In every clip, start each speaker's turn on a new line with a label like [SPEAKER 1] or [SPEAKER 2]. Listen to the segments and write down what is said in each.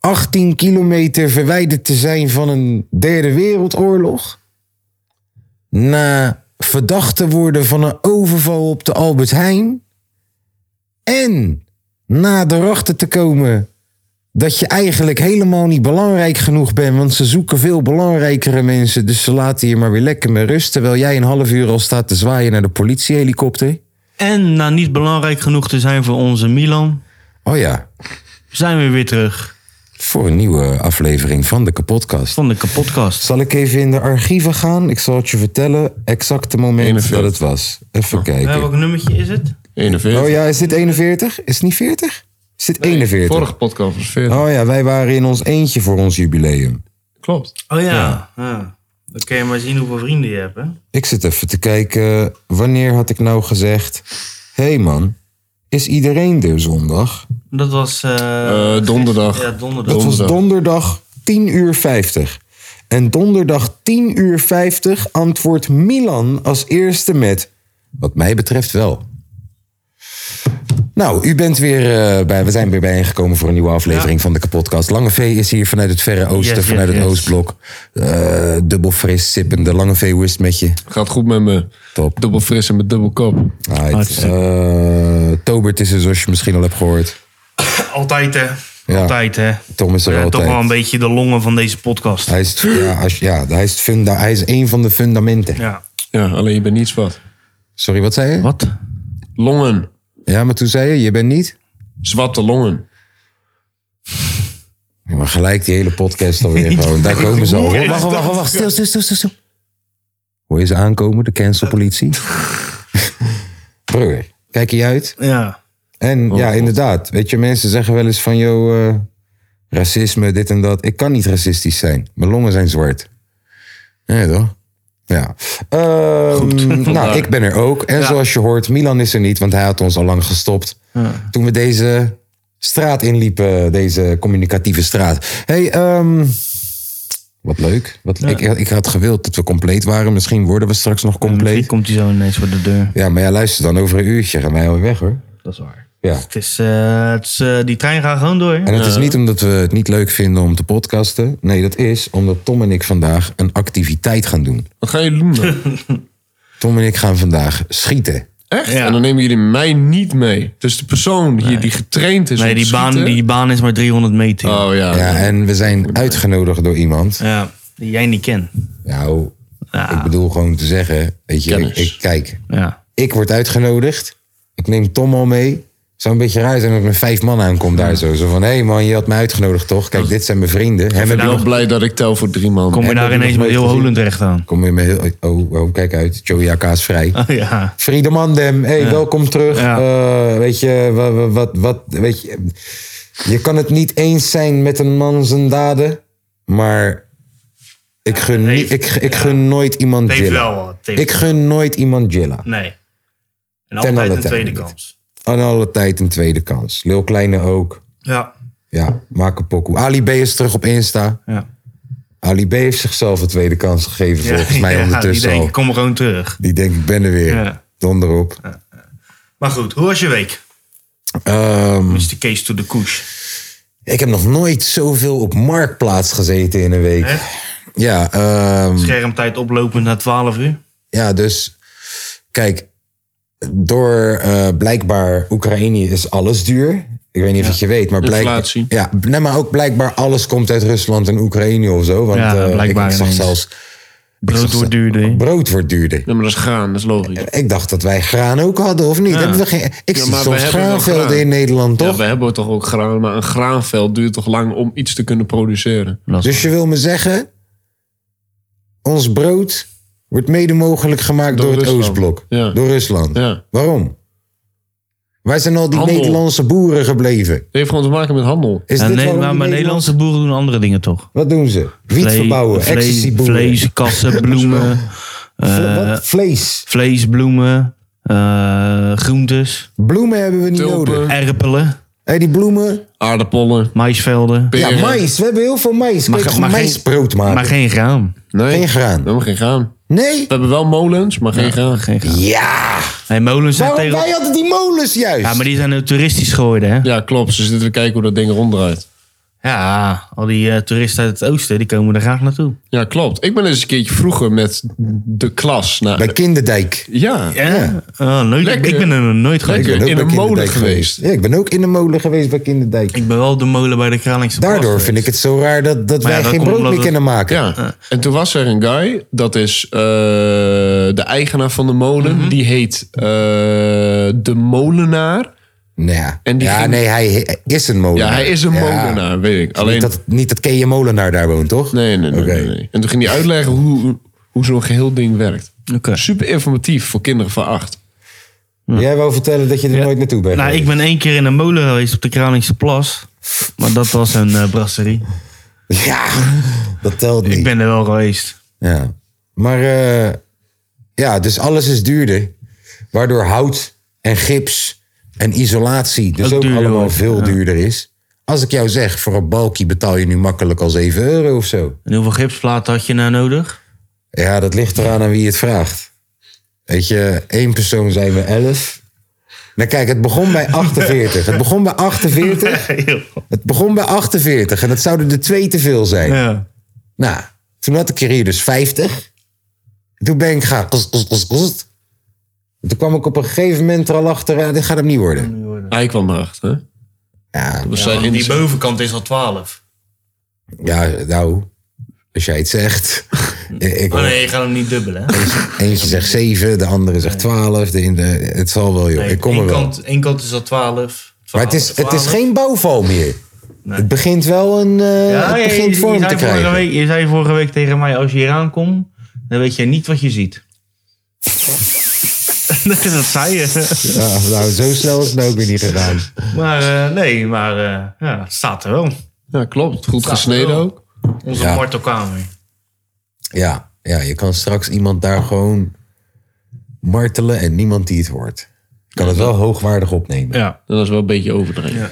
[SPEAKER 1] 18 kilometer verwijderd te zijn van een derde wereldoorlog. Na verdacht te worden van een overval op de Albert Heijn. En na erachter te komen dat je eigenlijk helemaal niet belangrijk genoeg bent. Want ze zoeken veel belangrijkere mensen. Dus ze laten je maar weer lekker met rust. Terwijl jij een half uur al staat te zwaaien naar de politiehelikopter.
[SPEAKER 2] En na niet belangrijk genoeg te zijn voor onze Milan,
[SPEAKER 1] Oh ja,
[SPEAKER 2] zijn we weer terug
[SPEAKER 1] voor een nieuwe aflevering van de kapotkast.
[SPEAKER 2] van de kapotkast.
[SPEAKER 1] Zal ik even in de archieven gaan? Ik zal het je vertellen, exacte moment
[SPEAKER 3] 41.
[SPEAKER 1] dat het was. Even
[SPEAKER 2] Eh,
[SPEAKER 1] kijken.
[SPEAKER 2] welk nummertje is het?
[SPEAKER 3] 41.
[SPEAKER 1] Oh ja, is dit 41? Is het niet 40? Is dit 41?
[SPEAKER 3] Vorige podcast was 40.
[SPEAKER 1] Oh ja, wij waren in ons eentje voor ons jubileum.
[SPEAKER 3] Klopt.
[SPEAKER 2] Oh ja. Ah. Dan kun je maar zien hoeveel vrienden je hebt, hè?
[SPEAKER 1] Ik zit even te kijken, wanneer had ik nou gezegd... Hé hey man, is iedereen er zondag?
[SPEAKER 2] Dat was... eh,
[SPEAKER 3] Eh, donderdag.
[SPEAKER 2] Ja, donderdag.
[SPEAKER 1] Dat was
[SPEAKER 3] Donderdag.
[SPEAKER 1] donderdag 10 uur 50. En donderdag 10 uur 50 antwoordt Milan als eerste met... Wat mij betreft wel. Nou, u bent weer eh, bij... We zijn weer bijeengekomen voor een nieuwe aflevering van de kapotkast. Lange V is hier vanuit het verre oosten,
[SPEAKER 2] Yes, yes,
[SPEAKER 1] vanuit het
[SPEAKER 2] yes.
[SPEAKER 1] oostblok. Eh dubbel fris sippende. Lange V, hoe is het met je?
[SPEAKER 3] Gaat goed met me.
[SPEAKER 1] Top.
[SPEAKER 3] Dubbel fris en met dubbel kop.
[SPEAKER 1] Right.
[SPEAKER 2] Hartstikke.
[SPEAKER 1] Eh, Tobert is er, zoals je misschien al hebt gehoord.
[SPEAKER 2] Altijd, hè?
[SPEAKER 1] Ja.
[SPEAKER 2] Altijd, hè?
[SPEAKER 1] Tom is er
[SPEAKER 2] Ja,
[SPEAKER 1] altijd.
[SPEAKER 2] toch wel een beetje de longen van deze podcast.
[SPEAKER 1] Hij is, ja, als, ja, hij, is funda, hij is een van de fundamenten.
[SPEAKER 2] Ja.
[SPEAKER 3] Ja, alleen je bent niets wat.
[SPEAKER 1] Sorry, wat zei je?
[SPEAKER 2] Wat?
[SPEAKER 3] Longen.
[SPEAKER 1] Ja, maar toen zei je, je bent niet.
[SPEAKER 3] Zwarte longen.
[SPEAKER 1] Ja, maar gelijk die hele podcast alweer gewoon. Daar komen ze al.
[SPEAKER 2] Hoe is
[SPEAKER 1] Wacht, wacht, wacht, wacht. Stil, stil, stil, stil, stil. Hoor je ze aankomen, de cancelpolitie? Broer, kijk je uit.
[SPEAKER 2] Ja.
[SPEAKER 1] En ja, inderdaad. Weet je, mensen zeggen wel eens van, joh, eh, racisme, dit en dat. Ik kan niet racistisch zijn. Mijn longen zijn zwart. Ja, toch? Ja. Ehm, nou,
[SPEAKER 3] vandaar.
[SPEAKER 1] ik ben er ook. En zoals je hoort, Milan is er niet, want hij had ons al lang gestopt. Toen we deze straat inliepen, deze communicatieve straat. hey, ehm, wat leuk. Wat, ik, ik had gewild dat we compleet waren. Misschien worden we straks nog
[SPEAKER 2] Misschien
[SPEAKER 1] compleet.
[SPEAKER 2] komt hij zo ineens voor de deur.
[SPEAKER 1] Ja, maar ja, luister dan. Over een uurtje gaan wij alweer weg, hoor.
[SPEAKER 2] Dat is waar.
[SPEAKER 1] Ja.
[SPEAKER 2] Het is, eh, het is, eh, die trein gaat gewoon door.
[SPEAKER 1] En het is niet omdat we het niet leuk vinden om te podcasten. Nee, dat is omdat Tom en ik vandaag een activiteit gaan doen.
[SPEAKER 3] Wat gaan jullie doen dan?
[SPEAKER 1] Tom en ik gaan vandaag schieten.
[SPEAKER 3] Echt?
[SPEAKER 2] Ja.
[SPEAKER 3] En dan nemen jullie mij niet mee. Dus de persoon hier die getraind is
[SPEAKER 2] Nee,
[SPEAKER 3] om te
[SPEAKER 2] die baan,
[SPEAKER 3] schieten-
[SPEAKER 2] die baan is maar 300 meter.
[SPEAKER 3] Oh ja.
[SPEAKER 1] Ja, en we zijn uitgenodigd door iemand.
[SPEAKER 2] Ja, die jij niet kent.
[SPEAKER 1] Nou,
[SPEAKER 2] Ja.
[SPEAKER 1] ik bedoel gewoon te zeggen, weet je, ik,
[SPEAKER 3] Kennis.
[SPEAKER 1] ik- kijk,
[SPEAKER 2] Ja.
[SPEAKER 1] ik word uitgenodigd. Ik neem Tom al mee. Zou een beetje raar zijn dat ik met vijf man aankom daar zo. Zo van, hé hey man, je had me uitgenodigd toch? Kijk, dit zijn mijn vrienden. Hem
[SPEAKER 3] Ik
[SPEAKER 1] heb
[SPEAKER 3] ben
[SPEAKER 1] je
[SPEAKER 3] wel
[SPEAKER 1] nog...
[SPEAKER 3] blij dat ik tel voor drie man.
[SPEAKER 2] Kom je
[SPEAKER 1] Hebben
[SPEAKER 2] daar
[SPEAKER 1] we
[SPEAKER 2] ineens
[SPEAKER 1] nog
[SPEAKER 2] met heel
[SPEAKER 1] nooit gezien?
[SPEAKER 2] Holland terecht aan?
[SPEAKER 1] Kom je me heel... Oh, oh, kijk uit. Joey Jaka is vrij.
[SPEAKER 2] Oh, ja.
[SPEAKER 1] Friede Mandem, hey, welkom terug.
[SPEAKER 2] Ja.
[SPEAKER 1] Eh, weet je, wa- wa- wat, wat, weet je, je kan het niet eens zijn met een man zijn daden, maar ik gun,
[SPEAKER 2] het
[SPEAKER 1] niet-
[SPEAKER 2] heeft-
[SPEAKER 1] ik, ik gun nooit iemand
[SPEAKER 2] Het heeft
[SPEAKER 1] Jilla.
[SPEAKER 2] wel wat. Het heeft-
[SPEAKER 1] Ik gun nooit iemand Jilla.
[SPEAKER 2] Nee. En
[SPEAKER 1] alle
[SPEAKER 2] altijd een
[SPEAKER 1] tijden
[SPEAKER 2] tweede
[SPEAKER 1] niet.
[SPEAKER 2] kans.
[SPEAKER 1] Aan alle tijd een tweede kans. Lil Kleine ook.
[SPEAKER 2] Ja.
[SPEAKER 1] Ja, maak een pokoe. Ali B is terug op Insta.
[SPEAKER 2] ja.
[SPEAKER 1] Ali B heeft zichzelf een tweede kans gegeven, volgens mij
[SPEAKER 2] ja,
[SPEAKER 1] ondertussen
[SPEAKER 2] die
[SPEAKER 1] al.
[SPEAKER 2] denken, kom gewoon terug.
[SPEAKER 1] Die denkt, ik ben er weer.
[SPEAKER 2] Ja.
[SPEAKER 1] Donder op.
[SPEAKER 2] Maar goed, hoe was je week?
[SPEAKER 1] Ehm,
[SPEAKER 2] Is de case to the couch.
[SPEAKER 1] ik heb nog nooit zoveel op Marktplaats gezeten in een week.
[SPEAKER 2] Echt?
[SPEAKER 1] Ja, ehm,
[SPEAKER 2] Schermtijd oplopend naar 12 uur.
[SPEAKER 1] ja, dus kijk, door eh, blijkbaar Oekraïne is alles duur. Ik weet niet of het je weet, maar blijkbaar.
[SPEAKER 3] Inflatie.
[SPEAKER 1] Ja, nee, maar ook blijkbaar alles komt uit Rusland en Oekraïne of zo. Want
[SPEAKER 2] Ja,
[SPEAKER 1] eh,
[SPEAKER 2] blijkbaar
[SPEAKER 1] ik, ik zag
[SPEAKER 2] ineens.
[SPEAKER 1] zelfs
[SPEAKER 2] Brood wordt duurder.
[SPEAKER 1] brood wordt duurder.
[SPEAKER 3] Ja, maar dat is gaan, dat is logisch.
[SPEAKER 1] Ik dacht dat wij graan ook hadden, of niet? Hebben we geen, ik
[SPEAKER 3] Ja,
[SPEAKER 1] zie
[SPEAKER 3] maar we
[SPEAKER 1] soms
[SPEAKER 3] hebben wel
[SPEAKER 1] graanvelden
[SPEAKER 3] graan.
[SPEAKER 1] in Nederland,
[SPEAKER 3] Ja,
[SPEAKER 1] toch?
[SPEAKER 3] we hebben toch ook graan, maar een graanveld duurt toch lang om iets te kunnen produceren.
[SPEAKER 1] dus je wil me zeggen, ons brood wordt mede mogelijk gemaakt door,
[SPEAKER 3] Door
[SPEAKER 1] het
[SPEAKER 3] Rusland.
[SPEAKER 1] Oostblok.
[SPEAKER 3] Ja.
[SPEAKER 1] Door Rusland.
[SPEAKER 3] Ja.
[SPEAKER 1] Waarom? Wij zijn al die
[SPEAKER 3] Handel.
[SPEAKER 1] Nederlandse boeren gebleven.
[SPEAKER 3] heeft gewoon te maken met handel.
[SPEAKER 1] Is
[SPEAKER 2] Ja,
[SPEAKER 1] dit
[SPEAKER 2] nee,
[SPEAKER 1] waarom
[SPEAKER 2] maar,
[SPEAKER 1] die
[SPEAKER 2] maar Nederlandse boeren doen andere dingen toch?
[SPEAKER 1] Wat doen ze? Wiet
[SPEAKER 2] Vle-
[SPEAKER 1] verbouwen,
[SPEAKER 2] vle-
[SPEAKER 1] ecstasyboeren.
[SPEAKER 2] Vlees, kassen, bloemen,
[SPEAKER 1] Vle-
[SPEAKER 2] eh,
[SPEAKER 1] wat? Vlees.
[SPEAKER 2] vlees, bloemen, eh, groentes,
[SPEAKER 1] Bloemen hebben we niet
[SPEAKER 3] Tulpen.
[SPEAKER 1] nodig.
[SPEAKER 2] erpelen,
[SPEAKER 1] Hé, die bloemen.
[SPEAKER 3] Aardappelen.
[SPEAKER 2] maïsvelden.
[SPEAKER 1] Ja,
[SPEAKER 3] peren.
[SPEAKER 1] mais. We hebben heel veel mais.
[SPEAKER 2] Maar
[SPEAKER 1] Maar,
[SPEAKER 2] ge-
[SPEAKER 1] maar,
[SPEAKER 2] maar geen-
[SPEAKER 1] maisbrood maken.
[SPEAKER 2] Maar geen graan.
[SPEAKER 3] Nee.
[SPEAKER 1] Geen graan.
[SPEAKER 3] We hebben geen graan.
[SPEAKER 1] Nee?
[SPEAKER 3] We hebben wel molens, maar geen graan.
[SPEAKER 2] Geen graan.
[SPEAKER 1] Ja!
[SPEAKER 2] Nee, molens zijn
[SPEAKER 1] Waarom
[SPEAKER 2] tegen...
[SPEAKER 1] wij hadden die molens juist?
[SPEAKER 2] Ja, maar die zijn eh, toeristisch geworden, hè?
[SPEAKER 3] Ja, klopt. Ze zitten we kijken hoe dat ding ronddraait.
[SPEAKER 2] Ja, al die eh, toeristen uit het oosten, die komen er graag naartoe.
[SPEAKER 3] Ja, klopt. Ik ben eens een keertje vroeger met de klas naar...
[SPEAKER 1] Bij Kinderdijk.
[SPEAKER 3] Ja.
[SPEAKER 2] Ja. Oh, leuk. Ik-
[SPEAKER 3] Lekker.
[SPEAKER 2] Ik ben er nog nooit geweest.
[SPEAKER 3] Lekker.
[SPEAKER 1] Ik ben
[SPEAKER 3] in
[SPEAKER 1] ook
[SPEAKER 3] de
[SPEAKER 1] bij
[SPEAKER 3] molen
[SPEAKER 1] Kinderdijk
[SPEAKER 3] geweest.
[SPEAKER 1] Ja, ik ben ook in de molen geweest bij Kinderdijk.
[SPEAKER 2] Ik ben wel op de molen bij de Kralingse Plas
[SPEAKER 1] Daardoor vind ik
[SPEAKER 2] geweest.
[SPEAKER 1] het zo raar dat, dat
[SPEAKER 2] Maar ja,
[SPEAKER 1] wij
[SPEAKER 2] dat
[SPEAKER 1] geen
[SPEAKER 2] komt
[SPEAKER 1] brood
[SPEAKER 2] omdat
[SPEAKER 1] meer
[SPEAKER 2] het-
[SPEAKER 1] kunnen maken.
[SPEAKER 3] Ja, en toen was er een guy, dat is eh, de eigenaar van de molen.
[SPEAKER 1] Mhm.
[SPEAKER 3] Die heet eh, De Molenaar.
[SPEAKER 1] Nou ja,
[SPEAKER 3] En die
[SPEAKER 1] ja
[SPEAKER 3] ging-
[SPEAKER 1] nee, hij he- is een molenaar.
[SPEAKER 3] Ja, hij is een
[SPEAKER 1] Ja.
[SPEAKER 3] molenaar, weet ik. Alleen,
[SPEAKER 1] Niet dat, niet dat Kea Molenaar daar woont, toch?
[SPEAKER 3] nee, nee, nee,
[SPEAKER 1] Oké.
[SPEAKER 3] nee, nee. En toen ging hij uitleggen hoe, hoe zo'n geheel ding werkt.
[SPEAKER 2] Oké.
[SPEAKER 3] Super informatief voor kinderen van acht.
[SPEAKER 1] Jij wou vertellen dat je er nooit naartoe bent.
[SPEAKER 2] Nou,
[SPEAKER 1] geweest.
[SPEAKER 2] ik ben één keer in een molen geweest op de Kralingse Plas. Maar dat was een eh, brasserie.
[SPEAKER 1] Ja, dat telt niet.
[SPEAKER 2] Ik ben er wel geweest.
[SPEAKER 1] Ja. Maar eh, ja, dus alles is duurder. Waardoor hout en gips en isolatie dus
[SPEAKER 2] Ook
[SPEAKER 1] ook,
[SPEAKER 2] duurder
[SPEAKER 1] allemaal
[SPEAKER 2] wordt,
[SPEAKER 1] veel
[SPEAKER 2] ja.
[SPEAKER 1] duurder is. Als ik jou zeg, voor een balkie betaal je nu makkelijk al 7 euro of zo.
[SPEAKER 2] En hoeveel gipsplaten had je nou nodig?
[SPEAKER 1] Ja, dat ligt eraan aan wie het vraagt. Weet je, één persoon zijn we 11. Nou kijk, het begon bij 48. Het begon bij 48. Het begon bij 48 en dat zouden er twee te veel zijn.
[SPEAKER 2] Ja.
[SPEAKER 1] Nou, toen had ik er hier dus 50. Toen ben ik gaan. kost, kost, kost, kost. Toen kwam ik op een gegeven moment er al achter. eh, dit gaat hem niet worden.
[SPEAKER 3] Hij kwam erachter. hè?
[SPEAKER 1] Ja,
[SPEAKER 3] Dat zij in-
[SPEAKER 2] bovenkant is al 12.
[SPEAKER 1] ja nou, als jij het zegt. Eh, ik,
[SPEAKER 2] Oh, nee, je gaat hem niet dubbelen. Hè?
[SPEAKER 1] Eentje zegt 7, de andere zegt 12. De, in de, het zal wel, joh. ik kom er wel.
[SPEAKER 2] één kant is al 12.
[SPEAKER 1] Maar het is, het is geen bouwval meer. Het begint wel een. eh, het begint vorm te krijgen.
[SPEAKER 2] Week, je zei vorige week tegen mij, als je hier aankomt, dan weet je niet wat je ziet. nee, dat zei je.
[SPEAKER 1] Ja, nou, zo snel is het nou ook weer niet gedaan.
[SPEAKER 2] Maar eh, nee, maar eh, ja, het staat er wel.
[SPEAKER 3] Ja, klopt. Goed
[SPEAKER 2] Staat
[SPEAKER 3] gesneden
[SPEAKER 2] wel.
[SPEAKER 3] ook.
[SPEAKER 2] Onze
[SPEAKER 1] Ja.
[SPEAKER 2] martelkamer.
[SPEAKER 1] Ja, ja, je kan straks iemand daar gewoon martelen en niemand die het hoort. Je kan het wel hoogwaardig opnemen.
[SPEAKER 2] Ja,
[SPEAKER 3] Dat is wel een beetje overdreven. Ja,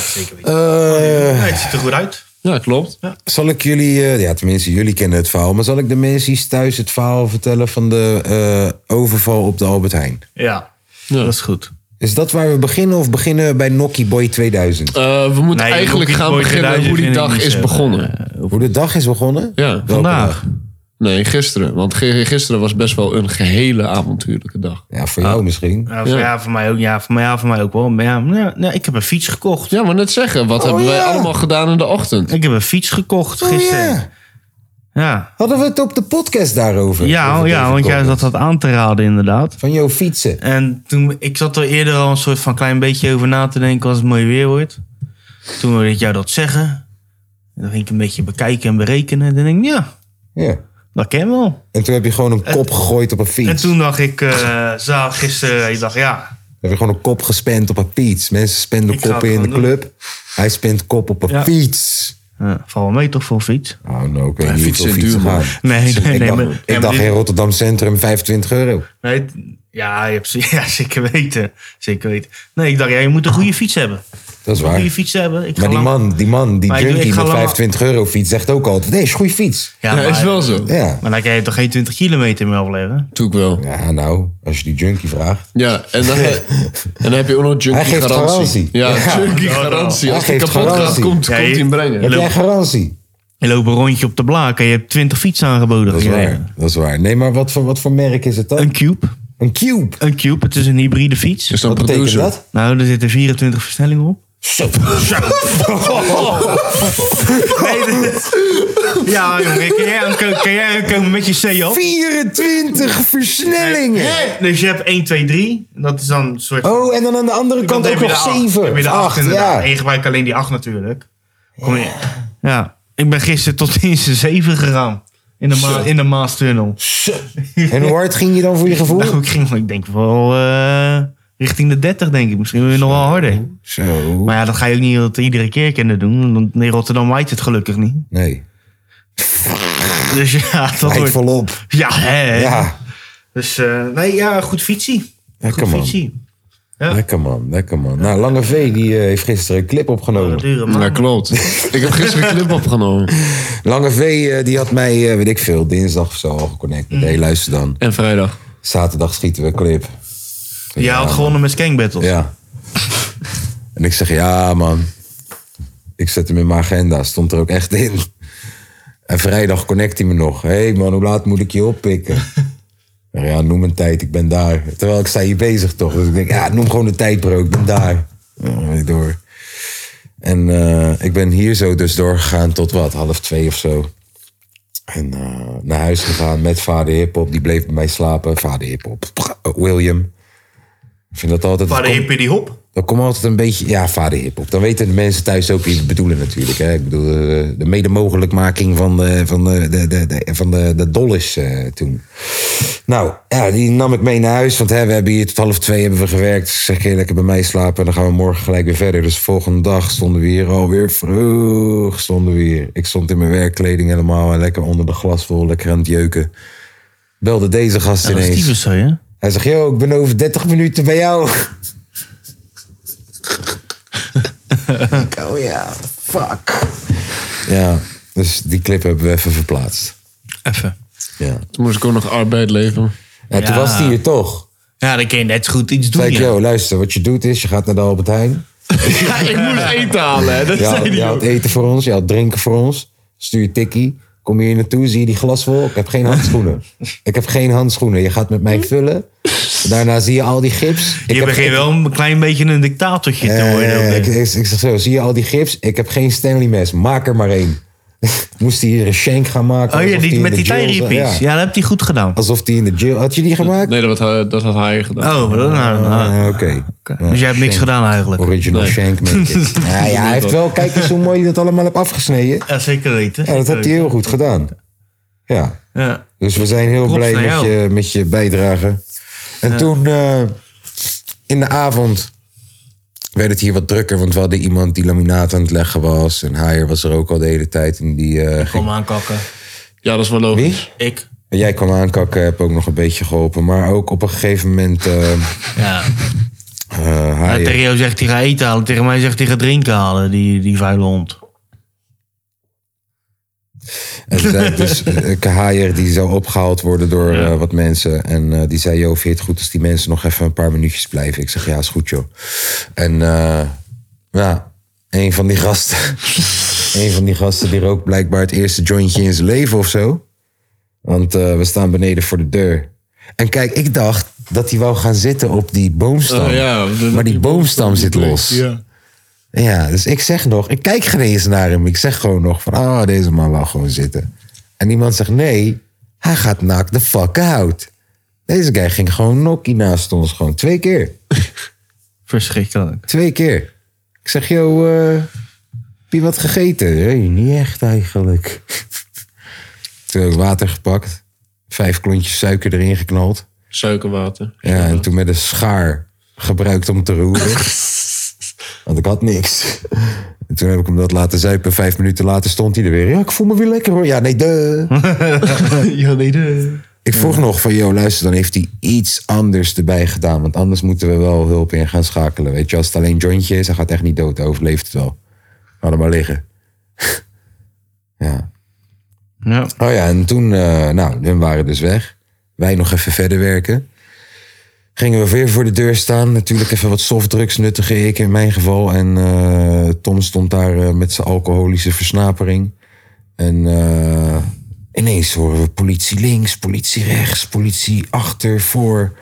[SPEAKER 2] zeker weten.
[SPEAKER 1] Eh,
[SPEAKER 2] het ziet er goed uit.
[SPEAKER 3] klopt.
[SPEAKER 1] zal ik jullie, eh, ja tenminste jullie kennen het verhaal, maar zal ik de mensen thuis het verhaal vertellen van de eh, overval op de Albert Heijn?
[SPEAKER 2] Ja,
[SPEAKER 3] Ja.
[SPEAKER 2] dat is goed.
[SPEAKER 1] Is dat waar we beginnen of beginnen we bij Nokkie Boy 2000?
[SPEAKER 3] Eh, we moeten
[SPEAKER 2] Nee,
[SPEAKER 3] eigenlijk
[SPEAKER 2] Rocky
[SPEAKER 3] gaan
[SPEAKER 2] Boy
[SPEAKER 3] beginnen
[SPEAKER 2] 2000
[SPEAKER 3] hoe die
[SPEAKER 2] vind ik
[SPEAKER 3] dag
[SPEAKER 2] niet
[SPEAKER 3] is
[SPEAKER 2] zo.
[SPEAKER 3] begonnen.
[SPEAKER 1] Hoe de dag is begonnen?
[SPEAKER 3] Ja,
[SPEAKER 1] Welke
[SPEAKER 2] Vandaag.
[SPEAKER 1] dag?
[SPEAKER 3] nee, gisteren. Want ge- gisteren was best wel een gehele avontuurlijke dag.
[SPEAKER 1] Ja, voor
[SPEAKER 2] Ah,
[SPEAKER 1] jou misschien.
[SPEAKER 2] Ja, voor,
[SPEAKER 3] Ja.
[SPEAKER 2] ja, voor mij ook, ja, voor mij, ja, voor mij ook wel. Maar ja, nou, nou, ik heb een fiets gekocht.
[SPEAKER 3] Ja, maar net zeggen, wat hebben wij
[SPEAKER 1] Oh, ja.
[SPEAKER 3] allemaal gedaan in de ochtend?
[SPEAKER 2] Ik heb een fiets gekocht
[SPEAKER 1] Oh
[SPEAKER 2] gisteren.
[SPEAKER 1] ja,
[SPEAKER 2] ja.
[SPEAKER 1] hadden we het op de podcast daarover?
[SPEAKER 2] Ja,
[SPEAKER 1] Over
[SPEAKER 2] oh, ja,
[SPEAKER 1] David
[SPEAKER 2] want jij
[SPEAKER 1] Coppens.
[SPEAKER 2] zat dat aan te raden inderdaad.
[SPEAKER 1] Van jouw fietsen.
[SPEAKER 2] En toen, ik zat er eerder al een soort van klein beetje over na te denken als het mooi weer wordt. Toen hoorde ik jou dat zeggen. En dan ging ik een beetje bekijken en berekenen. En dan denk ik, ja,
[SPEAKER 1] Ja.
[SPEAKER 2] dat ken wel.
[SPEAKER 1] En toen heb je gewoon een kop gegooid op een fiets.
[SPEAKER 2] Eh, En toen dacht ik, eh zag gisteren, ik dacht ja,
[SPEAKER 1] We hebben gewoon een kop gespend op een fiets. Mensen spenden
[SPEAKER 2] Ik ga
[SPEAKER 1] koppen
[SPEAKER 2] het
[SPEAKER 1] in de
[SPEAKER 2] gewoon doen.
[SPEAKER 1] club. Hij spent kop op een
[SPEAKER 2] Ja.
[SPEAKER 1] fiets.
[SPEAKER 2] eh, val wel mee toch voor een fiets?
[SPEAKER 1] Oh no, ik weet niet
[SPEAKER 3] fietsen
[SPEAKER 1] hoeveel
[SPEAKER 3] is
[SPEAKER 1] fietsen
[SPEAKER 3] duur, man.
[SPEAKER 1] gaan.
[SPEAKER 2] Nee, nee,
[SPEAKER 1] ik
[SPEAKER 2] nee.
[SPEAKER 1] dacht,
[SPEAKER 2] maar-
[SPEAKER 1] ik
[SPEAKER 2] ja,
[SPEAKER 1] dacht
[SPEAKER 2] maar
[SPEAKER 1] in Rotterdam Centrum 25 euro.
[SPEAKER 2] dit- nee, ja, je hebt, ze- ja, zeker weten. Zeker weten. Nee, ik dacht, ja, je moet een goede fiets hebben.
[SPEAKER 1] Dat is
[SPEAKER 2] Een goede
[SPEAKER 1] waar.
[SPEAKER 2] fiets hebben. Ik ga
[SPEAKER 1] Maar die
[SPEAKER 2] lang-
[SPEAKER 1] man, die man, die
[SPEAKER 2] Maar ik- ik
[SPEAKER 1] junkie
[SPEAKER 2] ga
[SPEAKER 1] met
[SPEAKER 2] lang-
[SPEAKER 1] 25 euro fiets zegt ook altijd... Nee, is een goede fiets.
[SPEAKER 3] Ja,
[SPEAKER 2] maar-
[SPEAKER 3] is wel zo.
[SPEAKER 1] Ja.
[SPEAKER 2] Maar dan kan je toch geen 20 kilometer meer afleggen?
[SPEAKER 3] Doe ik wel.
[SPEAKER 1] Ja, nou, als je die junkie vraagt.
[SPEAKER 3] Ja, en dan, en dan heb je ook nog junkie
[SPEAKER 1] Hij geeft
[SPEAKER 3] garantie.
[SPEAKER 1] garantie.
[SPEAKER 3] Ja,
[SPEAKER 1] Ja.
[SPEAKER 3] junkie
[SPEAKER 2] Ja,
[SPEAKER 3] garantie.
[SPEAKER 1] hij
[SPEAKER 3] Als die
[SPEAKER 1] geeft
[SPEAKER 3] kapot gaat,
[SPEAKER 1] garantie.
[SPEAKER 3] komt,
[SPEAKER 2] Ja,
[SPEAKER 3] komt hij
[SPEAKER 2] je-
[SPEAKER 3] hem brengen.
[SPEAKER 1] Heb
[SPEAKER 2] Leuk.
[SPEAKER 1] jij garantie?
[SPEAKER 2] Je loopt een rondje op de blaak en je hebt 20 fietsen aangeboden.
[SPEAKER 1] Dat is
[SPEAKER 2] gekregen.
[SPEAKER 1] waar. Dat is waar. Nee, maar wat voor, wat voor merk is het dan?
[SPEAKER 2] Een Cube.
[SPEAKER 1] Een Cube.
[SPEAKER 2] Een Cube, het is een hybride fiets.
[SPEAKER 3] Dus dan
[SPEAKER 1] Wat betekent
[SPEAKER 3] producer.
[SPEAKER 1] dat?
[SPEAKER 2] Nou, er zitten 24 versnellingen op.
[SPEAKER 1] Oh.
[SPEAKER 2] Nee, dit- ja, jongen, kan jij aanko- kan jij aankomen met je C op?
[SPEAKER 1] 24 versnellingen.
[SPEAKER 2] Dus je hebt 1, 2, 3. Dat is dan een soort...
[SPEAKER 1] Oh, en dan aan de andere
[SPEAKER 2] Dan
[SPEAKER 1] kant ook
[SPEAKER 2] heb je de
[SPEAKER 1] nog
[SPEAKER 2] acht. Heb
[SPEAKER 1] 7.
[SPEAKER 2] je de 8
[SPEAKER 1] 8,
[SPEAKER 2] inderdaad. En
[SPEAKER 1] ja.
[SPEAKER 2] je gebruikt alleen die 8 natuurlijk. Kom je. Ja, ik ben gisteren tot in zijn 7 gegaan. In de, ma- in de Maastunnel.
[SPEAKER 1] En hoe hard ging je dan voor je gevoel?
[SPEAKER 2] Nou, ik, ging, ik denk wel eh, richting de 30, denk ik. Misschien weer nog wel harder.
[SPEAKER 1] Zo.
[SPEAKER 2] Maar ja, dat ga je ook niet altijd iedere keer kunnen doen. Want in Rotterdam waait het gelukkig niet.
[SPEAKER 1] Nee.
[SPEAKER 2] Dus ja, dat
[SPEAKER 1] Lijkt
[SPEAKER 2] wordt...
[SPEAKER 1] volop.
[SPEAKER 2] Ja, hè.
[SPEAKER 1] Ja.
[SPEAKER 2] Dus eh, nee, ja, goed fietsie.
[SPEAKER 1] Lekker
[SPEAKER 2] goed
[SPEAKER 1] man.
[SPEAKER 2] fietsie. Ja.
[SPEAKER 1] Lekker man, lekker man. Nou, Lange V die eh, heeft gisteren een clip opgenomen.
[SPEAKER 2] Dure man.
[SPEAKER 3] Ja, klopt. Ik heb gisteren een clip opgenomen.
[SPEAKER 1] Lange V eh, die had mij, eh, weet ik veel, dinsdag of zo al geconnect.
[SPEAKER 2] Mm.
[SPEAKER 1] Hé, luister dan.
[SPEAKER 3] En vrijdag.
[SPEAKER 1] Zaterdag schieten we een clip.
[SPEAKER 2] Jij had gewonnen met Skank Battles.
[SPEAKER 1] Ja. En ik zeg, ja man. Ik zet hem in mijn agenda. Stond er ook echt in. En vrijdag connect hij me nog. Hé hey man, hoe laat moet ik je oppikken? Ik zeg, Ja, noem een tijd, ik ben daar. Terwijl ik sta hier bezig toch. Dus ik denk, ja, noem gewoon de tijd bro, ik ben daar. Ja, dan ben ik door. En eh, ik ben hier zo dus doorgegaan tot wat, half twee of zo. En eh, naar huis gegaan met vader hiphop. Die bleef bij mij slapen. Vader hiphop. William. Ik vind dat altijd...
[SPEAKER 2] Waar
[SPEAKER 1] het
[SPEAKER 2] de
[SPEAKER 1] komt-
[SPEAKER 2] hippie die hop.
[SPEAKER 1] dan komt altijd een beetje, ja, vader hiphop. Dan weten de mensen thuis ook wie we bedoelen natuurlijk. Hè. Ik bedoel, eh, de mede mogelijkmaking van de, van de, de, de, de- van de, de dollars eh, toen. Nou, ja, die nam ik mee naar huis. Want hè, we hebben hier tot half twee hebben we gewerkt. Ik Zeg je lekker bij mij slapen. En dan gaan we morgen gelijk weer verder. Dus volgende dag stonden we hier alweer vroeg. Stonden we hier. Ik stond in mijn werkkleding helemaal. En lekker onder de glaswol, lekker aan het jeuken. Belde deze gast
[SPEAKER 2] Dat is
[SPEAKER 1] ineens.
[SPEAKER 2] typisch zo, hè?
[SPEAKER 1] Hij zegt, yo, ik ben over 30 minuten bij jou. Ik, oh ja, fuck. Ja, dus die clip hebben we even verplaatst.
[SPEAKER 2] Even.
[SPEAKER 1] Ja.
[SPEAKER 3] Toen moest ik ook nog arbeid leveren.
[SPEAKER 1] En toen
[SPEAKER 2] Ja.
[SPEAKER 1] was die hier toch.
[SPEAKER 2] Ja, dan kun je net zo goed iets
[SPEAKER 1] Toen
[SPEAKER 2] doen.
[SPEAKER 1] zei ik,
[SPEAKER 2] Ja.
[SPEAKER 1] yo, luister, wat je doet is, je gaat naar de Albert Heijn.
[SPEAKER 3] Ja, ik moest eten halen. hè. Dat
[SPEAKER 1] Je
[SPEAKER 3] zei
[SPEAKER 1] haalt,
[SPEAKER 3] hij
[SPEAKER 1] je
[SPEAKER 3] ook.
[SPEAKER 1] haalt eten voor ons, je haalt drinken voor ons. Stuur je tikkie. Kom hier naartoe, zie je die glas vol? Ik heb geen handschoenen. Ik heb geen handschoenen. Je gaat met mij vullen. Daarna zie je al die gips. Ik
[SPEAKER 2] Je
[SPEAKER 1] heb
[SPEAKER 2] begint
[SPEAKER 1] geen-
[SPEAKER 2] wel een klein beetje een dictatortje te worden.
[SPEAKER 1] Eh,
[SPEAKER 2] ook, hè?
[SPEAKER 1] ik, ik, ik zeg zo, zie je al die gips? Ik heb geen Stanley mes, maak er maar één. Moest hij hier een shank gaan maken?
[SPEAKER 2] oh ja,
[SPEAKER 1] alsof
[SPEAKER 2] die,
[SPEAKER 1] die in
[SPEAKER 2] met
[SPEAKER 1] de
[SPEAKER 2] die
[SPEAKER 1] jail zat?
[SPEAKER 2] tijriepies. Ja.
[SPEAKER 1] Ja.
[SPEAKER 2] dat hebt hij goed gedaan.
[SPEAKER 1] Alsof die in de jail... Had je die gemaakt?
[SPEAKER 3] Nee, dat had, hij- dat had hij gedaan.
[SPEAKER 2] Oh, maar dat nou, nou.
[SPEAKER 1] Ah, Oké. Ja,
[SPEAKER 2] Dus jij hebt niks
[SPEAKER 1] shank.
[SPEAKER 2] gedaan eigenlijk.
[SPEAKER 1] Original shank make ja, ja, hij heeft wel... Kijk eens hoe mooi hij dat allemaal hebt afgesneden.
[SPEAKER 2] Ja, zeker weten.
[SPEAKER 1] Ja, dat
[SPEAKER 2] Zeker
[SPEAKER 1] heeft hij heel goed gedaan. Ja.
[SPEAKER 2] weten. Ja.
[SPEAKER 1] Dus we zijn heel
[SPEAKER 2] Props
[SPEAKER 1] blij
[SPEAKER 2] naar
[SPEAKER 1] met
[SPEAKER 2] jou.
[SPEAKER 1] je, met je bijdrage. En toen eh, in de avond werd het hier wat drukker, want we hadden iemand die laminaat aan het leggen was. En Haier was er ook al de hele tijd. En die, eh, ging-
[SPEAKER 2] Kom aankakken.
[SPEAKER 3] Ja, dat is wel logisch.
[SPEAKER 1] Wie?
[SPEAKER 2] Ik.
[SPEAKER 1] Jij kwam aankakken, heb ook nog een beetje geholpen. Maar ook op een gegeven moment. eh
[SPEAKER 2] Ja.
[SPEAKER 1] eh,
[SPEAKER 2] Ja,
[SPEAKER 1] Haier-
[SPEAKER 2] tegen jou zegt hij ga eten halen. Tegen mij zegt hij ga drinken halen, die, die vuile hond.
[SPEAKER 1] En toen zei ik dus eh, Haier die zou opgehaald worden door eh, wat mensen. En eh, die zei, joh, vind je het goed als die mensen nog even een paar minuutjes blijven? Ik zeg, ja, is goed, joh. En eh, ja, een van die gasten... een van die gasten die rookt blijkbaar het eerste jointje in zijn leven of zo. Want eh, we staan beneden voor de deur. En kijk, ik dacht dat hij wou gaan zitten op die boomstam.
[SPEAKER 3] Oh, ja, de-
[SPEAKER 1] maar die boomstam zit los.
[SPEAKER 3] Ja.
[SPEAKER 1] Ja, dus ik zeg nog, ik kijk geen eens naar hem. Ik zeg gewoon nog van, ah, deze man wou gewoon zitten. En iemand zegt, nee, hij gaat knock the fuck out. Deze guy ging gewoon nokkie naast ons, gewoon twee keer.
[SPEAKER 2] Verschrikkelijk.
[SPEAKER 1] Twee keer. Ik zeg, yo, eh, heb je wat gegeten? Hey, niet echt eigenlijk. Toen heb ik water gepakt, vijf klontjes suiker erin geknald.
[SPEAKER 3] Suikerwater.
[SPEAKER 1] Ja, en toen met een schaar gebruikt om te roeren. Want ik had niks. En toen heb ik hem dat laten zuipen. Vijf minuten later stond hij er weer. Ja, ik voel me weer lekker hoor. Ja, nee, de.
[SPEAKER 3] ja, nee, de...
[SPEAKER 1] Ik vroeg nog van, joh, luister, dan heeft hij iets anders erbij gedaan. Want anders moeten we wel hulp in gaan schakelen. Weet je, als het alleen jointje is, hij gaat echt niet dood. Hij overleeft het wel. Laat hem maar liggen. ja.
[SPEAKER 2] Ja.
[SPEAKER 1] Oh ja, en toen, eh, nou, hun waren dus weg. Wij nog even verder werken. Gingen we weer voor de deur staan. Natuurlijk even wat softdrugs nuttige ik in mijn geval. En eh, Tom stond daar eh, met zijn alcoholische versnapering. En eh, ineens horen we politie links, politie rechts, politie achter, voor.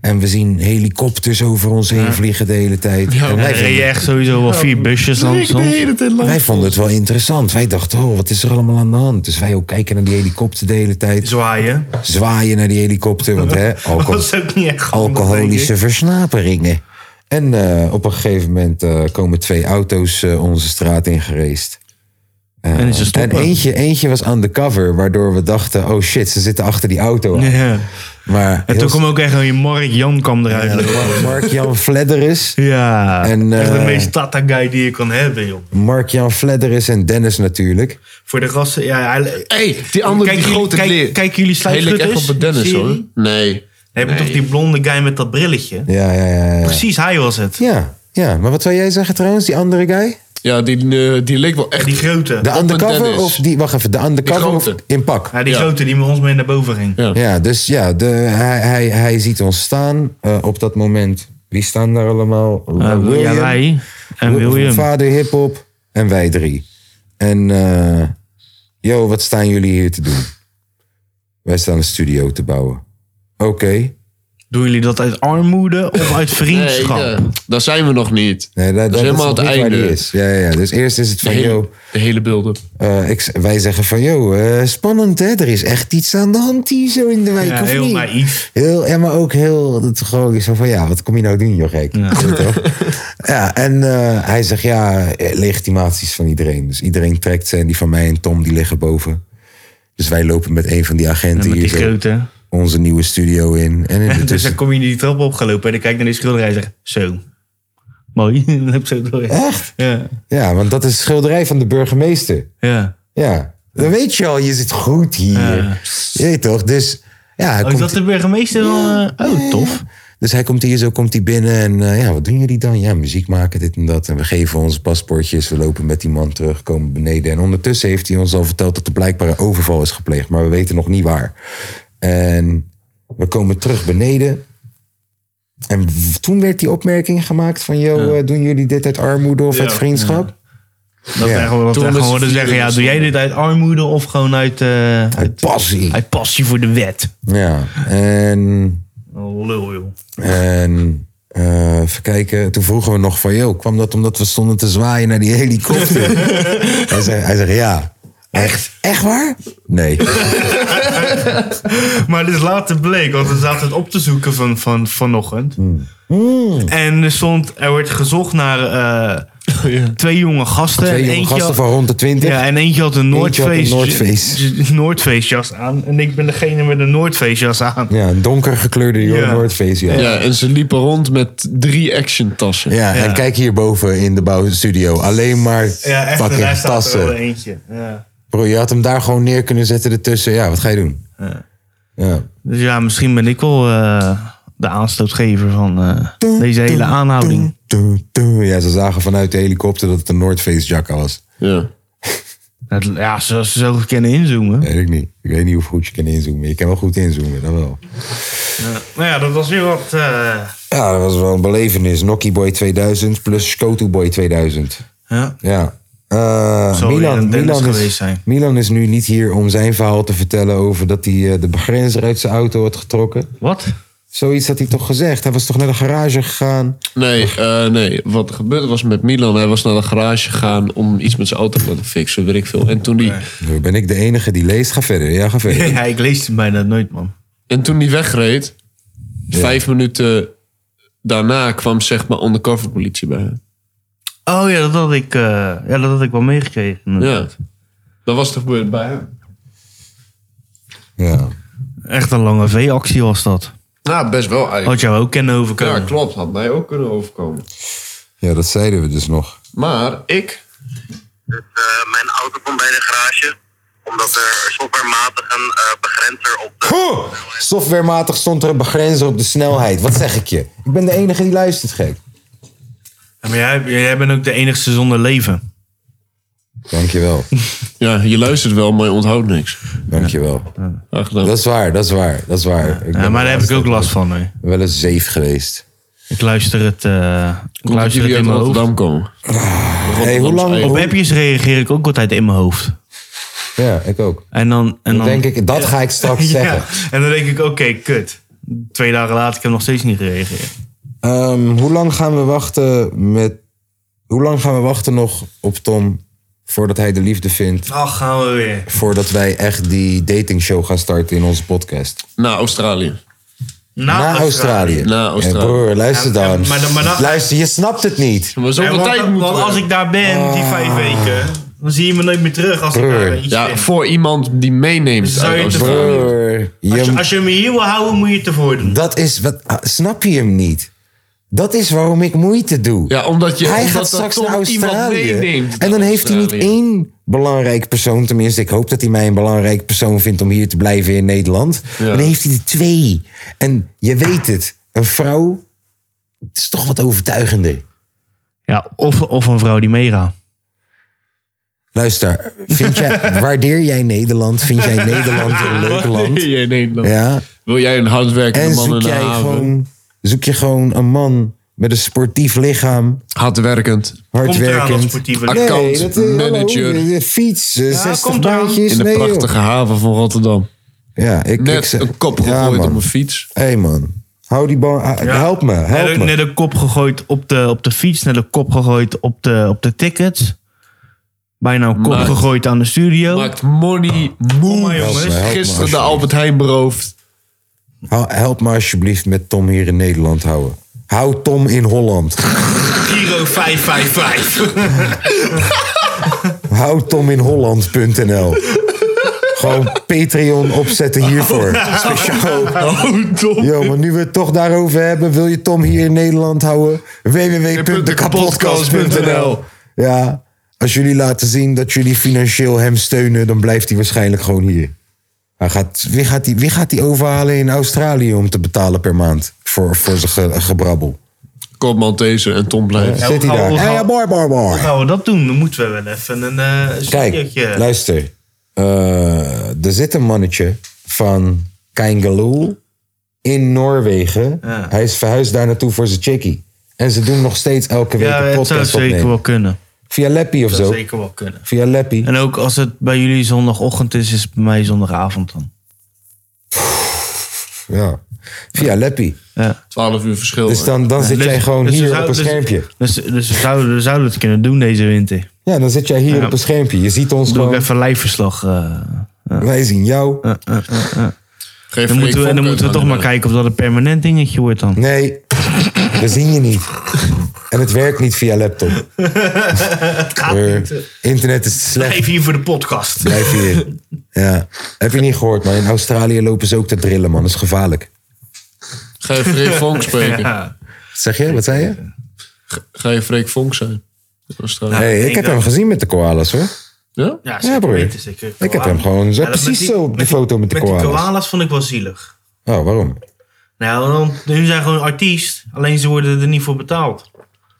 [SPEAKER 1] En we zien helikopters over ons heen vliegen de hele tijd. en
[SPEAKER 2] Dan
[SPEAKER 1] wij
[SPEAKER 2] reed je
[SPEAKER 1] vonden,
[SPEAKER 2] echt sowieso wel vier busjes langs.
[SPEAKER 3] de
[SPEAKER 2] soms.
[SPEAKER 3] hele tijd
[SPEAKER 1] wij vonden het wel interessant. Wij dachten, oh, wat is er allemaal aan de hand? Dus wij ook kijken naar die helikopter de hele tijd
[SPEAKER 2] Zwaaien.
[SPEAKER 1] zwaaien naar die helikopter. Want hè, alco-
[SPEAKER 2] Dat is ook niet echt handig, denk
[SPEAKER 1] alcoholische
[SPEAKER 2] ik.
[SPEAKER 1] versnaperingen. En eh, op een gegeven moment eh, komen twee auto's eh, onze straat ingereest.
[SPEAKER 2] en is er
[SPEAKER 1] En
[SPEAKER 2] stoppen.
[SPEAKER 1] eentje, eentje was undercover, waardoor we dachten, oh shit, ze zitten achter die auto. aan.
[SPEAKER 2] Ja.
[SPEAKER 1] Maar
[SPEAKER 2] En
[SPEAKER 1] heel
[SPEAKER 2] toen kwam ook echt een Mark Jan kwam eruit.
[SPEAKER 1] snel-
[SPEAKER 2] lopen.
[SPEAKER 1] Mark-Jan Fledderus.
[SPEAKER 2] Ja,
[SPEAKER 1] En,
[SPEAKER 2] echt de
[SPEAKER 1] eh,
[SPEAKER 2] meest tata guy die je kan hebben, joh.
[SPEAKER 1] Mark-Jan Fledderus en Dennis natuurlijk.
[SPEAKER 2] Voor de gasten, ja, hij-
[SPEAKER 3] hey, die andere
[SPEAKER 2] Kijken
[SPEAKER 3] die
[SPEAKER 2] jullie-
[SPEAKER 3] grote
[SPEAKER 2] kijk-
[SPEAKER 3] leer.
[SPEAKER 2] kijken jullie
[SPEAKER 3] Hij leek echt
[SPEAKER 2] Sluitschutters?
[SPEAKER 3] op een Dennis
[SPEAKER 2] Serie?
[SPEAKER 3] hoor. Nee.
[SPEAKER 2] heb je toch die blonde guy met dat brilletje?
[SPEAKER 1] Ja, ja, ja. ja.
[SPEAKER 2] Precies, hij was het.
[SPEAKER 1] Ja, ja, maar wat zou jij zeggen trouwens, die andere guy?
[SPEAKER 3] Ja, die, eh, die leek wel echt...
[SPEAKER 2] Die grote.
[SPEAKER 1] De
[SPEAKER 3] Op een
[SPEAKER 1] undercover
[SPEAKER 3] Dennis.
[SPEAKER 1] of die, wacht even, de undercover of
[SPEAKER 3] grote.
[SPEAKER 1] in pak?
[SPEAKER 2] Ja, die
[SPEAKER 3] Ja.
[SPEAKER 2] grote die met ons mee naar boven ging.
[SPEAKER 3] Ja.
[SPEAKER 1] Ja, dus ja, de, hij, hij, hij ziet ons staan eh, op dat moment. Wie staan daar allemaal?
[SPEAKER 2] Eh,
[SPEAKER 1] William,
[SPEAKER 2] ja, wij en
[SPEAKER 1] Wil-
[SPEAKER 2] William.
[SPEAKER 1] Vader Hiphop en wij drie. En, eh yo, wat staan jullie hier te doen? Wij staan een studio te bouwen. Oké.
[SPEAKER 2] Doen jullie dat uit armoede of uit
[SPEAKER 3] Nee,
[SPEAKER 2] vriendschap?
[SPEAKER 3] eh, daar zijn we nog niet.
[SPEAKER 1] Nee, dat, dat
[SPEAKER 3] helemaal
[SPEAKER 1] nog
[SPEAKER 3] het
[SPEAKER 1] niet waar
[SPEAKER 3] einde.
[SPEAKER 1] die Is. Ja, ja, ja. Dus eerst is het
[SPEAKER 3] De
[SPEAKER 1] van,
[SPEAKER 3] hele,
[SPEAKER 1] yo,
[SPEAKER 3] de hele beelden.
[SPEAKER 1] eh, ik, wij zeggen van, yo, eh, spannend hè. Er is echt iets aan de hand hier zo in de wijk,
[SPEAKER 2] Ja,
[SPEAKER 1] of
[SPEAKER 2] heel
[SPEAKER 1] niet?
[SPEAKER 2] naïef.
[SPEAKER 1] Heel, en maar ook heel, dat is gewoon zo van, ja, wat kom je nou doen, joh, gek? Ja. ja, en eh, hij zegt, ja, eh, legitimaties van iedereen. Dus iedereen trekt ze en die van mij en Tom, die liggen boven. Dus wij lopen met een van die agenten
[SPEAKER 2] En met
[SPEAKER 1] hier
[SPEAKER 2] die
[SPEAKER 1] zo
[SPEAKER 2] grote.
[SPEAKER 1] onze nieuwe studio in. En in de
[SPEAKER 2] Dus dan
[SPEAKER 1] tussen...
[SPEAKER 2] kom je die trap opgelopen en dan kijk je naar die schilderij en zeg zo. Mooi. dan heb je zo door.
[SPEAKER 1] Echt?
[SPEAKER 2] Ja.
[SPEAKER 1] Ja, want dat is schilderij van de burgemeester.
[SPEAKER 2] ja.
[SPEAKER 1] Ja, dan weet je al, je zit goed hier.
[SPEAKER 2] Ja.
[SPEAKER 1] Je weet toch? Dus ja, hij
[SPEAKER 2] Oh, is
[SPEAKER 1] komt-
[SPEAKER 2] dat de burgemeester dan? eh, oh, tof.
[SPEAKER 1] Dus hij komt hier zo, komt hij binnen en eh, ja, wat doen jullie dan? Ja, muziek maken, dit en dat. En we geven onze paspoortjes, we lopen met die man terug, komen beneden. En ondertussen heeft hij ons al verteld dat er blijkbaar een overval is gepleegd, maar we weten nog niet waar. En we komen terug beneden. En w- toen werd die opmerking gemaakt van, joh, eh, doen jullie dit uit armoede of uit
[SPEAKER 2] Ja,
[SPEAKER 1] vriendschap?
[SPEAKER 2] Dat
[SPEAKER 1] Ja.
[SPEAKER 2] we gewoon, dat
[SPEAKER 3] Toen
[SPEAKER 2] we
[SPEAKER 3] met
[SPEAKER 2] gewoon
[SPEAKER 3] z'n
[SPEAKER 2] worden
[SPEAKER 3] vieren
[SPEAKER 2] zeggen, ja,
[SPEAKER 3] dus
[SPEAKER 2] doe jij
[SPEAKER 3] gewoon.
[SPEAKER 2] dit uit armoede of gewoon uit, eh,
[SPEAKER 1] Uit passie.
[SPEAKER 2] uit passie voor de wet?
[SPEAKER 1] Ja, en
[SPEAKER 2] Oh, lul, joh.
[SPEAKER 1] En eh, even kijken, toen vroegen we nog van... joh, kwam dat omdat we stonden te zwaaien naar die helikopter? hij, zegt, hij zegt, ja. Echt? Echt waar? Nee.
[SPEAKER 2] Maar dit is later bleek, want we zaten het op te zoeken van, van, vanochtend.
[SPEAKER 1] Hmm.
[SPEAKER 2] En er stond, er wordt gezocht naar eh, twee jonge gasten.
[SPEAKER 1] Twee
[SPEAKER 2] En
[SPEAKER 1] jonge
[SPEAKER 2] eentje
[SPEAKER 1] gasten
[SPEAKER 2] had-
[SPEAKER 1] van rond de twintig.
[SPEAKER 2] Ja, en eentje had een
[SPEAKER 1] Eentje had een North Face.
[SPEAKER 2] Noordface jas aan. En ik ben degene met een Noordface jas aan.
[SPEAKER 1] Ja, een donker gekleurde
[SPEAKER 2] Ja.
[SPEAKER 1] Jorn Face. Ja.
[SPEAKER 3] Ja.
[SPEAKER 1] Ja.
[SPEAKER 3] en ze liepen rond met drie action tassen.
[SPEAKER 1] en
[SPEAKER 2] Ja.
[SPEAKER 1] kijk hierboven in de bouwstudio. Alleen maar
[SPEAKER 2] Ja, echt, en daar
[SPEAKER 1] fucking
[SPEAKER 2] staat er wel
[SPEAKER 1] tassen.
[SPEAKER 2] eentje. Ja.
[SPEAKER 1] Bro, je had hem daar gewoon neer kunnen zetten ertussen. Ja, wat ga je doen? Ja.
[SPEAKER 2] Dus ja, misschien ben ik wel eh, de aanstootgever van eh, deze hele aanhouding.
[SPEAKER 1] Doe, doe. Ja, ze zagen vanuit de helikopter dat het een North Face jacka was.
[SPEAKER 3] Ja.
[SPEAKER 2] Het- ja, zoals ze zo kunnen inzoomen.
[SPEAKER 1] Weet ik niet. Ik weet niet hoe goed je kan inzoomen. Je kan wel goed inzoomen, dat wel.
[SPEAKER 2] Nou ja, dat was weer wat... eh,
[SPEAKER 1] Ja, dat was wel een belevenis. Nokkie Boy 2000 plus Skotu Boy 2000.
[SPEAKER 2] ja.
[SPEAKER 1] Ja. Eh,
[SPEAKER 2] Zal weer
[SPEAKER 1] Milan,
[SPEAKER 2] een Dennis
[SPEAKER 1] Milan,
[SPEAKER 2] geweest
[SPEAKER 1] is,
[SPEAKER 2] zijn.
[SPEAKER 1] Milan is nu niet hier om zijn verhaal te vertellen over dat hij eh, de begrenzer uit zijn auto had getrokken.
[SPEAKER 2] Wat?
[SPEAKER 1] Zoiets had hij toch gezegd? Hij was toch naar de garage gegaan?
[SPEAKER 3] Nee, eh, nee, wat er gebeurd was met Milan, hij was naar de garage gegaan om iets met zijn auto te laten fixen, weet ik veel. En toen die,
[SPEAKER 1] Nu Nou, ben ik de enige die leest. Ga verder. Ja, ga verder.
[SPEAKER 2] Ja, ik lees het bijna nooit, man.
[SPEAKER 3] en toen die wegreed, vijf minuten daarna kwam zeg maar undercover politie bij hem.
[SPEAKER 2] Oh ja, dat had ik, eh, ja, dat had ik wel meegekregen.
[SPEAKER 3] Ja,
[SPEAKER 2] inderdaad.
[SPEAKER 3] dat was er gebeurd bij hem.
[SPEAKER 1] Ja.
[SPEAKER 2] Echt een lange V-actie was dat.
[SPEAKER 3] Nou, best wel eigenlijk.
[SPEAKER 2] Had jou ook kennen overkomen.
[SPEAKER 3] Ja, klopt, had mij ook kunnen overkomen.
[SPEAKER 1] ja, dat zeiden we dus nog.
[SPEAKER 3] Maar ik,
[SPEAKER 4] Dus eh, mijn auto komt bij de garage. Omdat er softwarematig een eh, begrenzer op de...
[SPEAKER 1] Huh! Softwarematig stond er een begrenzer op de snelheid. Wat zeg ik je? Ik ben de enige die luistert, gek.
[SPEAKER 2] Ja, maar jij, jij bent ook de enigste zonder leven.
[SPEAKER 1] Dankjewel.
[SPEAKER 3] ja, je luistert wel, maar je onthoudt niks.
[SPEAKER 1] Dankjewel.
[SPEAKER 3] Graag gedaan.
[SPEAKER 1] Dat is waar, dat is waar, dat is waar. Ik ben
[SPEAKER 2] Ja, maar daar heb ik ook
[SPEAKER 1] wel
[SPEAKER 2] last van. Hè.
[SPEAKER 1] eens- wel eens zeef geweest.
[SPEAKER 2] Ik luister het, eh ik
[SPEAKER 3] Komt dat
[SPEAKER 2] luister het
[SPEAKER 3] jullie
[SPEAKER 2] in
[SPEAKER 3] uit
[SPEAKER 2] mijn hoofd.
[SPEAKER 3] Rotterdam komen.
[SPEAKER 1] Ah, Hey, hoe lang?
[SPEAKER 3] Rotterdamse
[SPEAKER 2] Op
[SPEAKER 1] hoe-
[SPEAKER 2] appjes reageer ik ook altijd in mijn hoofd.
[SPEAKER 1] ja, ik ook.
[SPEAKER 2] En dan, en
[SPEAKER 1] Dan
[SPEAKER 2] dan
[SPEAKER 1] denk ik, dat ga ik straks
[SPEAKER 2] Ja,
[SPEAKER 1] zeggen.
[SPEAKER 2] en dan denk ik, oké, kut. Twee dagen later, ik heb nog steeds niet gereageerd.
[SPEAKER 1] Ehm, hoe lang gaan we wachten met? Hoe lang gaan we wachten nog op Tom voordat hij de liefde vindt?
[SPEAKER 2] Ach, gaan we weer.
[SPEAKER 1] Voordat wij echt die datingshow gaan starten in onze podcast.
[SPEAKER 3] Naar Australië.
[SPEAKER 2] Na,
[SPEAKER 1] Na Australië.
[SPEAKER 3] Na Australië.
[SPEAKER 1] Hey, broer, luister
[SPEAKER 2] Ja,
[SPEAKER 1] dan.
[SPEAKER 2] maar dan- maar dan-
[SPEAKER 1] Luister, je snapt het niet.
[SPEAKER 3] Maar zoveel
[SPEAKER 2] Ja, want
[SPEAKER 3] tijd moet
[SPEAKER 2] want als ik daar ben, die vijf weken, Dan zie je me nooit meer terug als ik
[SPEAKER 1] Broer.
[SPEAKER 2] daar iets
[SPEAKER 3] Ja,
[SPEAKER 2] vind.
[SPEAKER 3] voor iemand die meeneemt.
[SPEAKER 2] Zou je
[SPEAKER 3] uit
[SPEAKER 2] het
[SPEAKER 3] Amsterdam.
[SPEAKER 1] Broer,
[SPEAKER 2] Als je,
[SPEAKER 1] je-
[SPEAKER 2] als je me hier wil houden, moet je het ervoor doen.
[SPEAKER 1] dat is wat. ah, Snap je hem niet? Dat is waarom ik moeite doe.
[SPEAKER 3] Ja, omdat je
[SPEAKER 1] hij
[SPEAKER 3] omdat
[SPEAKER 1] gaat
[SPEAKER 3] dat
[SPEAKER 1] straks
[SPEAKER 3] toch
[SPEAKER 1] naar Australië.
[SPEAKER 3] iemand meeneemt.
[SPEAKER 1] En dan heeft hij niet
[SPEAKER 3] Australië.
[SPEAKER 1] één belangrijk persoon. Tenminste, ik hoop dat hij mij een belangrijk persoon vindt om hier te blijven in Nederland.
[SPEAKER 3] Ja.
[SPEAKER 1] Maar dan heeft hij er twee. En je weet het, een vrouw het is toch wat overtuigender.
[SPEAKER 2] Ja, of, of een vrouw die meegaat.
[SPEAKER 1] Luister, vind jij, waardeer jij Nederland? Vind jij Nederland een leuk land?
[SPEAKER 3] Nee, nee, nee.
[SPEAKER 1] Ja.
[SPEAKER 3] Wil jij een
[SPEAKER 1] En
[SPEAKER 3] hardwerkende man
[SPEAKER 1] zoek,
[SPEAKER 3] in de
[SPEAKER 1] jij
[SPEAKER 3] haven?
[SPEAKER 1] gewoon, zoek je gewoon een man met een sportief lichaam,
[SPEAKER 3] Hardwerkend.
[SPEAKER 2] Komt eraan dat
[SPEAKER 1] hardwerkend.
[SPEAKER 2] sportieve
[SPEAKER 3] Oké.
[SPEAKER 2] leven.
[SPEAKER 3] Account manager.
[SPEAKER 1] hallo, de fiets, eh, 60
[SPEAKER 2] komt eraan.
[SPEAKER 1] baantjes.
[SPEAKER 3] In de
[SPEAKER 1] nee, joh.
[SPEAKER 3] prachtige haven van Rotterdam.
[SPEAKER 1] Ja, ik, ik
[SPEAKER 3] Net
[SPEAKER 1] zeg-
[SPEAKER 3] een kop
[SPEAKER 1] ja,
[SPEAKER 3] gegooid
[SPEAKER 1] man.
[SPEAKER 3] op een fiets.
[SPEAKER 1] Hé hey, man, hou die bal. ah, Help me, help
[SPEAKER 2] net,
[SPEAKER 1] me.
[SPEAKER 2] net een kop gegooid op de, op de fiets, net een kop gegooid op de, op de tickets. Bijna een kop
[SPEAKER 3] Maar-
[SPEAKER 2] gegooid aan de studio.
[SPEAKER 3] Maakt money moe.
[SPEAKER 2] maar, jongens.
[SPEAKER 1] Help me, help me,
[SPEAKER 3] Gisteren de
[SPEAKER 1] alsjeblieft.
[SPEAKER 3] Albert Heijn beroofd.
[SPEAKER 1] Hou- Help me alsjeblieft met Tom hier in Nederland houden. Hou Tom in Holland.
[SPEAKER 2] Giro 555.
[SPEAKER 1] Hou Tom in Holland.nl. Gewoon Patreon opzetten hiervoor. Speciaal.
[SPEAKER 3] Oh, dom.
[SPEAKER 1] Yo, maar nu we het toch daarover hebben, wil je Tom hier in Nederland houden? www.dekapodcast.nl Ja, als jullie laten zien dat jullie financieel hem steunen, dan blijft hij waarschijnlijk gewoon hier. Hij gaat, wie, gaat die, wie gaat die overhalen in Australië om te betalen per maand voor, voor zijn ge- gebrabbel?
[SPEAKER 3] Koop Maltese en Tom blijft.
[SPEAKER 1] Zit hij
[SPEAKER 2] hoe gaan
[SPEAKER 1] daar?
[SPEAKER 2] we- hoe
[SPEAKER 1] Hey,
[SPEAKER 2] gaan-
[SPEAKER 1] boy, boy, boy.
[SPEAKER 2] Gaan we dat doen? Dan moeten we wel even een eh
[SPEAKER 1] Kijk,
[SPEAKER 2] studiootje-
[SPEAKER 1] luister. Eh, er zit een mannetje van Kaingalul in Noorwegen.
[SPEAKER 2] Ja.
[SPEAKER 1] Hij is verhuisd daar naartoe voor zijn chickie. En ze doen nog steeds elke week
[SPEAKER 2] Ja,
[SPEAKER 1] een
[SPEAKER 2] het zou
[SPEAKER 1] podcast
[SPEAKER 2] zeker
[SPEAKER 1] opnemen.
[SPEAKER 2] wel kunnen.
[SPEAKER 1] Via Leppie of
[SPEAKER 2] Het zou
[SPEAKER 1] zo.
[SPEAKER 2] zeker wel kunnen.
[SPEAKER 1] Via Leppie.
[SPEAKER 2] En ook als het bij jullie zondagochtend is, is het bij mij zondagavond dan.
[SPEAKER 1] Ja. Via Leppie.
[SPEAKER 3] 12 uur verschil.
[SPEAKER 1] Dus dan, dan zit
[SPEAKER 2] Dus-
[SPEAKER 1] jij gewoon
[SPEAKER 2] dus we
[SPEAKER 1] hier op
[SPEAKER 2] zouden-
[SPEAKER 1] een schermpje.
[SPEAKER 2] Dus, dus, dus we, zouden, we zouden het kunnen doen deze winter.
[SPEAKER 1] Ja, dan zit jij hier op een schermpje. Je ziet ons
[SPEAKER 2] Doe ik
[SPEAKER 1] gewoon.
[SPEAKER 2] even lijfverslag. eh.
[SPEAKER 1] Wij zien jou.
[SPEAKER 3] Geef
[SPEAKER 2] Dan
[SPEAKER 3] Freek
[SPEAKER 2] moeten we,
[SPEAKER 3] Vonk
[SPEAKER 2] dan eh. moeten we
[SPEAKER 3] aan
[SPEAKER 2] toch
[SPEAKER 3] de
[SPEAKER 2] maar
[SPEAKER 3] man.
[SPEAKER 2] kijken of dat een permanent dingetje wordt dan.
[SPEAKER 1] Nee, we zien je niet. En het werkt niet via laptop.
[SPEAKER 2] Ah,
[SPEAKER 1] Eh, Internet is slecht.
[SPEAKER 2] Even hier voor de podcast.
[SPEAKER 1] Blijf hier. Ja. Heb je niet gehoord, maar in Australië lopen ze ook te drillen, man. Dat is gevaarlijk.
[SPEAKER 3] Ga je Freek Vonk spreken?
[SPEAKER 2] Ja.
[SPEAKER 1] Zeg je? Wat zei je?
[SPEAKER 3] Ga je Freek Vonk zijn? Dat was trouwens-
[SPEAKER 1] hey, ik
[SPEAKER 2] ik
[SPEAKER 1] heb
[SPEAKER 2] dat-
[SPEAKER 1] hem gezien met de koalas, hoor.
[SPEAKER 3] Ja?
[SPEAKER 2] Ja,
[SPEAKER 1] Ja, broer.
[SPEAKER 2] weten, zeker.
[SPEAKER 1] Ik heb hem gewoon zo-
[SPEAKER 2] dat met
[SPEAKER 1] precies zo op de
[SPEAKER 2] met
[SPEAKER 1] foto met de
[SPEAKER 2] Met die
[SPEAKER 1] koalas.
[SPEAKER 2] koalas vond ik wel zielig.
[SPEAKER 1] Oh, waarom?
[SPEAKER 2] Nou, want hun zijn gewoon artiest, alleen ze worden er niet voor betaald.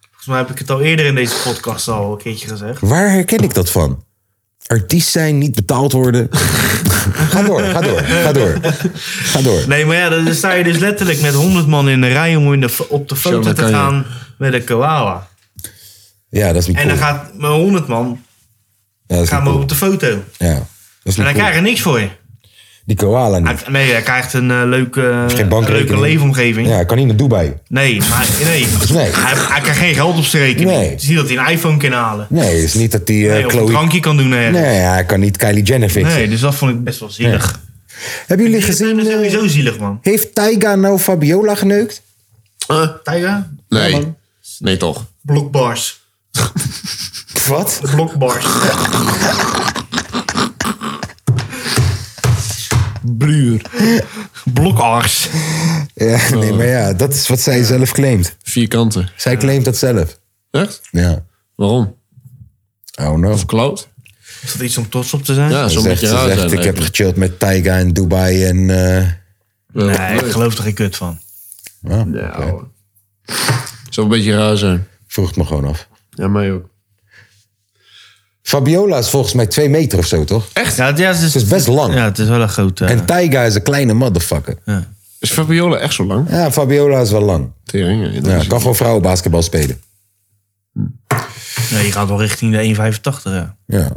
[SPEAKER 2] Volgens mij heb ik het al eerder in deze podcast al een keertje gezegd.
[SPEAKER 1] Waar herken ik dat van? Artiest zijn, niet betaald worden. ga door, ga door, ga door. Ga door.
[SPEAKER 2] Nee, maar ja, dan sta je dus letterlijk met 100 man in de rij om in de, fo- op de foto
[SPEAKER 3] dat
[SPEAKER 2] te
[SPEAKER 3] kan je.
[SPEAKER 2] gaan met een koala.
[SPEAKER 1] Ja, dat is niet
[SPEAKER 2] En dan
[SPEAKER 1] cool.
[SPEAKER 2] gaat met 100 man
[SPEAKER 1] Ja, dat is niet
[SPEAKER 2] gaan we
[SPEAKER 1] cool.
[SPEAKER 2] op de foto. En
[SPEAKER 1] Ja, dat is
[SPEAKER 2] dan
[SPEAKER 1] niet cool.
[SPEAKER 2] krijg je niks voor je.
[SPEAKER 1] Die koala niet.
[SPEAKER 2] Hij- Nee, hij krijgt een eh, leuke,
[SPEAKER 1] Geen
[SPEAKER 2] een
[SPEAKER 1] bankrekening.
[SPEAKER 2] leuke leefomgeving.
[SPEAKER 1] Ja, kan niet naar Dubai.
[SPEAKER 2] Nee, maar, nee.
[SPEAKER 1] Nee.
[SPEAKER 2] Hij, hij krijgt geen geld op zijn rekening.
[SPEAKER 1] Nee.
[SPEAKER 2] Het is niet dat hij een iPhone kan halen.
[SPEAKER 1] Nee, het is niet dat die eh,
[SPEAKER 2] Nee, of een
[SPEAKER 1] Chloe...
[SPEAKER 2] drankje kan doen ergens.
[SPEAKER 1] Nee, hij kan niet Kylie Jenner fixen.
[SPEAKER 2] Nee, dus dat vond ik best wel zielig.
[SPEAKER 1] Hebben jullie
[SPEAKER 2] Ik vind
[SPEAKER 1] gezien...
[SPEAKER 2] het
[SPEAKER 1] eh,
[SPEAKER 2] sowieso zielig, man.
[SPEAKER 1] heeft Taiga nou Fabiola geneukt?
[SPEAKER 2] Eh? Tijga?
[SPEAKER 3] Nee. Nee, toch?
[SPEAKER 2] Blokbars.
[SPEAKER 1] Wat?
[SPEAKER 2] Blokbars.
[SPEAKER 3] Bruur.
[SPEAKER 2] Blokars.
[SPEAKER 1] Ja, nee, maar ja, dat is wat zij zelf claimt.
[SPEAKER 3] Vierkanten.
[SPEAKER 1] Zij claimt dat zelf.
[SPEAKER 3] Echt?
[SPEAKER 1] Ja.
[SPEAKER 3] Waarom?
[SPEAKER 1] Oh no.
[SPEAKER 3] Verkloot?
[SPEAKER 2] Is dat iets om trots op te zijn?
[SPEAKER 3] Ja,
[SPEAKER 1] Ze
[SPEAKER 3] zo'n
[SPEAKER 1] zegt,
[SPEAKER 3] beetje
[SPEAKER 1] ze
[SPEAKER 3] raar
[SPEAKER 1] zegt
[SPEAKER 3] zijn.
[SPEAKER 1] ik heb gechilled met Taiga in Dubai en... eh,
[SPEAKER 2] Nee, ik geloof er geen kut van.
[SPEAKER 1] ja, oké.
[SPEAKER 3] Zou een beetje raar zijn.
[SPEAKER 1] Vroeg het me gewoon af.
[SPEAKER 3] Ja, mij ook.
[SPEAKER 1] Fabiola is volgens mij twee meter of zo, toch?
[SPEAKER 2] Echt? Ja, het, ja, het is,
[SPEAKER 1] Ze is best lang.
[SPEAKER 2] Ja, het is wel een eh, grote.
[SPEAKER 1] En Taiga is een kleine motherfucker.
[SPEAKER 3] Is Fabiola echt zo lang?
[SPEAKER 1] Ja, Fabiola is wel lang.
[SPEAKER 3] Tering. hè. Dat
[SPEAKER 1] Ja,
[SPEAKER 3] is-
[SPEAKER 1] kan gewoon vrouwenbasketbal spelen.
[SPEAKER 2] Nee, je gaat wel richting de 1,85. Ja.
[SPEAKER 1] Ja,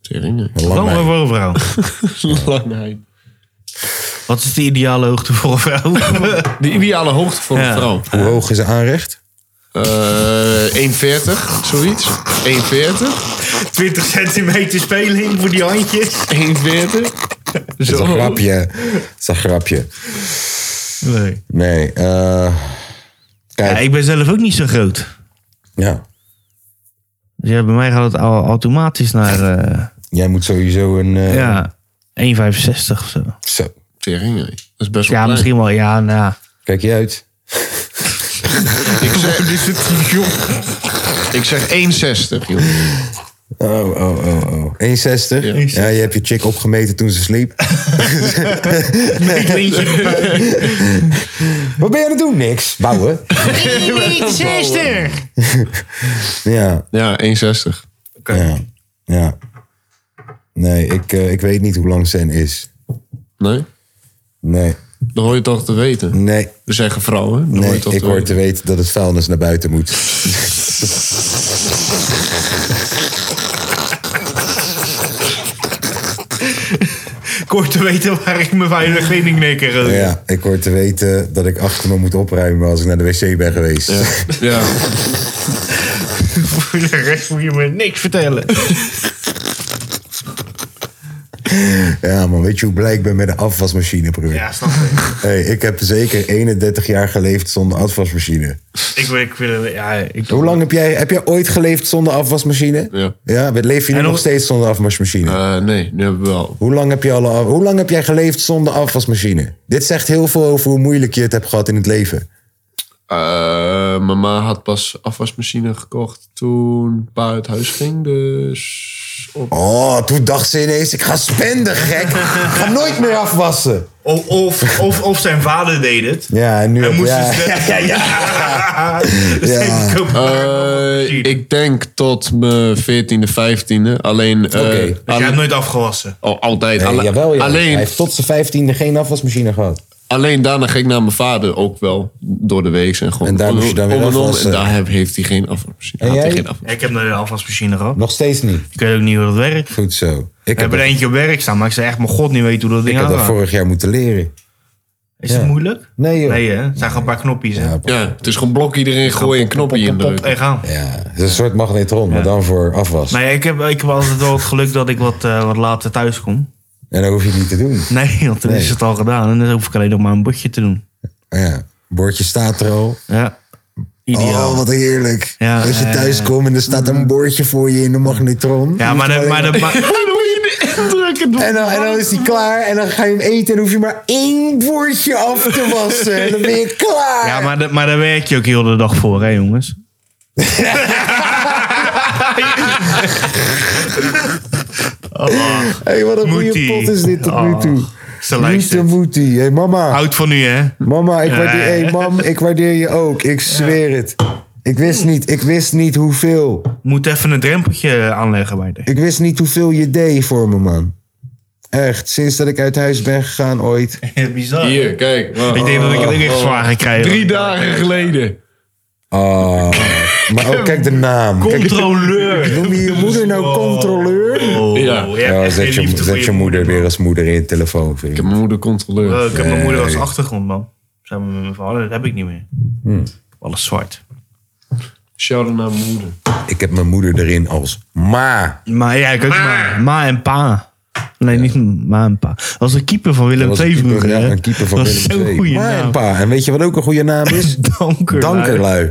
[SPEAKER 3] Tering. hè.
[SPEAKER 1] een lang
[SPEAKER 2] Lang maar
[SPEAKER 1] meid.
[SPEAKER 2] voor een vrouw.
[SPEAKER 3] Langheid.
[SPEAKER 2] Wat is de ideale hoogte voor een vrouw?
[SPEAKER 3] De ideale hoogte voor een
[SPEAKER 2] Ja.
[SPEAKER 3] vrouw.
[SPEAKER 1] Hoe hoog is ze aanrecht?
[SPEAKER 3] Eh, 1,40, zoiets. 1,40.
[SPEAKER 2] 20 centimeter speling voor die handjes?
[SPEAKER 3] 1,40.
[SPEAKER 1] Dat is een
[SPEAKER 3] Zo.
[SPEAKER 1] grapje. Dat is een grapje.
[SPEAKER 2] Nee.
[SPEAKER 1] Nee, eh...
[SPEAKER 2] Ja,
[SPEAKER 1] Kijk,
[SPEAKER 2] ik ben zelf ook niet zo groot.
[SPEAKER 1] ja.
[SPEAKER 2] Dus ja, bij mij gaat het au- automatisch naar eh,
[SPEAKER 1] Jij moet sowieso een... eh,
[SPEAKER 2] ja, 1,65 of zo.
[SPEAKER 1] Zo,
[SPEAKER 3] Tering, nee. dat is best wel
[SPEAKER 2] Ja,
[SPEAKER 3] klein.
[SPEAKER 2] misschien wel. Ja, nou ja.
[SPEAKER 1] kijk je uit.
[SPEAKER 3] Ik zeg, dit is- joh. ik zeg 1,60, joh.
[SPEAKER 1] Oh, oh, oh, oh. 1,60? Ja. je hebt je chick opgemeten toen ze sliep. Wat ben je aan het doen? Niks. Bouwen. Ja,
[SPEAKER 3] Ja, 1,60.
[SPEAKER 1] ja, ja. Nee, ik, eh, ik weet niet hoe lang Sen is.
[SPEAKER 3] Nee?
[SPEAKER 1] Nee,
[SPEAKER 3] Dan hoor je toch te weten.
[SPEAKER 1] nee,
[SPEAKER 3] We zeggen vrouwen. Dan hoor
[SPEAKER 1] nee.
[SPEAKER 3] je toch
[SPEAKER 1] Ik
[SPEAKER 3] te
[SPEAKER 1] hoor
[SPEAKER 3] weten.
[SPEAKER 1] te weten dat het vuilnis naar buiten moet.
[SPEAKER 2] Ik hoor te weten waar ik mijn vuile kleding mee kan gooien.
[SPEAKER 1] Ja, ik hoor te weten dat ik achter me moet opruimen als ik naar de wc ben geweest.
[SPEAKER 3] Ja.
[SPEAKER 2] Voor de rest moet je me niks vertellen.
[SPEAKER 1] Ja, man, weet je hoe blij ik ben met een afwasmachine, broer?
[SPEAKER 2] Ja, snap ik.
[SPEAKER 1] Hey, ik heb zeker 31 jaar geleefd zonder afwasmachine.
[SPEAKER 2] Ik, wil- ik, wil- ja, ik,
[SPEAKER 1] Hoe lang heb jij, heb jij ooit geleefd zonder afwasmachine?
[SPEAKER 3] Ja.
[SPEAKER 1] Ja, wat leef je nu
[SPEAKER 2] En
[SPEAKER 1] nog
[SPEAKER 2] hoe-
[SPEAKER 1] steeds zonder afwasmachine?
[SPEAKER 3] Eh, nee, nu hebben we wel.
[SPEAKER 1] Hoe lang, heb je alle, af- hoe lang heb jij geleefd zonder afwasmachine? Dit zegt heel veel over hoe moeilijk je het hebt gehad in het leven.
[SPEAKER 3] Eh, mama had pas afwasmachine gekocht toen pa uit huis ging. Dus op
[SPEAKER 1] Oh, toen dacht ze ineens, ik ga spenden, gek. Ik ga nooit meer afwassen.
[SPEAKER 2] Of, of, of, of zijn vader deed het.
[SPEAKER 1] Ja, en nu...
[SPEAKER 2] En
[SPEAKER 1] heb-
[SPEAKER 2] moest
[SPEAKER 1] ja,
[SPEAKER 2] hij zelf-
[SPEAKER 1] ja, ja.
[SPEAKER 2] Dus
[SPEAKER 1] Ja.
[SPEAKER 2] ik koop maar
[SPEAKER 3] Eh,
[SPEAKER 2] afwasmachine.
[SPEAKER 3] ik denk tot mijn 14e, 15e. Alleen. eh,
[SPEAKER 1] Oké.
[SPEAKER 2] Dus jij
[SPEAKER 3] alle-
[SPEAKER 2] hebt nooit afgewassen.
[SPEAKER 3] oh, altijd.
[SPEAKER 1] Nee,
[SPEAKER 3] Alle-
[SPEAKER 1] jawel, ja. Hij
[SPEAKER 3] alleen,
[SPEAKER 1] heeft tot zijn vijftiende geen afwasmachine gehad.
[SPEAKER 3] alleen daarna ging ik naar mijn vader ook wel door de week. En, gewoon,
[SPEAKER 1] En daar moest je dan weer
[SPEAKER 3] om en om.
[SPEAKER 1] afwassen.
[SPEAKER 3] En daar heb- heeft hij geen afwasmachine.
[SPEAKER 1] En
[SPEAKER 3] Had hij
[SPEAKER 1] jij?
[SPEAKER 3] geen afwas-
[SPEAKER 2] Ik heb nooit een afwasmachine gehad.
[SPEAKER 1] Nog steeds niet.
[SPEAKER 2] Ik weet ook niet hoe dat werkt.
[SPEAKER 1] Goed zo. Ik
[SPEAKER 2] Ik heb
[SPEAKER 1] heb,
[SPEAKER 2] er
[SPEAKER 1] dat,
[SPEAKER 2] eentje op werk staan, maar ik zei echt, mijn god, niet weten hoe dat
[SPEAKER 1] ik
[SPEAKER 2] ding
[SPEAKER 1] heb dat
[SPEAKER 2] aangaat.
[SPEAKER 1] vorig jaar moeten leren.
[SPEAKER 2] Is het
[SPEAKER 1] Ja.
[SPEAKER 2] moeilijk?
[SPEAKER 1] Nee, joh.
[SPEAKER 2] Nee, hè? Het zijn gewoon een paar knopjes, hè?
[SPEAKER 1] Ja,
[SPEAKER 3] Ja, het is gewoon blokje erin gooien en knopje indrukken.
[SPEAKER 2] En gaan.
[SPEAKER 1] Ja, het is een soort magnetron, maar dan voor afwas.
[SPEAKER 2] Nee, ik heb, ik heb altijd wel het geluk dat ik wat, eh, wat later thuis kom.
[SPEAKER 1] En dat hoef je het niet te doen.
[SPEAKER 2] Nee, want dan
[SPEAKER 1] Nee.
[SPEAKER 2] is het al gedaan. En dan hoef ik alleen nog maar een bordje te doen.
[SPEAKER 1] Oh Ja, bordje staat er al.
[SPEAKER 2] Ja, ideaal.
[SPEAKER 1] Oh, wat heerlijk.
[SPEAKER 2] Ja,
[SPEAKER 1] Als je
[SPEAKER 2] ja,
[SPEAKER 1] thuis
[SPEAKER 2] ja.
[SPEAKER 1] komt en er staat een bordje voor je in de magnetron.
[SPEAKER 2] ja, maar, de, maar, de, maar,
[SPEAKER 1] En dan, en dan is die klaar en dan ga je hem eten en hoef je maar één bordje af te wassen. En dan ben je klaar.
[SPEAKER 2] ja, maar, de- maar daar werk je ook heel de dag voor, hè, jongens? oh,
[SPEAKER 1] hey, wat een goede
[SPEAKER 2] Moetie.
[SPEAKER 1] pot is dit tot nu
[SPEAKER 2] Oh,
[SPEAKER 1] toe.
[SPEAKER 2] ze
[SPEAKER 1] Liefde
[SPEAKER 2] luistert.
[SPEAKER 1] moetie. Hey, mama.
[SPEAKER 2] Houd van u, hè?
[SPEAKER 1] Mama, ik
[SPEAKER 2] Ja.
[SPEAKER 1] waardeer, hey, mam, ik waardeer je ook. Ik zweer het. Ik wist niet, ik wist niet hoeveel.
[SPEAKER 2] Moet even een drempeltje aanleggen bij de.
[SPEAKER 1] Ik wist niet hoeveel je deed voor me, man. Echt, sinds dat ik uit huis ben gegaan ooit.
[SPEAKER 2] Bizar.
[SPEAKER 3] Hier, kijk. Wow.
[SPEAKER 2] Ik denk dat ik het ook echt zwaar ga krijgen.
[SPEAKER 3] Drie dagen geleden.
[SPEAKER 1] Ah, maar ook kijk de naam. Kijk,
[SPEAKER 2] Controleur.
[SPEAKER 1] noem je je moeder nou controleur?
[SPEAKER 2] Oh,
[SPEAKER 3] Ja.
[SPEAKER 2] je hebt
[SPEAKER 1] Ja,
[SPEAKER 2] echt geen
[SPEAKER 1] zet je,
[SPEAKER 2] liefde voor
[SPEAKER 1] zet je moeder weer als moeder in je telefoon,
[SPEAKER 3] Ik
[SPEAKER 1] vriend.
[SPEAKER 3] heb mijn moeder controleur.
[SPEAKER 2] Oh, ik heb mijn moeder als achtergrond, man. Samen met mijn vader, dat heb ik niet meer.
[SPEAKER 1] Hmm.
[SPEAKER 2] Ik heb Alles zwart.
[SPEAKER 3] Shout out naar mijn moeder.
[SPEAKER 1] Ik heb mijn moeder erin als ma.
[SPEAKER 2] Maar ja, ik ook ma. Ma en pa. Nee, niet ma en pa. Dat was een keeper van Willem
[SPEAKER 1] Dat was
[SPEAKER 2] II
[SPEAKER 1] een keeper,
[SPEAKER 2] vroeger.
[SPEAKER 1] ja,
[SPEAKER 2] hè?
[SPEAKER 1] een keeper van
[SPEAKER 2] dat
[SPEAKER 1] Willem
[SPEAKER 2] is zo'n
[SPEAKER 1] II.
[SPEAKER 2] goede
[SPEAKER 1] Ma en
[SPEAKER 2] naam.
[SPEAKER 1] pa. En weet je wat ook een goede naam is?
[SPEAKER 2] Danker.
[SPEAKER 1] Dankerlui.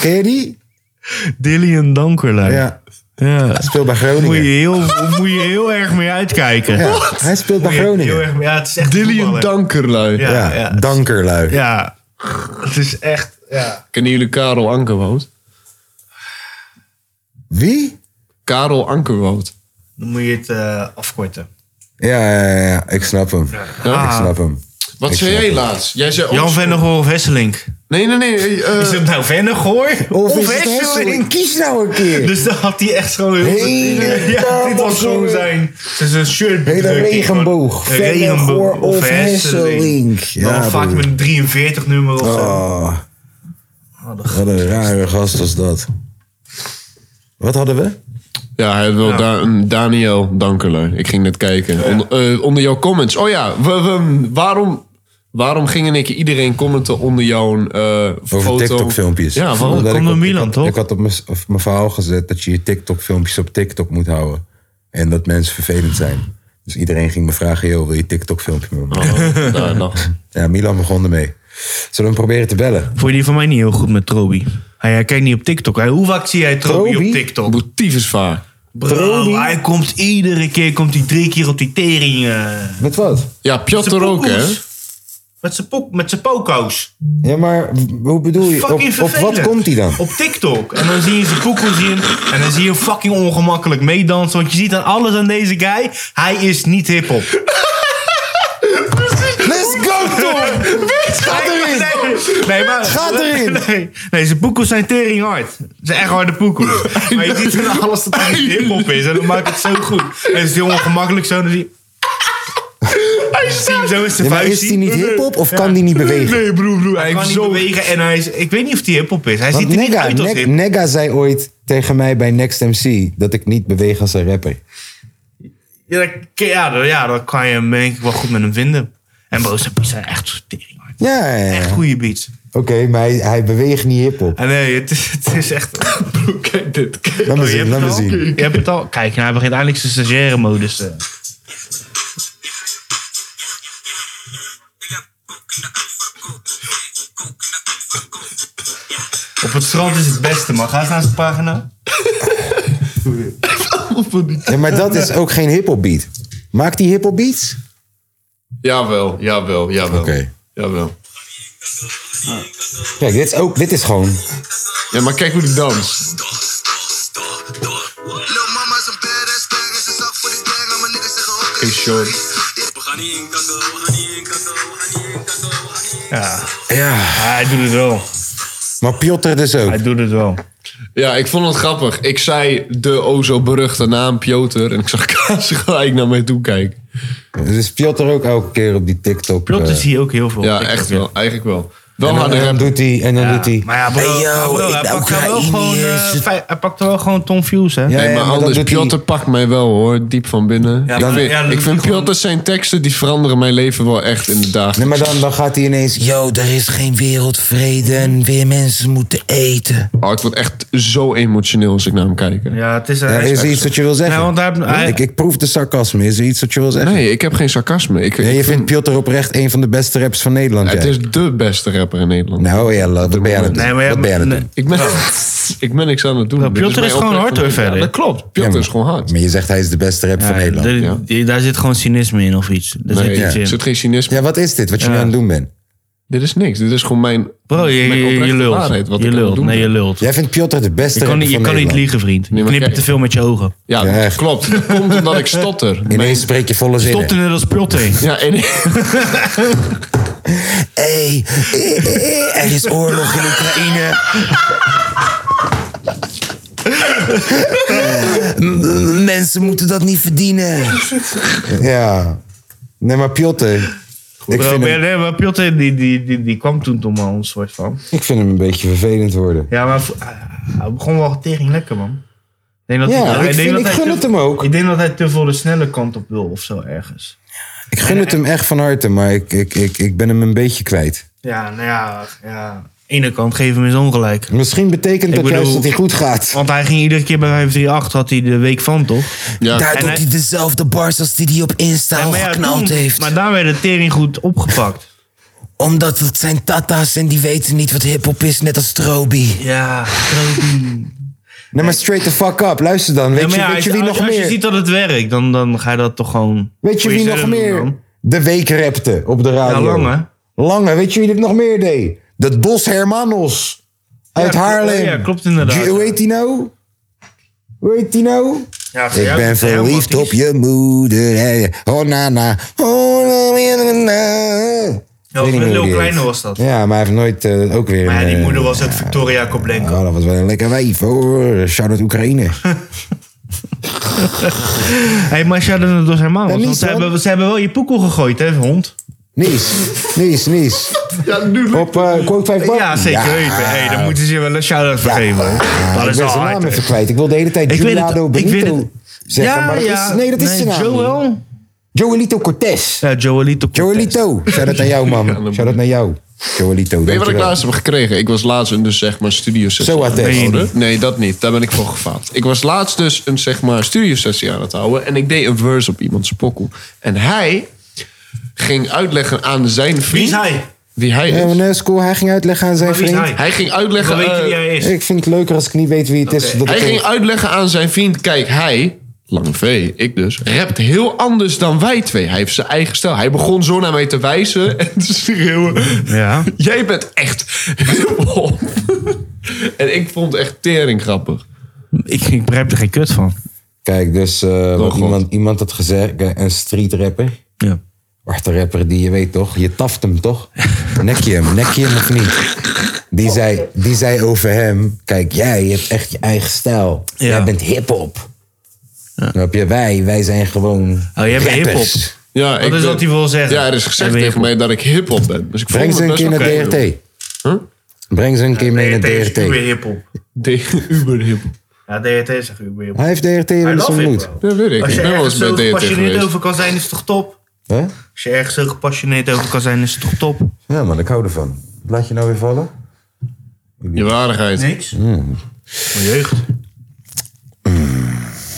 [SPEAKER 1] Ken je die?
[SPEAKER 2] Dillian Dankerlui. Ja.
[SPEAKER 1] Ja, speelt bij
[SPEAKER 2] Moet, je
[SPEAKER 1] Groningen.
[SPEAKER 2] heel, moet je heel erg mee uitkijken.
[SPEAKER 1] Ja, hij speelt bij
[SPEAKER 2] Moet je Heel
[SPEAKER 1] Groningen.
[SPEAKER 2] erg mee, ja, het is echt
[SPEAKER 3] Dillian
[SPEAKER 2] voetballer.
[SPEAKER 3] Dankerlui.
[SPEAKER 2] Ja.
[SPEAKER 1] Ja, dankerlui.
[SPEAKER 2] Ja. Het is echt... Ja.
[SPEAKER 3] Kennen jullie Karel Ankerwoud?
[SPEAKER 1] Wie?
[SPEAKER 3] Karel Ankerwoud.
[SPEAKER 2] Dan moet je het eh, afkorten.
[SPEAKER 1] Ja, ja, ja, ja, ik snap hem.
[SPEAKER 2] Ah.
[SPEAKER 1] Ik snap hem.
[SPEAKER 3] Wat
[SPEAKER 1] Ik
[SPEAKER 3] zei
[SPEAKER 1] snap
[SPEAKER 3] jij
[SPEAKER 1] het.
[SPEAKER 3] laatst? Jij zei
[SPEAKER 2] Jan
[SPEAKER 3] ons-
[SPEAKER 2] Vennegoor of Hesselink?
[SPEAKER 3] Nee, nee, nee. eh,
[SPEAKER 2] Is het nou Vennegoor
[SPEAKER 1] Of,
[SPEAKER 2] of,
[SPEAKER 1] is het
[SPEAKER 2] Hesselink?
[SPEAKER 1] Hesseling? Kies nou een keer.
[SPEAKER 2] Dus dan had hij echt gewoon heel
[SPEAKER 1] Hele
[SPEAKER 2] Ja, dit was gewoon
[SPEAKER 1] kamer.
[SPEAKER 2] zijn, zijn shirt.
[SPEAKER 1] Hele regenboog.
[SPEAKER 2] Een
[SPEAKER 1] Vennegoor of Hesselink.
[SPEAKER 2] Dan
[SPEAKER 1] Ja,
[SPEAKER 2] vaak
[SPEAKER 1] broer.
[SPEAKER 2] met een 43 nummer of zo.
[SPEAKER 1] Oh, wat een rare gast was dat. Wat hadden we?
[SPEAKER 3] Ja, hij wil Da- een Daniel Dankerlui. Ik ging net kijken. Onder, eh, onder jouw comments. Oh ja, we- we- waarom, waarom ging in één keer iedereen commenten onder jouw eh
[SPEAKER 1] Over
[SPEAKER 3] foto?
[SPEAKER 1] TikTok-filmpjes.
[SPEAKER 3] Ja, waarom?
[SPEAKER 1] Omdat
[SPEAKER 2] Komt
[SPEAKER 1] ik
[SPEAKER 2] door
[SPEAKER 1] op-
[SPEAKER 2] Milan,
[SPEAKER 1] ik had-
[SPEAKER 2] toch?
[SPEAKER 1] Ik had op mijn s- op mijn verhaal gezet dat je je TikTok-filmpjes op TikTok moet houden. En dat mensen vervelend zijn. Dus iedereen ging me vragen, joh, wil je TikTok-filmpje met me maken?
[SPEAKER 3] Oh, daar, nou.
[SPEAKER 1] Ja, Milan begon ermee. Zullen we hem proberen te bellen?
[SPEAKER 2] Vond je die van mij niet heel goed met Trobi? Hij, hij kijkt niet op TikTok. Hij, hoe vaak zie jij Trobi,
[SPEAKER 1] Trobi?
[SPEAKER 2] op TikTok?
[SPEAKER 3] Motief is vaak.
[SPEAKER 2] Bro,
[SPEAKER 1] Trobi?
[SPEAKER 2] hij komt iedere keer komt hij drie keer op die tering. eh.
[SPEAKER 1] Met wat?
[SPEAKER 3] Ja, Piotr
[SPEAKER 2] Zijn
[SPEAKER 3] ook, hè?
[SPEAKER 2] pokoes. Met zijn pok, met zijn poko's.
[SPEAKER 1] Ja, maar w- hoe bedoel je? Op,
[SPEAKER 2] Fucking
[SPEAKER 1] op wat
[SPEAKER 2] vervelend.
[SPEAKER 1] komt hij dan?
[SPEAKER 2] Op TikTok. En dan zie je zijn pokoes zien. En dan zie je hem fucking ongemakkelijk meedansen. Want je ziet aan alles aan deze guy. Hij is niet hip-hop.
[SPEAKER 1] Let's go, Tom! Ga
[SPEAKER 2] Nee,
[SPEAKER 1] erin!
[SPEAKER 2] nee, nee, maar,
[SPEAKER 1] Ga erin!
[SPEAKER 2] Nee, nee, zijn poekoes zijn tering hard. Ze zijn echt harde poekoes. Maar je ziet aan alles dat hij niet hip-hop is. En dan maakt het zo goed. En het is heel ongemakkelijk zo. Dan zie je... Hij staat... Zo is zijn
[SPEAKER 1] Ja, maar
[SPEAKER 2] vuist
[SPEAKER 1] is hij niet hiphop of kan die niet bewegen?
[SPEAKER 2] Nee, broer, broer. Hij, kan
[SPEAKER 3] heeft
[SPEAKER 2] niet
[SPEAKER 3] zo-
[SPEAKER 2] bewegen en hij is... Ik weet niet of hij hip-hop is. Hij
[SPEAKER 1] Want
[SPEAKER 2] ziet er niet
[SPEAKER 1] Nega,
[SPEAKER 2] uit als
[SPEAKER 1] Neg-
[SPEAKER 2] hip.
[SPEAKER 1] Nega zei ooit tegen mij bij Next MC dat ik niet beweeg als een rapper.
[SPEAKER 2] Ja, dan, ja, dan, ja, dan kan je hem denk ik wel goed met hem vinden. En Boos en Piet zijn echt tering hard.
[SPEAKER 1] Ja, ja, ja.
[SPEAKER 2] Echt
[SPEAKER 1] oké,
[SPEAKER 2] goede beats.
[SPEAKER 1] maar hij, hij beweegt niet hiphop.
[SPEAKER 2] En nee, het is, het is echt...
[SPEAKER 3] Broer, kijk dit. Kijk.
[SPEAKER 1] Laat me zien,
[SPEAKER 2] hebt
[SPEAKER 1] laat me
[SPEAKER 2] het al?
[SPEAKER 1] zien.
[SPEAKER 2] Je hebt het al. Kijk, nou, hij begint eindelijk zijn stagiaire modus. eh. Op het strand is het beste, man. Ga eens naar zijn pagina.
[SPEAKER 1] Ja, maar dat is ook geen hiphop beat. Maakt hij hiphop beats?
[SPEAKER 3] Jawel, jawel, jawel.
[SPEAKER 1] Oké.
[SPEAKER 3] Jawel.
[SPEAKER 1] Kijk, dit is, ook, dit is gewoon...
[SPEAKER 3] Ja, maar kijk hoe die dans.
[SPEAKER 5] Lil mama is een badass bang en ze zag voor de gang. Al mijn niggas zeggen ook
[SPEAKER 3] Hey, short.
[SPEAKER 5] We gaan niet inkakken, we gaan niet inkakken, we gaan niet inkakken, we gaan niet
[SPEAKER 2] Ja,
[SPEAKER 5] inkakken.
[SPEAKER 1] Ja,
[SPEAKER 2] Ah, hij doet het wel.
[SPEAKER 1] maar Piotr dus ook.
[SPEAKER 2] Hij doet het wel.
[SPEAKER 3] Ja, ik vond het grappig. Ik zei de o zo beruchte naam Piotr. En ik zag Kaas gelijk naar mij toe kijken.
[SPEAKER 1] Dus Piotr ook elke keer op die TikTok.
[SPEAKER 2] Plot
[SPEAKER 1] eh,
[SPEAKER 2] is hier ook heel veel.
[SPEAKER 3] Ja,
[SPEAKER 2] Ik
[SPEAKER 3] echt
[SPEAKER 2] ook, ja.
[SPEAKER 3] wel. Eigenlijk wel. Wel
[SPEAKER 1] en dan, eh,
[SPEAKER 3] harde
[SPEAKER 1] en dan
[SPEAKER 3] rap.
[SPEAKER 1] doet hij... En dan doet hij...
[SPEAKER 2] Maar ja, bro,
[SPEAKER 1] Hey, yo,
[SPEAKER 2] bro,
[SPEAKER 1] ik nou,
[SPEAKER 2] hij,
[SPEAKER 1] ben
[SPEAKER 2] pakt er wel
[SPEAKER 1] Oekraïne,
[SPEAKER 2] gewoon, eh,
[SPEAKER 1] shit.
[SPEAKER 2] vij- hij pakt er wel gewoon Tom Fuse, hè?
[SPEAKER 1] Ja,
[SPEAKER 3] Nee,
[SPEAKER 1] ja,
[SPEAKER 3] maar,
[SPEAKER 1] maar dan
[SPEAKER 3] anders,
[SPEAKER 1] doet hij-
[SPEAKER 3] Piotr pakt mij wel hoor, diep van binnen.
[SPEAKER 2] Ja,
[SPEAKER 3] ik
[SPEAKER 2] maar-
[SPEAKER 3] vind,
[SPEAKER 2] ja, dat
[SPEAKER 3] ik
[SPEAKER 2] doet
[SPEAKER 3] vind
[SPEAKER 2] hij
[SPEAKER 3] Piotr zijn teksten, die veranderen mijn leven wel echt in de dagen.
[SPEAKER 1] Nee, maar dan, dan gaat hij ineens... Yo, er is geen wereldvrede en weer mensen moeten eten.
[SPEAKER 3] Oh, ik word echt zo emotioneel als ik naar hem kijk. hè.
[SPEAKER 2] Ja, het is...
[SPEAKER 1] Ja,
[SPEAKER 2] hij
[SPEAKER 1] is er iets dat je wil zeggen?
[SPEAKER 2] Ja, want hij- hij-
[SPEAKER 1] ik, ik proef de sarcasme. Is er iets dat je wil zeggen?
[SPEAKER 3] Nee, ik heb geen sarcasme. Ik,
[SPEAKER 1] Ja,
[SPEAKER 3] ik
[SPEAKER 1] je
[SPEAKER 3] vind-
[SPEAKER 1] vindt Piotr oprecht een van de beste raps van Nederland.
[SPEAKER 3] het
[SPEAKER 1] ja.
[SPEAKER 3] is de beste rapper in Nederland.
[SPEAKER 1] Nou ja, la- wat ben je aan het doen?
[SPEAKER 2] Nee, maar ja,
[SPEAKER 1] Wat ben je aan het
[SPEAKER 2] nee.
[SPEAKER 1] doen?
[SPEAKER 3] Ik ben, ik ben niks aan het doen.
[SPEAKER 2] Nou,
[SPEAKER 3] Dit
[SPEAKER 2] Piotr
[SPEAKER 3] mijn
[SPEAKER 2] is gewoon
[SPEAKER 3] oprechte-
[SPEAKER 2] hard, hoor, verder.
[SPEAKER 3] Ja, dat klopt. Piotr
[SPEAKER 1] Ja,
[SPEAKER 3] is gewoon hard.
[SPEAKER 1] Maar je zegt hij is de beste rap van
[SPEAKER 2] Ja,
[SPEAKER 1] Nederland.
[SPEAKER 2] daar- die- Daar zit gewoon cynisme in of iets. Daar
[SPEAKER 3] Nee,
[SPEAKER 2] zit iets
[SPEAKER 3] er
[SPEAKER 2] in.
[SPEAKER 3] zit geen cynisme.
[SPEAKER 1] Ja, wat is dit? Wat je nu aan het doen bent?
[SPEAKER 3] Dit is niks. Dit is gewoon mijn,
[SPEAKER 2] Bro, je,
[SPEAKER 3] mijn
[SPEAKER 2] je, je
[SPEAKER 3] oprechte
[SPEAKER 2] lult.
[SPEAKER 3] waarheid. Wat
[SPEAKER 2] je
[SPEAKER 3] ik aan het
[SPEAKER 2] lult.
[SPEAKER 3] doen
[SPEAKER 2] Nee,
[SPEAKER 3] ben.
[SPEAKER 2] je lult.
[SPEAKER 1] Jij vindt Piotr de beste
[SPEAKER 2] Je kan,
[SPEAKER 1] rapper
[SPEAKER 2] niet, je
[SPEAKER 1] van
[SPEAKER 2] kan niet
[SPEAKER 1] Nederland.
[SPEAKER 2] liegen, vriend. Je
[SPEAKER 3] Nee, maar
[SPEAKER 2] knippert te
[SPEAKER 3] kijk.
[SPEAKER 2] veel met je ogen.
[SPEAKER 3] Ja,
[SPEAKER 1] Ja,
[SPEAKER 3] dat
[SPEAKER 1] echt.
[SPEAKER 3] klopt. Dat komt omdat ik stotter.
[SPEAKER 1] Ineens spreek je volle zinnen.
[SPEAKER 2] Tot en net als Pjotte.
[SPEAKER 3] Ja, en,
[SPEAKER 1] Hey, eh, er is oorlog in Oekraïne. Mensen moeten dat niet verdienen. Ja. Nee, maar Piotr. Ik
[SPEAKER 2] Bro,
[SPEAKER 1] vind,
[SPEAKER 2] maar,
[SPEAKER 1] hem,
[SPEAKER 2] nee, maar Pjotte die, die, die, die kwam toen toch maar ons soort van.
[SPEAKER 1] ik vind hem een beetje vervelend worden.
[SPEAKER 2] Ja, maar v- hij begon wel tering lekker, man. Ik denk dat
[SPEAKER 1] Ja,
[SPEAKER 2] hij-
[SPEAKER 1] ik vind-
[SPEAKER 2] denk dat
[SPEAKER 1] ik
[SPEAKER 2] hij
[SPEAKER 1] gun
[SPEAKER 2] te-
[SPEAKER 1] het hem ook.
[SPEAKER 2] Ik denk dat hij te veel de snelle kant op wil of zo ergens.
[SPEAKER 1] Ik gun het hem echt van harte, maar ik, ik, ik, ik ben hem een beetje kwijt.
[SPEAKER 2] Ja, nou ja, ja. Aan de ene kant geef hem eens ongelijk.
[SPEAKER 1] Misschien betekent dat
[SPEAKER 2] bedoel-
[SPEAKER 1] juist dat hij goed gaat.
[SPEAKER 2] Want hij ging iedere keer bij 538, had hij de week van, toch?
[SPEAKER 3] ja,
[SPEAKER 2] En hij-
[SPEAKER 1] dezelfde bars als die die op Insta
[SPEAKER 2] maar, ja, toen- maar daar werd de tering goed opgepakt.
[SPEAKER 1] Omdat het zijn tata's en die weten niet wat hiphop is, net als Strobi.
[SPEAKER 2] Ja,
[SPEAKER 1] Nee, maar straight the fuck up. Luister dan. Weet,
[SPEAKER 2] Ja, maar ja,
[SPEAKER 1] je, weet
[SPEAKER 2] als,
[SPEAKER 1] je wie
[SPEAKER 2] als-
[SPEAKER 1] nog
[SPEAKER 2] als je
[SPEAKER 1] meer?
[SPEAKER 2] ziet dat het werkt, dan, dan ga je dat toch gewoon.
[SPEAKER 1] weet je
[SPEAKER 2] voor
[SPEAKER 1] wie
[SPEAKER 2] jezelf
[SPEAKER 1] nog
[SPEAKER 2] doen
[SPEAKER 1] meer?
[SPEAKER 2] dan.
[SPEAKER 1] De week repte op de radio.
[SPEAKER 2] Lange.
[SPEAKER 1] Lange. Weet je wie dit nog meer deed? Dat Dos Hermanos. Uit
[SPEAKER 2] Ja,
[SPEAKER 1] Haarlem.
[SPEAKER 2] ja, klopt inderdaad.
[SPEAKER 1] Die- Hoe heet die nou? Hoe heet die nou?
[SPEAKER 2] Ja, voor
[SPEAKER 1] Ik
[SPEAKER 2] jou
[SPEAKER 1] ben
[SPEAKER 2] is het helemaal
[SPEAKER 1] verliefd
[SPEAKER 2] kies.
[SPEAKER 1] op je moeder. hè. Oh na na. Oh na na na.
[SPEAKER 2] Ja,
[SPEAKER 1] Weet niet meer hoe
[SPEAKER 2] Lil
[SPEAKER 1] die
[SPEAKER 2] Kleine
[SPEAKER 1] heet.
[SPEAKER 2] was dat.
[SPEAKER 1] Ja, maar hij heeft nooit eh, ook weer...
[SPEAKER 2] Maar ja, die
[SPEAKER 1] een,
[SPEAKER 2] moeder
[SPEAKER 1] eh,
[SPEAKER 2] was het Victoria Koblenko.
[SPEAKER 1] Oh, dat was wel een lekker wijf hoor. Shout-out Oekraïne.
[SPEAKER 2] Hé, hey, maar shout out door zijn man.
[SPEAKER 1] niet,
[SPEAKER 2] Want ze
[SPEAKER 1] man.
[SPEAKER 2] hebben, ze hebben wel je poekel gegooid, hè, hond?
[SPEAKER 1] Nies, Nies, Nies.
[SPEAKER 3] ja, nu
[SPEAKER 1] Op eh Quote 5 Bar.
[SPEAKER 2] Ja, zeker
[SPEAKER 1] Ja.
[SPEAKER 2] weten. Hé, dan moeten ze je wel een shout-out
[SPEAKER 1] Ja.
[SPEAKER 2] vergeven.
[SPEAKER 1] Ah,
[SPEAKER 2] dat
[SPEAKER 1] ik
[SPEAKER 2] is
[SPEAKER 1] ben
[SPEAKER 2] al
[SPEAKER 1] zijn naam
[SPEAKER 2] hard, hè.
[SPEAKER 1] even kwijt. Ik wilde de hele tijd
[SPEAKER 2] Ik weet
[SPEAKER 1] Giuliano
[SPEAKER 2] het, ik weet het.
[SPEAKER 1] Benito zeggen. maar dat is, nee, dat is zijn naam. niet.
[SPEAKER 2] Joel?
[SPEAKER 1] Joelito Cortez.
[SPEAKER 2] Ja, Joelito.
[SPEAKER 1] Joelito. Shout-out naar jou, man. Shout-out naar jou. Joelito,
[SPEAKER 3] Weet je wat ik
[SPEAKER 1] dankjewel.
[SPEAKER 3] laatst heb gekregen? Ik was laatst een dus zeg maar studiosessie
[SPEAKER 1] Zo
[SPEAKER 3] aan
[SPEAKER 1] wat
[SPEAKER 3] het
[SPEAKER 1] test.
[SPEAKER 3] houden. Nee, dat niet. Daar ben ik voor gefaald. Ik was laatst dus een zeg maar studiosessie aan het houden. En ik deed een verse op iemands pokkel. En hij ging uitleggen aan zijn
[SPEAKER 2] Wie
[SPEAKER 3] vriend.
[SPEAKER 2] is hij?
[SPEAKER 3] Wie hij
[SPEAKER 1] Ja, maar
[SPEAKER 3] is.
[SPEAKER 1] nee, is cool. Hij ging uitleggen aan zijn
[SPEAKER 2] Maar wie is
[SPEAKER 1] vriend.
[SPEAKER 2] hij?
[SPEAKER 3] Hij ging uitleggen...
[SPEAKER 2] Dan weet je
[SPEAKER 3] eh,
[SPEAKER 2] wie hij is.
[SPEAKER 1] Ik vind het leuker als ik niet weet wie het is. zodat
[SPEAKER 3] Hij
[SPEAKER 1] ik
[SPEAKER 3] ging
[SPEAKER 1] even-
[SPEAKER 3] uitleggen aan zijn vriend, kijk, hij, Lange V, ik dus, rapt heel anders dan wij twee. Hij heeft zijn eigen stijl. Hij begon zo naar mij te wijzen en te schreeuwen.
[SPEAKER 2] Ja.
[SPEAKER 3] Jij bent echt hiphop. En ik vond het echt tering grappig.
[SPEAKER 2] Ik, ik begrijp er geen kut van.
[SPEAKER 1] Kijk, dus eh, wat
[SPEAKER 3] God.
[SPEAKER 1] iemand, iemand had gezegd, eh, een streetrapper.
[SPEAKER 2] Ja.
[SPEAKER 1] Zwarte rapper die, je weet toch, je taft hem toch? Nek je hem, nek je hem of niet? Die zei, die zei over hem, kijk, jij hebt echt je eigen stijl.
[SPEAKER 2] Ja.
[SPEAKER 1] Jij bent hiphop. Dan heb je wij, wij zijn gewoon
[SPEAKER 2] Oh, jij bent
[SPEAKER 1] rappers.
[SPEAKER 2] hiphop.
[SPEAKER 3] Ja,
[SPEAKER 2] Wat is wat hij wil zeggen?
[SPEAKER 3] Ja, er is
[SPEAKER 2] Hij
[SPEAKER 3] gezegd
[SPEAKER 2] wil
[SPEAKER 3] tegen
[SPEAKER 2] hiphop.
[SPEAKER 3] mij dat ik hiphop ben. Dus ik
[SPEAKER 1] Breng
[SPEAKER 3] vond
[SPEAKER 1] ze
[SPEAKER 3] het
[SPEAKER 1] een keer
[SPEAKER 3] best
[SPEAKER 1] naar
[SPEAKER 3] oké,
[SPEAKER 1] DRT. Breng ze een keer mee naar
[SPEAKER 2] is
[SPEAKER 1] DRT.
[SPEAKER 2] uber hiphop.
[SPEAKER 3] joh. Tegen Uber hiphop.
[SPEAKER 2] Ja, DRT zegt uber hiphop.
[SPEAKER 1] Hij heeft DRT wel eens ontmoet.
[SPEAKER 3] Ja, weet ik.
[SPEAKER 2] Als
[SPEAKER 3] Ik
[SPEAKER 2] je
[SPEAKER 3] ben wel
[SPEAKER 2] ergens
[SPEAKER 3] eens
[SPEAKER 2] zo
[SPEAKER 3] bij DRT
[SPEAKER 2] gepassioneerd
[SPEAKER 3] geweest.
[SPEAKER 2] over kan zijn, is het toch top?
[SPEAKER 1] Hè?
[SPEAKER 2] Als je ergens zo gepassioneerd over kan zijn, is het toch top?
[SPEAKER 1] Ja man, ik hou ervan. Laat je nou weer vallen?
[SPEAKER 3] Je waardigheid.
[SPEAKER 2] Niks.
[SPEAKER 1] Hmm.
[SPEAKER 2] Mijn jeugd.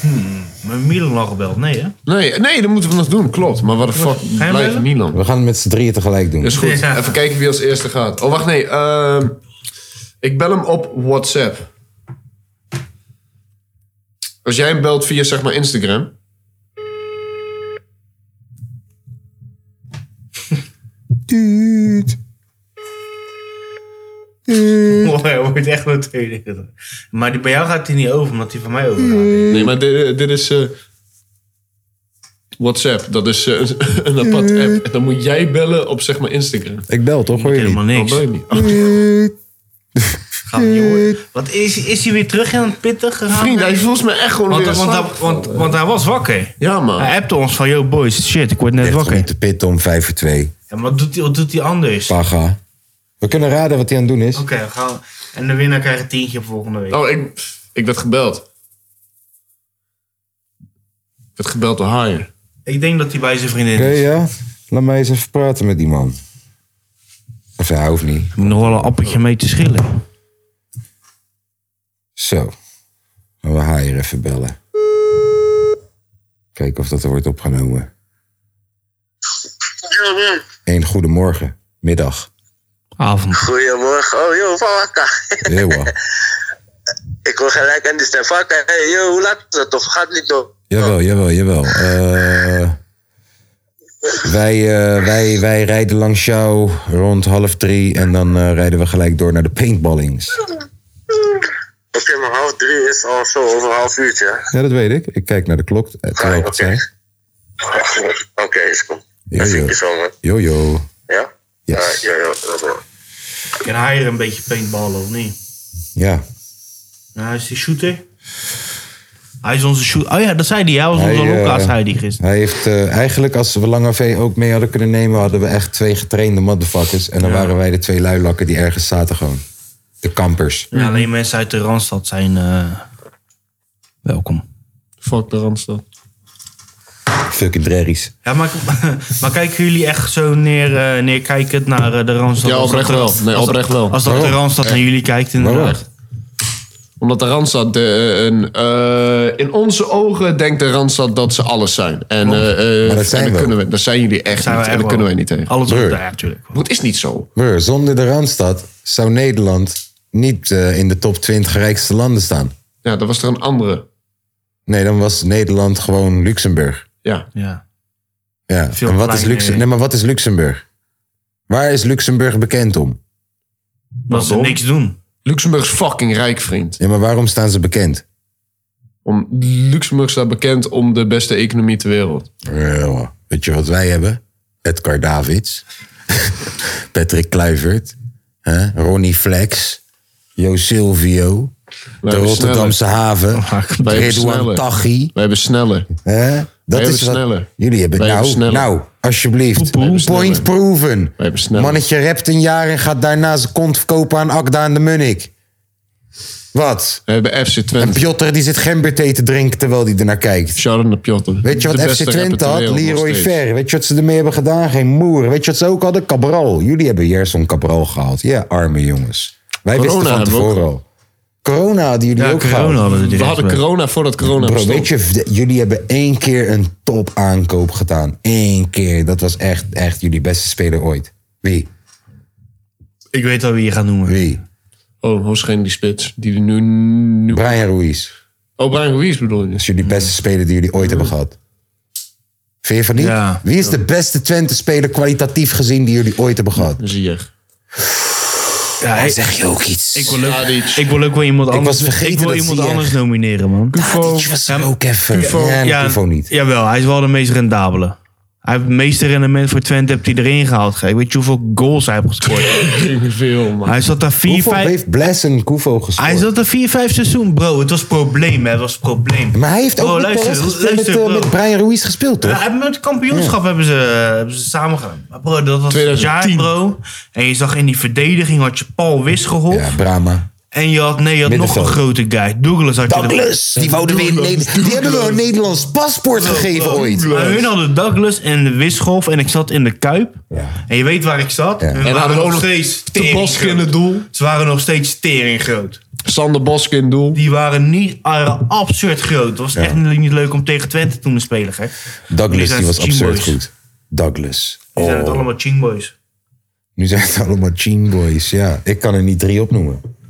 [SPEAKER 2] Hmm, Mijn Milan al gebeld, nee hè?
[SPEAKER 3] Nee, nee, dat moeten we nog doen, klopt. Maar wat de fuck
[SPEAKER 2] Ga je
[SPEAKER 3] blijft
[SPEAKER 2] bellen?
[SPEAKER 3] Milan?
[SPEAKER 1] We gaan het met z'n drieën tegelijk doen.
[SPEAKER 3] Is goed.
[SPEAKER 2] Ja.
[SPEAKER 3] Even kijken wie als eerste gaat. Oh, wacht, nee. ehm, ik bel hem op WhatsApp. Als jij hem belt via, zeg maar, Instagram.
[SPEAKER 1] Tuut.
[SPEAKER 2] Oh, hij wordt echt een tweede. Maar die, bij jou gaat hij niet over, omdat hij van mij overgaat.
[SPEAKER 3] Nee, maar dit, dit is... eh, WhatsApp, dat is eh, een apart app. En dan moet jij bellen op, zeg maar, Instagram.
[SPEAKER 1] Ik bel toch, hoor je
[SPEAKER 2] Helemaal
[SPEAKER 1] niet?
[SPEAKER 2] niks.
[SPEAKER 3] Oh, ben je niet.
[SPEAKER 1] Tuut.
[SPEAKER 2] Gaat niet hoor. Wat is, is hij weer terug in het pitten gegaan?
[SPEAKER 3] Vriend, hij is volgens mij echt gewoon
[SPEAKER 2] want,
[SPEAKER 3] weer
[SPEAKER 2] want,
[SPEAKER 3] in slaap
[SPEAKER 2] hij, want, want hij was wakker.
[SPEAKER 3] Ja, man.
[SPEAKER 2] Hij appte ons van, yo boys, shit, ik word net
[SPEAKER 1] Echt
[SPEAKER 2] wakker.
[SPEAKER 1] niet te pitten om vijf voor twee.
[SPEAKER 2] Ja, maar wat doet hij, wat doet hij anders? Oké,
[SPEAKER 1] Paga. We kunnen raden wat hij aan het doen is.
[SPEAKER 2] we gaan en de winnaar krijgt een tientje volgende week.
[SPEAKER 3] Oh, ik, ik werd gebeld. Ik werd gebeld door Haier.
[SPEAKER 2] Ik denk dat hij bij zijn vriendin
[SPEAKER 1] Oké,
[SPEAKER 2] is.
[SPEAKER 1] ja. Laat mij eens even praten met die man. Of hij hoeft niet.
[SPEAKER 2] Ik moet nog wel een appeltje mee te schillen.
[SPEAKER 1] Zo. Gaan we haar hier even bellen. Kijken of dat er wordt opgenomen. Eén goedemorgen. Middag.
[SPEAKER 2] Avond.
[SPEAKER 4] Goedemorgen. Oh, yo, Fawaka.
[SPEAKER 1] Ewa.
[SPEAKER 4] Ik hoor gelijk aan die stem. Fawaka, hey, yo, hoe laat is het? Of gaat het niet door?
[SPEAKER 1] Jawel, jawel, jawel. Eh, wij, eh, wij, wij rijden langs jou rond half drie. En dan eh, rijden we gelijk door naar de paintballings.
[SPEAKER 4] Oké, maar half drie is al zo, over een half uurtje.
[SPEAKER 1] Ja, dat weet ik. Ik kijk naar de klok eh, terwijl ik het
[SPEAKER 4] Oké.
[SPEAKER 1] zei.
[SPEAKER 4] Oké, is goed.
[SPEAKER 1] Ja,
[SPEAKER 4] Dan zie ik
[SPEAKER 1] ja.
[SPEAKER 4] je zo, man.
[SPEAKER 1] Jojo.
[SPEAKER 4] Ja? Ah,
[SPEAKER 1] Yes.
[SPEAKER 4] Ja, ja, ja. dat wel.
[SPEAKER 2] Kan hij er een beetje paintballen of niet?
[SPEAKER 1] Ja.
[SPEAKER 2] Nou, hij is die shooter. Hij is onze shooter. Oh ja, dat zei hij. Hij was
[SPEAKER 1] Hij,
[SPEAKER 2] onze
[SPEAKER 1] eh,
[SPEAKER 2] lokaas, zei hij gisteren.
[SPEAKER 1] Hij heeft eh, eigenlijk, als we Lange V ook mee hadden kunnen nemen, hadden we echt twee getrainde motherfuckers. En dan waren wij de twee luilakken die ergens zaten gewoon. De kampers.
[SPEAKER 2] Ja, alleen mensen uit de Randstad zijn eh, welkom.
[SPEAKER 3] Fuck de Randstad.
[SPEAKER 1] Fucking drerries.
[SPEAKER 2] Ja, maar, maar kijken jullie echt zo neer, eh neerkijkend naar eh, de Randstad?
[SPEAKER 3] Ja,
[SPEAKER 2] Als dat
[SPEAKER 3] oprecht
[SPEAKER 2] de-
[SPEAKER 3] wel. Nee,
[SPEAKER 2] als dat-
[SPEAKER 3] oprecht wel.
[SPEAKER 2] Als dat de Randstad naar jullie kijkt inderdaad.
[SPEAKER 3] Omdat de Randstad... De, een, eh, in onze ogen denkt de Randstad dat ze alles zijn. En, eh, eh,
[SPEAKER 1] Maar dat zijn
[SPEAKER 3] en
[SPEAKER 1] we.
[SPEAKER 3] dat, kunnen we, dat zijn jullie echt
[SPEAKER 2] Oh. Zijn
[SPEAKER 3] niet.
[SPEAKER 2] we
[SPEAKER 3] En
[SPEAKER 2] echt
[SPEAKER 3] dat
[SPEAKER 2] wel.
[SPEAKER 3] kunnen
[SPEAKER 2] Oh.
[SPEAKER 3] wij niet tegen.
[SPEAKER 2] Alles
[SPEAKER 1] Brr.
[SPEAKER 2] op daar, natuurlijk.
[SPEAKER 3] Maar het is niet zo.
[SPEAKER 1] Broer, zonder de Randstad zou Nederland niet eh, in de top 20 rijkste landen staan.
[SPEAKER 3] Ja, dat was er een andere.
[SPEAKER 1] Nee, dan was Nederland gewoon Luxemburg.
[SPEAKER 3] Ja.
[SPEAKER 2] Ja.
[SPEAKER 1] Ja.
[SPEAKER 2] Veel
[SPEAKER 1] en wat is,
[SPEAKER 2] kleiner.
[SPEAKER 1] Luxem nee, maar wat is Luxemburg? Waar is Luxemburg bekend om?
[SPEAKER 2] Dat ze
[SPEAKER 3] Waarom?
[SPEAKER 2] niks doen.
[SPEAKER 3] Luxemburg is fucking rijk, vriend.
[SPEAKER 1] Ja, maar waarom staan ze bekend?
[SPEAKER 3] Om, Luxemburg staat bekend om de beste economie ter wereld.
[SPEAKER 1] Ja, Eh, weet je wat wij hebben? Edgar Davids, Patrick Kluivert, hè? Ronnie Flex, Jo Silvio, de
[SPEAKER 3] hebben
[SPEAKER 1] Rotterdamse haven,
[SPEAKER 3] Wij hebben
[SPEAKER 1] Ridouan
[SPEAKER 3] sneller.
[SPEAKER 1] Taghi.
[SPEAKER 3] Wij hebben sneller.
[SPEAKER 1] Hè? Dat
[SPEAKER 3] hebben
[SPEAKER 1] is wat
[SPEAKER 3] sneller.
[SPEAKER 1] jullie hebben.
[SPEAKER 3] Wij
[SPEAKER 1] nou,
[SPEAKER 3] hebben sneller.
[SPEAKER 1] nou, alsjeblieft.
[SPEAKER 3] hebben
[SPEAKER 1] Point
[SPEAKER 3] sneller.
[SPEAKER 1] proven.
[SPEAKER 3] hebben sneller.
[SPEAKER 1] Mannetje rapt een jaar en gaat daarna zijn kont verkopen aan Akda en de Munnik. Wat?
[SPEAKER 3] We hebben FC
[SPEAKER 1] En
[SPEAKER 3] Twente.
[SPEAKER 1] Piotr die zit gemberthee te drinken terwijl hij ernaar kijkt.
[SPEAKER 3] Sharon de Piotr.
[SPEAKER 1] Weet je wat
[SPEAKER 3] De
[SPEAKER 1] FC
[SPEAKER 3] beste rapper
[SPEAKER 1] Twente
[SPEAKER 3] ter
[SPEAKER 1] had?
[SPEAKER 3] wereld nog
[SPEAKER 1] Leroy
[SPEAKER 3] steeds.
[SPEAKER 1] Ver. Weet je wat ze ermee hebben gedaan? Geen moer. Weet je wat ze ook hadden? Cabral. Jullie hebben Jerson Cabral gehaald. Ja, arme jongens. Wij
[SPEAKER 3] Corona
[SPEAKER 1] wisten van
[SPEAKER 3] hebben we ook
[SPEAKER 1] tevoren al. Corona hadden jullie ook gehaald.
[SPEAKER 2] hadden
[SPEAKER 3] We hadden corona voordat corona
[SPEAKER 1] Bro,
[SPEAKER 3] bestond.
[SPEAKER 1] weet je, v- jullie hebben één keer een top aankoop gedaan. Eén keer. Dat was echt, echt jullie beste speler ooit. Wie?
[SPEAKER 2] Ik weet al wie je gaat noemen.
[SPEAKER 1] Wie?
[SPEAKER 3] Oh, waarschijnlijk die spits. Die er nu... nu...
[SPEAKER 1] Brian Ruiz.
[SPEAKER 3] Oh, Brian Ruiz bedoel
[SPEAKER 1] Dat
[SPEAKER 3] je?
[SPEAKER 1] is jullie beste speler die jullie ooit hebben gehad. Vind je van niet?
[SPEAKER 2] Ja.
[SPEAKER 1] Wie is de beste Twente-speler kwalitatief gezien die jullie ooit hebben gehad?
[SPEAKER 3] Zie je.
[SPEAKER 2] Ja, ik,
[SPEAKER 1] Zeg je ook iets?
[SPEAKER 2] ik wil ook,
[SPEAKER 3] Tadic.
[SPEAKER 2] ik wil ook wel iemand anders,
[SPEAKER 1] was vergeten
[SPEAKER 2] ik wil
[SPEAKER 1] dat
[SPEAKER 2] iemand
[SPEAKER 1] Ziyech-
[SPEAKER 2] anders nomineren, man.
[SPEAKER 1] Tadic was er ook even. Ja, ja, Tufo niet.
[SPEAKER 2] Jawel, hij is wel de meest rendabele. Hij heeft het meeste rendement voor Twente heeft hij erin gehaald. Gek. Weet je hoeveel goals hij heeft gescoord?
[SPEAKER 3] Veel, man.
[SPEAKER 2] hij zat daar 4,
[SPEAKER 1] Hoeveel
[SPEAKER 2] 5...
[SPEAKER 1] heeft Bless en Kufo gescoord?
[SPEAKER 2] Hij zat daar 4, 5 seizoen, bro. Het was probleem, hè. Het was probleem.
[SPEAKER 1] Maar hij heeft ook
[SPEAKER 2] Bro,
[SPEAKER 1] met,
[SPEAKER 2] Oh, luister,
[SPEAKER 1] Perez gespeeld,
[SPEAKER 2] luister,
[SPEAKER 1] met, eh,
[SPEAKER 2] bro.
[SPEAKER 1] met Brian Ruiz gespeeld, toch?
[SPEAKER 2] Ja, hij- met het kampioenschap hebben, ze, hebben ze samen gedaan. Maar bro, dat was het
[SPEAKER 3] 2010.
[SPEAKER 2] jaar, bro. En je zag in die verdediging had je Paul Wisgerhof.
[SPEAKER 1] Ja, Brahma.
[SPEAKER 2] En je had, nee, je had nog een
[SPEAKER 1] Middenveld.
[SPEAKER 2] grote guy. Douglas had je er-
[SPEAKER 1] Douglas, die, wouden weer Nederland- die hebben wel een Nederlands paspoort gegeven ooit.
[SPEAKER 2] Maar hun hadden Douglas en de Wischoff en ik zat in de Kuip.
[SPEAKER 1] Ja.
[SPEAKER 2] En je weet waar ik zat.
[SPEAKER 1] Ja.
[SPEAKER 2] Hun
[SPEAKER 1] En
[SPEAKER 3] hadden
[SPEAKER 2] waren
[SPEAKER 3] ook nog
[SPEAKER 2] steeds
[SPEAKER 3] Te
[SPEAKER 2] tering
[SPEAKER 3] Bosk in het
[SPEAKER 2] groot.
[SPEAKER 3] doel.
[SPEAKER 2] Ze waren nog steeds tering groot.
[SPEAKER 3] Sander Bosk in het doel.
[SPEAKER 2] Die waren niet waren absurd groot. Het was echt niet niet leuk om tegen Twente toen te spelen, gek.
[SPEAKER 1] Douglas,
[SPEAKER 2] zijn
[SPEAKER 1] die was
[SPEAKER 2] het
[SPEAKER 1] absurd
[SPEAKER 2] Chimboys.
[SPEAKER 1] goed. Douglas.
[SPEAKER 2] Die zijn het
[SPEAKER 1] Oh.
[SPEAKER 2] allemaal chingboys.
[SPEAKER 1] Nu zijn het allemaal Gene Boys, ja. Ik kan er niet drie opnoemen.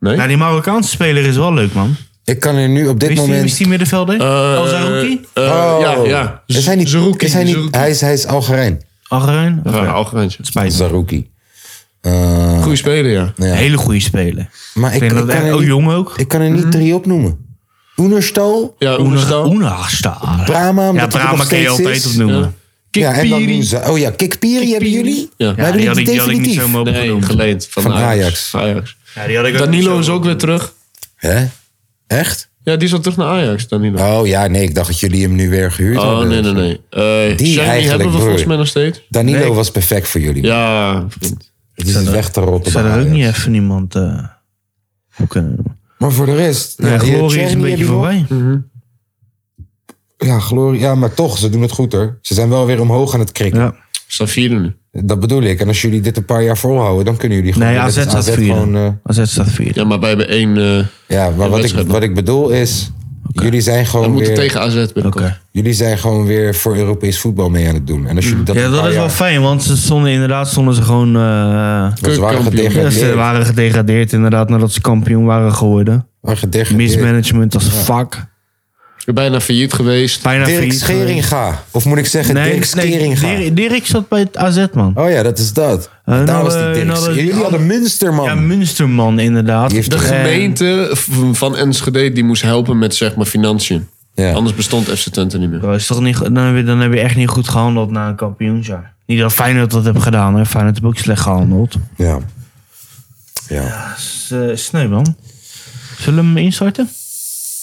[SPEAKER 3] Nee?
[SPEAKER 2] Nou, die Marokkaanse speler is wel leuk, man.
[SPEAKER 1] Ik kan er nu op dit
[SPEAKER 2] Wist je,
[SPEAKER 1] moment...
[SPEAKER 2] wist die middenvelder?
[SPEAKER 3] Eh,
[SPEAKER 2] Al Zarouki?
[SPEAKER 3] eh,
[SPEAKER 1] Oh.
[SPEAKER 3] Ja, ja.
[SPEAKER 1] Is hij niet...
[SPEAKER 3] Zerouki,
[SPEAKER 1] is hij, niet
[SPEAKER 3] Zerouki.
[SPEAKER 1] hij, is, hij is Algerijn.
[SPEAKER 2] Algerijn?
[SPEAKER 3] Ja,
[SPEAKER 2] Oké.
[SPEAKER 3] Algerijntje.
[SPEAKER 2] Spijt me.
[SPEAKER 1] Zarouki. Eh,
[SPEAKER 3] Goeie speler, ja.
[SPEAKER 1] ja.
[SPEAKER 2] Hele goede speler.
[SPEAKER 1] Maar ik,
[SPEAKER 2] Ik vind
[SPEAKER 1] ik kan
[SPEAKER 2] dat hij
[SPEAKER 1] er
[SPEAKER 2] ook
[SPEAKER 1] niet-
[SPEAKER 2] jong ook.
[SPEAKER 1] ik kan er niet drie opnoemen. Oenerstal,
[SPEAKER 3] Mhm. Ja, Oenerstal.
[SPEAKER 2] Oenagsta.
[SPEAKER 1] Brahma,
[SPEAKER 2] Ja,
[SPEAKER 1] omdat hij er
[SPEAKER 2] Brahma
[SPEAKER 1] nog
[SPEAKER 2] kan je
[SPEAKER 1] steeds
[SPEAKER 2] altijd
[SPEAKER 1] is.
[SPEAKER 3] Ja.
[SPEAKER 2] opnoemen.
[SPEAKER 1] Ja, en dan nu
[SPEAKER 3] Kikpiri.
[SPEAKER 1] Za- Oh ja, Kikpiri hebben jullie?
[SPEAKER 3] Ja.
[SPEAKER 1] Maar hebben
[SPEAKER 2] die
[SPEAKER 1] jullie
[SPEAKER 2] had ik, die had ik
[SPEAKER 1] definitief?
[SPEAKER 2] niet zomaar
[SPEAKER 3] Nee,
[SPEAKER 2] opgenomen.
[SPEAKER 3] geleend. Van,
[SPEAKER 1] Van
[SPEAKER 3] Ajax. Ajax.
[SPEAKER 2] Ja, die had ik ook niet
[SPEAKER 3] Danilo
[SPEAKER 2] zomaar
[SPEAKER 3] is ook weer terug.
[SPEAKER 1] Hè? Echt?
[SPEAKER 3] Ja, die is al terug naar Ajax, Danilo.
[SPEAKER 1] Oh ja, nee, ik dacht dat jullie hem nu weer gehuurd
[SPEAKER 3] Oh,
[SPEAKER 1] hadden.
[SPEAKER 3] nee, nee, nee.
[SPEAKER 1] Die
[SPEAKER 3] Eh die
[SPEAKER 1] eigenlijk,
[SPEAKER 3] hebben we
[SPEAKER 1] broer.
[SPEAKER 3] volgens mij nog steeds.
[SPEAKER 1] Danilo
[SPEAKER 2] Nee, ik-
[SPEAKER 1] was perfect voor jullie.
[SPEAKER 3] Ja, vriend.
[SPEAKER 1] Die is weg te rotten.
[SPEAKER 2] Zou
[SPEAKER 1] bij
[SPEAKER 2] er ook
[SPEAKER 1] Ajax.
[SPEAKER 2] niet even iemand eh, op kunnen noemen?
[SPEAKER 1] Maar voor de rest...
[SPEAKER 2] Ja,
[SPEAKER 1] ja, die
[SPEAKER 2] Glory is
[SPEAKER 1] Tjerni
[SPEAKER 2] een beetje
[SPEAKER 1] hebben we nog.
[SPEAKER 2] voorbij.
[SPEAKER 3] Mhm.
[SPEAKER 1] Ja, Glory. Ja, maar toch, ze doen het goed hoor. Ze zijn wel weer omhoog aan het krikken.
[SPEAKER 2] Ja.
[SPEAKER 3] Staan vierde nu.
[SPEAKER 1] Dat bedoel ik. En als jullie dit een paar jaar volhouden, dan kunnen jullie gewoon...
[SPEAKER 2] Nee,
[SPEAKER 1] net
[SPEAKER 2] AZ
[SPEAKER 1] als
[SPEAKER 2] staat
[SPEAKER 1] gewoon, eh,
[SPEAKER 2] vierde. AZ staat vierde.
[SPEAKER 3] Ja, maar wij hebben één... eh
[SPEAKER 1] ja, maar wat ik,
[SPEAKER 3] wedstrijd nog.
[SPEAKER 1] wat ik bedoel is... Jullie, zijn
[SPEAKER 3] we
[SPEAKER 1] gewoon
[SPEAKER 3] moeten
[SPEAKER 1] weer,
[SPEAKER 3] tegen AZ binnenkort.
[SPEAKER 2] Oké.
[SPEAKER 1] jullie zijn gewoon weer voor Europees voetbal mee aan het doen. En als
[SPEAKER 3] Mm.
[SPEAKER 1] jullie dat ah,
[SPEAKER 2] Ja,
[SPEAKER 1] een
[SPEAKER 2] dat
[SPEAKER 1] paar
[SPEAKER 2] is wel
[SPEAKER 1] jaar-
[SPEAKER 2] fijn, want ze stonden inderdaad stonden ze gewoon... eh,
[SPEAKER 1] Want ze waren
[SPEAKER 3] Keukenkampioen.
[SPEAKER 2] ja, ze
[SPEAKER 1] gedegradeerd.
[SPEAKER 2] waren gedegradeerd inderdaad nadat ze kampioen waren geworden.
[SPEAKER 1] Waren gedegradeerd.
[SPEAKER 2] Mismanagement als fuck.
[SPEAKER 3] Ik ben bijna failliet geweest.
[SPEAKER 2] Bijna
[SPEAKER 1] Dirk
[SPEAKER 2] failliet geweest.
[SPEAKER 1] Scheringa. Of moet ik zeggen Dirk Scheringa.
[SPEAKER 2] Dirk- Dirk zat bij het AZ, man.
[SPEAKER 1] Oh ja, dat is dat.
[SPEAKER 2] En
[SPEAKER 1] Daar
[SPEAKER 2] alle-
[SPEAKER 1] was die
[SPEAKER 2] en
[SPEAKER 1] Dirk.
[SPEAKER 2] alle-
[SPEAKER 1] Jullie hadden Münster, Oh, man.
[SPEAKER 2] Ja, Münsterman inderdaad.
[SPEAKER 1] Die heeft
[SPEAKER 3] De
[SPEAKER 1] En-
[SPEAKER 3] gemeente v- van Enschede die moest helpen met zeg maar financiën.
[SPEAKER 1] Ja.
[SPEAKER 3] Anders bestond FC Twente niet meer.
[SPEAKER 2] Bro, is toch niet, go- dan, heb je, dan heb je echt niet goed gehandeld na een kampioensjaar. Niet dat Feyenoord dat heeft gedaan, hè. Feyenoord heeft ook slecht gehandeld.
[SPEAKER 1] Ja. ja.
[SPEAKER 2] S- eh, Sneu, man. Zullen we hem instarten?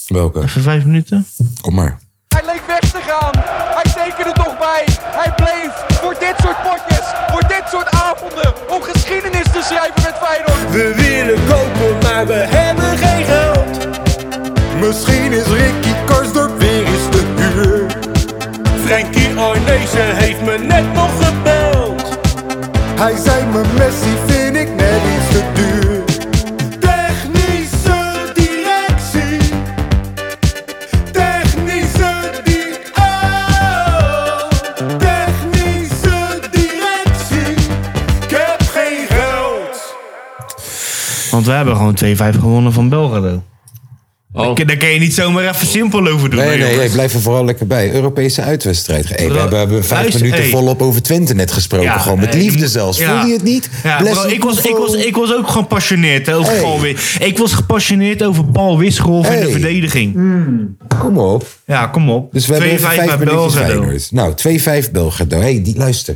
[SPEAKER 1] Welke?
[SPEAKER 2] Even vijf minuten?
[SPEAKER 1] Kom maar.
[SPEAKER 6] Hij leek weg te gaan. Hij tekende toch bij. Hij bleef voor dit soort potjes, voor dit soort avonden, om geschiedenis te schrijven met Feyenoord.
[SPEAKER 7] We willen kopen, maar we hebben geen geld. Misschien is Ricky Karsdorp weer eens te huur. Frankie Arnezen heeft me net nog gebeld.
[SPEAKER 8] Hij zei me Messi vind ik net iets te duur.
[SPEAKER 7] Technische directie. Technische di- oh. Technische directie. Ik heb geen geld.
[SPEAKER 2] Want we hebben gewoon 2-5 gewonnen van Belgrado.
[SPEAKER 3] Oh,
[SPEAKER 2] Daar kun je niet zomaar even simpel over doen.
[SPEAKER 1] Nee,
[SPEAKER 2] hè,
[SPEAKER 1] nee,
[SPEAKER 2] jongens.
[SPEAKER 1] ik blijf er vooral lekker bij. Europese uitwedstrijd. Hey, we
[SPEAKER 2] Bro,
[SPEAKER 1] hebben, we hebben vijf
[SPEAKER 2] luister,
[SPEAKER 1] minuten
[SPEAKER 2] hey.
[SPEAKER 1] volop over Twente net gesproken.
[SPEAKER 2] Ja,
[SPEAKER 1] gewoon met
[SPEAKER 2] nee,
[SPEAKER 1] liefde
[SPEAKER 2] je-
[SPEAKER 1] zelfs.
[SPEAKER 2] ja.
[SPEAKER 1] Voel je het niet?
[SPEAKER 2] Ja,
[SPEAKER 1] Bless
[SPEAKER 2] bro,
[SPEAKER 1] you,
[SPEAKER 2] ik, was, ik, was,
[SPEAKER 1] Koevo.
[SPEAKER 2] ik was ook gepassioneerd hè, over
[SPEAKER 1] Hey.
[SPEAKER 2] Paul Wi- Ik was gepassioneerd over Paul Wisgerhoff in
[SPEAKER 1] Hey.
[SPEAKER 2] de verdediging.
[SPEAKER 1] Kom op.
[SPEAKER 2] Ja, kom op.
[SPEAKER 1] Dus we hebben
[SPEAKER 2] 2-5
[SPEAKER 1] even vijf
[SPEAKER 2] bij
[SPEAKER 1] minuutjes
[SPEAKER 2] Belgrado.
[SPEAKER 1] Feyenoord. Nou, 2-5 Belgrado. hey, die, luister.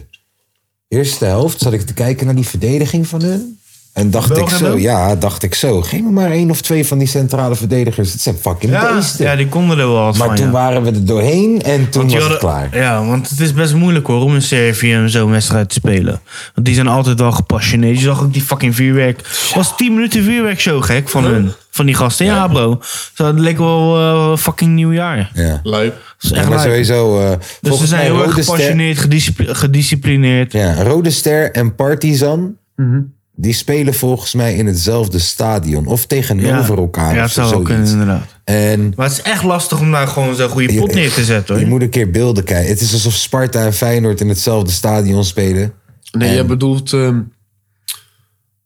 [SPEAKER 1] Eerste helft zat ik te kijken naar die verdediging van hun. En dacht ik
[SPEAKER 2] Belgrado?
[SPEAKER 1] zo, ja, dacht ik zo. Geef me maar één of twee van die centrale verdedigers. Het zijn fucking
[SPEAKER 2] Ja,
[SPEAKER 1] beesten.
[SPEAKER 2] ja, die konden er wel wat
[SPEAKER 1] maar
[SPEAKER 2] van,
[SPEAKER 1] toen
[SPEAKER 2] ja.
[SPEAKER 1] waren we er doorheen en toen was
[SPEAKER 2] Die
[SPEAKER 1] het
[SPEAKER 2] hadden-
[SPEAKER 1] klaar.
[SPEAKER 2] Ja, want het is best moeilijk hoor om in Servië en zo'n wedstrijd te spelen. Want die zijn altijd wel gepassioneerd. Je zag ook die fucking vuurwerk. Het was 10 minuten vuurwerkshow gek van hun. Van die gasten. Ja, bro. Zo, het leek wel eh, fucking nieuwjaar. Het
[SPEAKER 1] Ja.
[SPEAKER 3] Luip.
[SPEAKER 2] is
[SPEAKER 1] Ja,
[SPEAKER 2] echt
[SPEAKER 1] maar
[SPEAKER 2] leuk.
[SPEAKER 1] sowieso, eh
[SPEAKER 2] Dus ze
[SPEAKER 1] volgens
[SPEAKER 2] zijn
[SPEAKER 1] mij
[SPEAKER 2] heel erg
[SPEAKER 1] Rode Ster,
[SPEAKER 2] gepassioneerd, gediscipli- gedisciplineerd.
[SPEAKER 1] ja, Rode Ster en Partizan,
[SPEAKER 2] Mhm.
[SPEAKER 1] die spelen volgens mij in hetzelfde stadion. Of tegenover elkaar
[SPEAKER 2] Ja,
[SPEAKER 1] of
[SPEAKER 2] het zou
[SPEAKER 1] zo,
[SPEAKER 2] wel kunnen,
[SPEAKER 1] zoiets.
[SPEAKER 2] inderdaad.
[SPEAKER 1] En
[SPEAKER 2] Maar het is echt lastig om daar gewoon zo'n goede pot neer te zetten
[SPEAKER 1] Je
[SPEAKER 2] hoor.
[SPEAKER 1] moet een keer beelden kijken. Het is alsof Sparta en Feyenoord in hetzelfde stadion spelen.
[SPEAKER 3] Nee, jij bedoelt... ehm,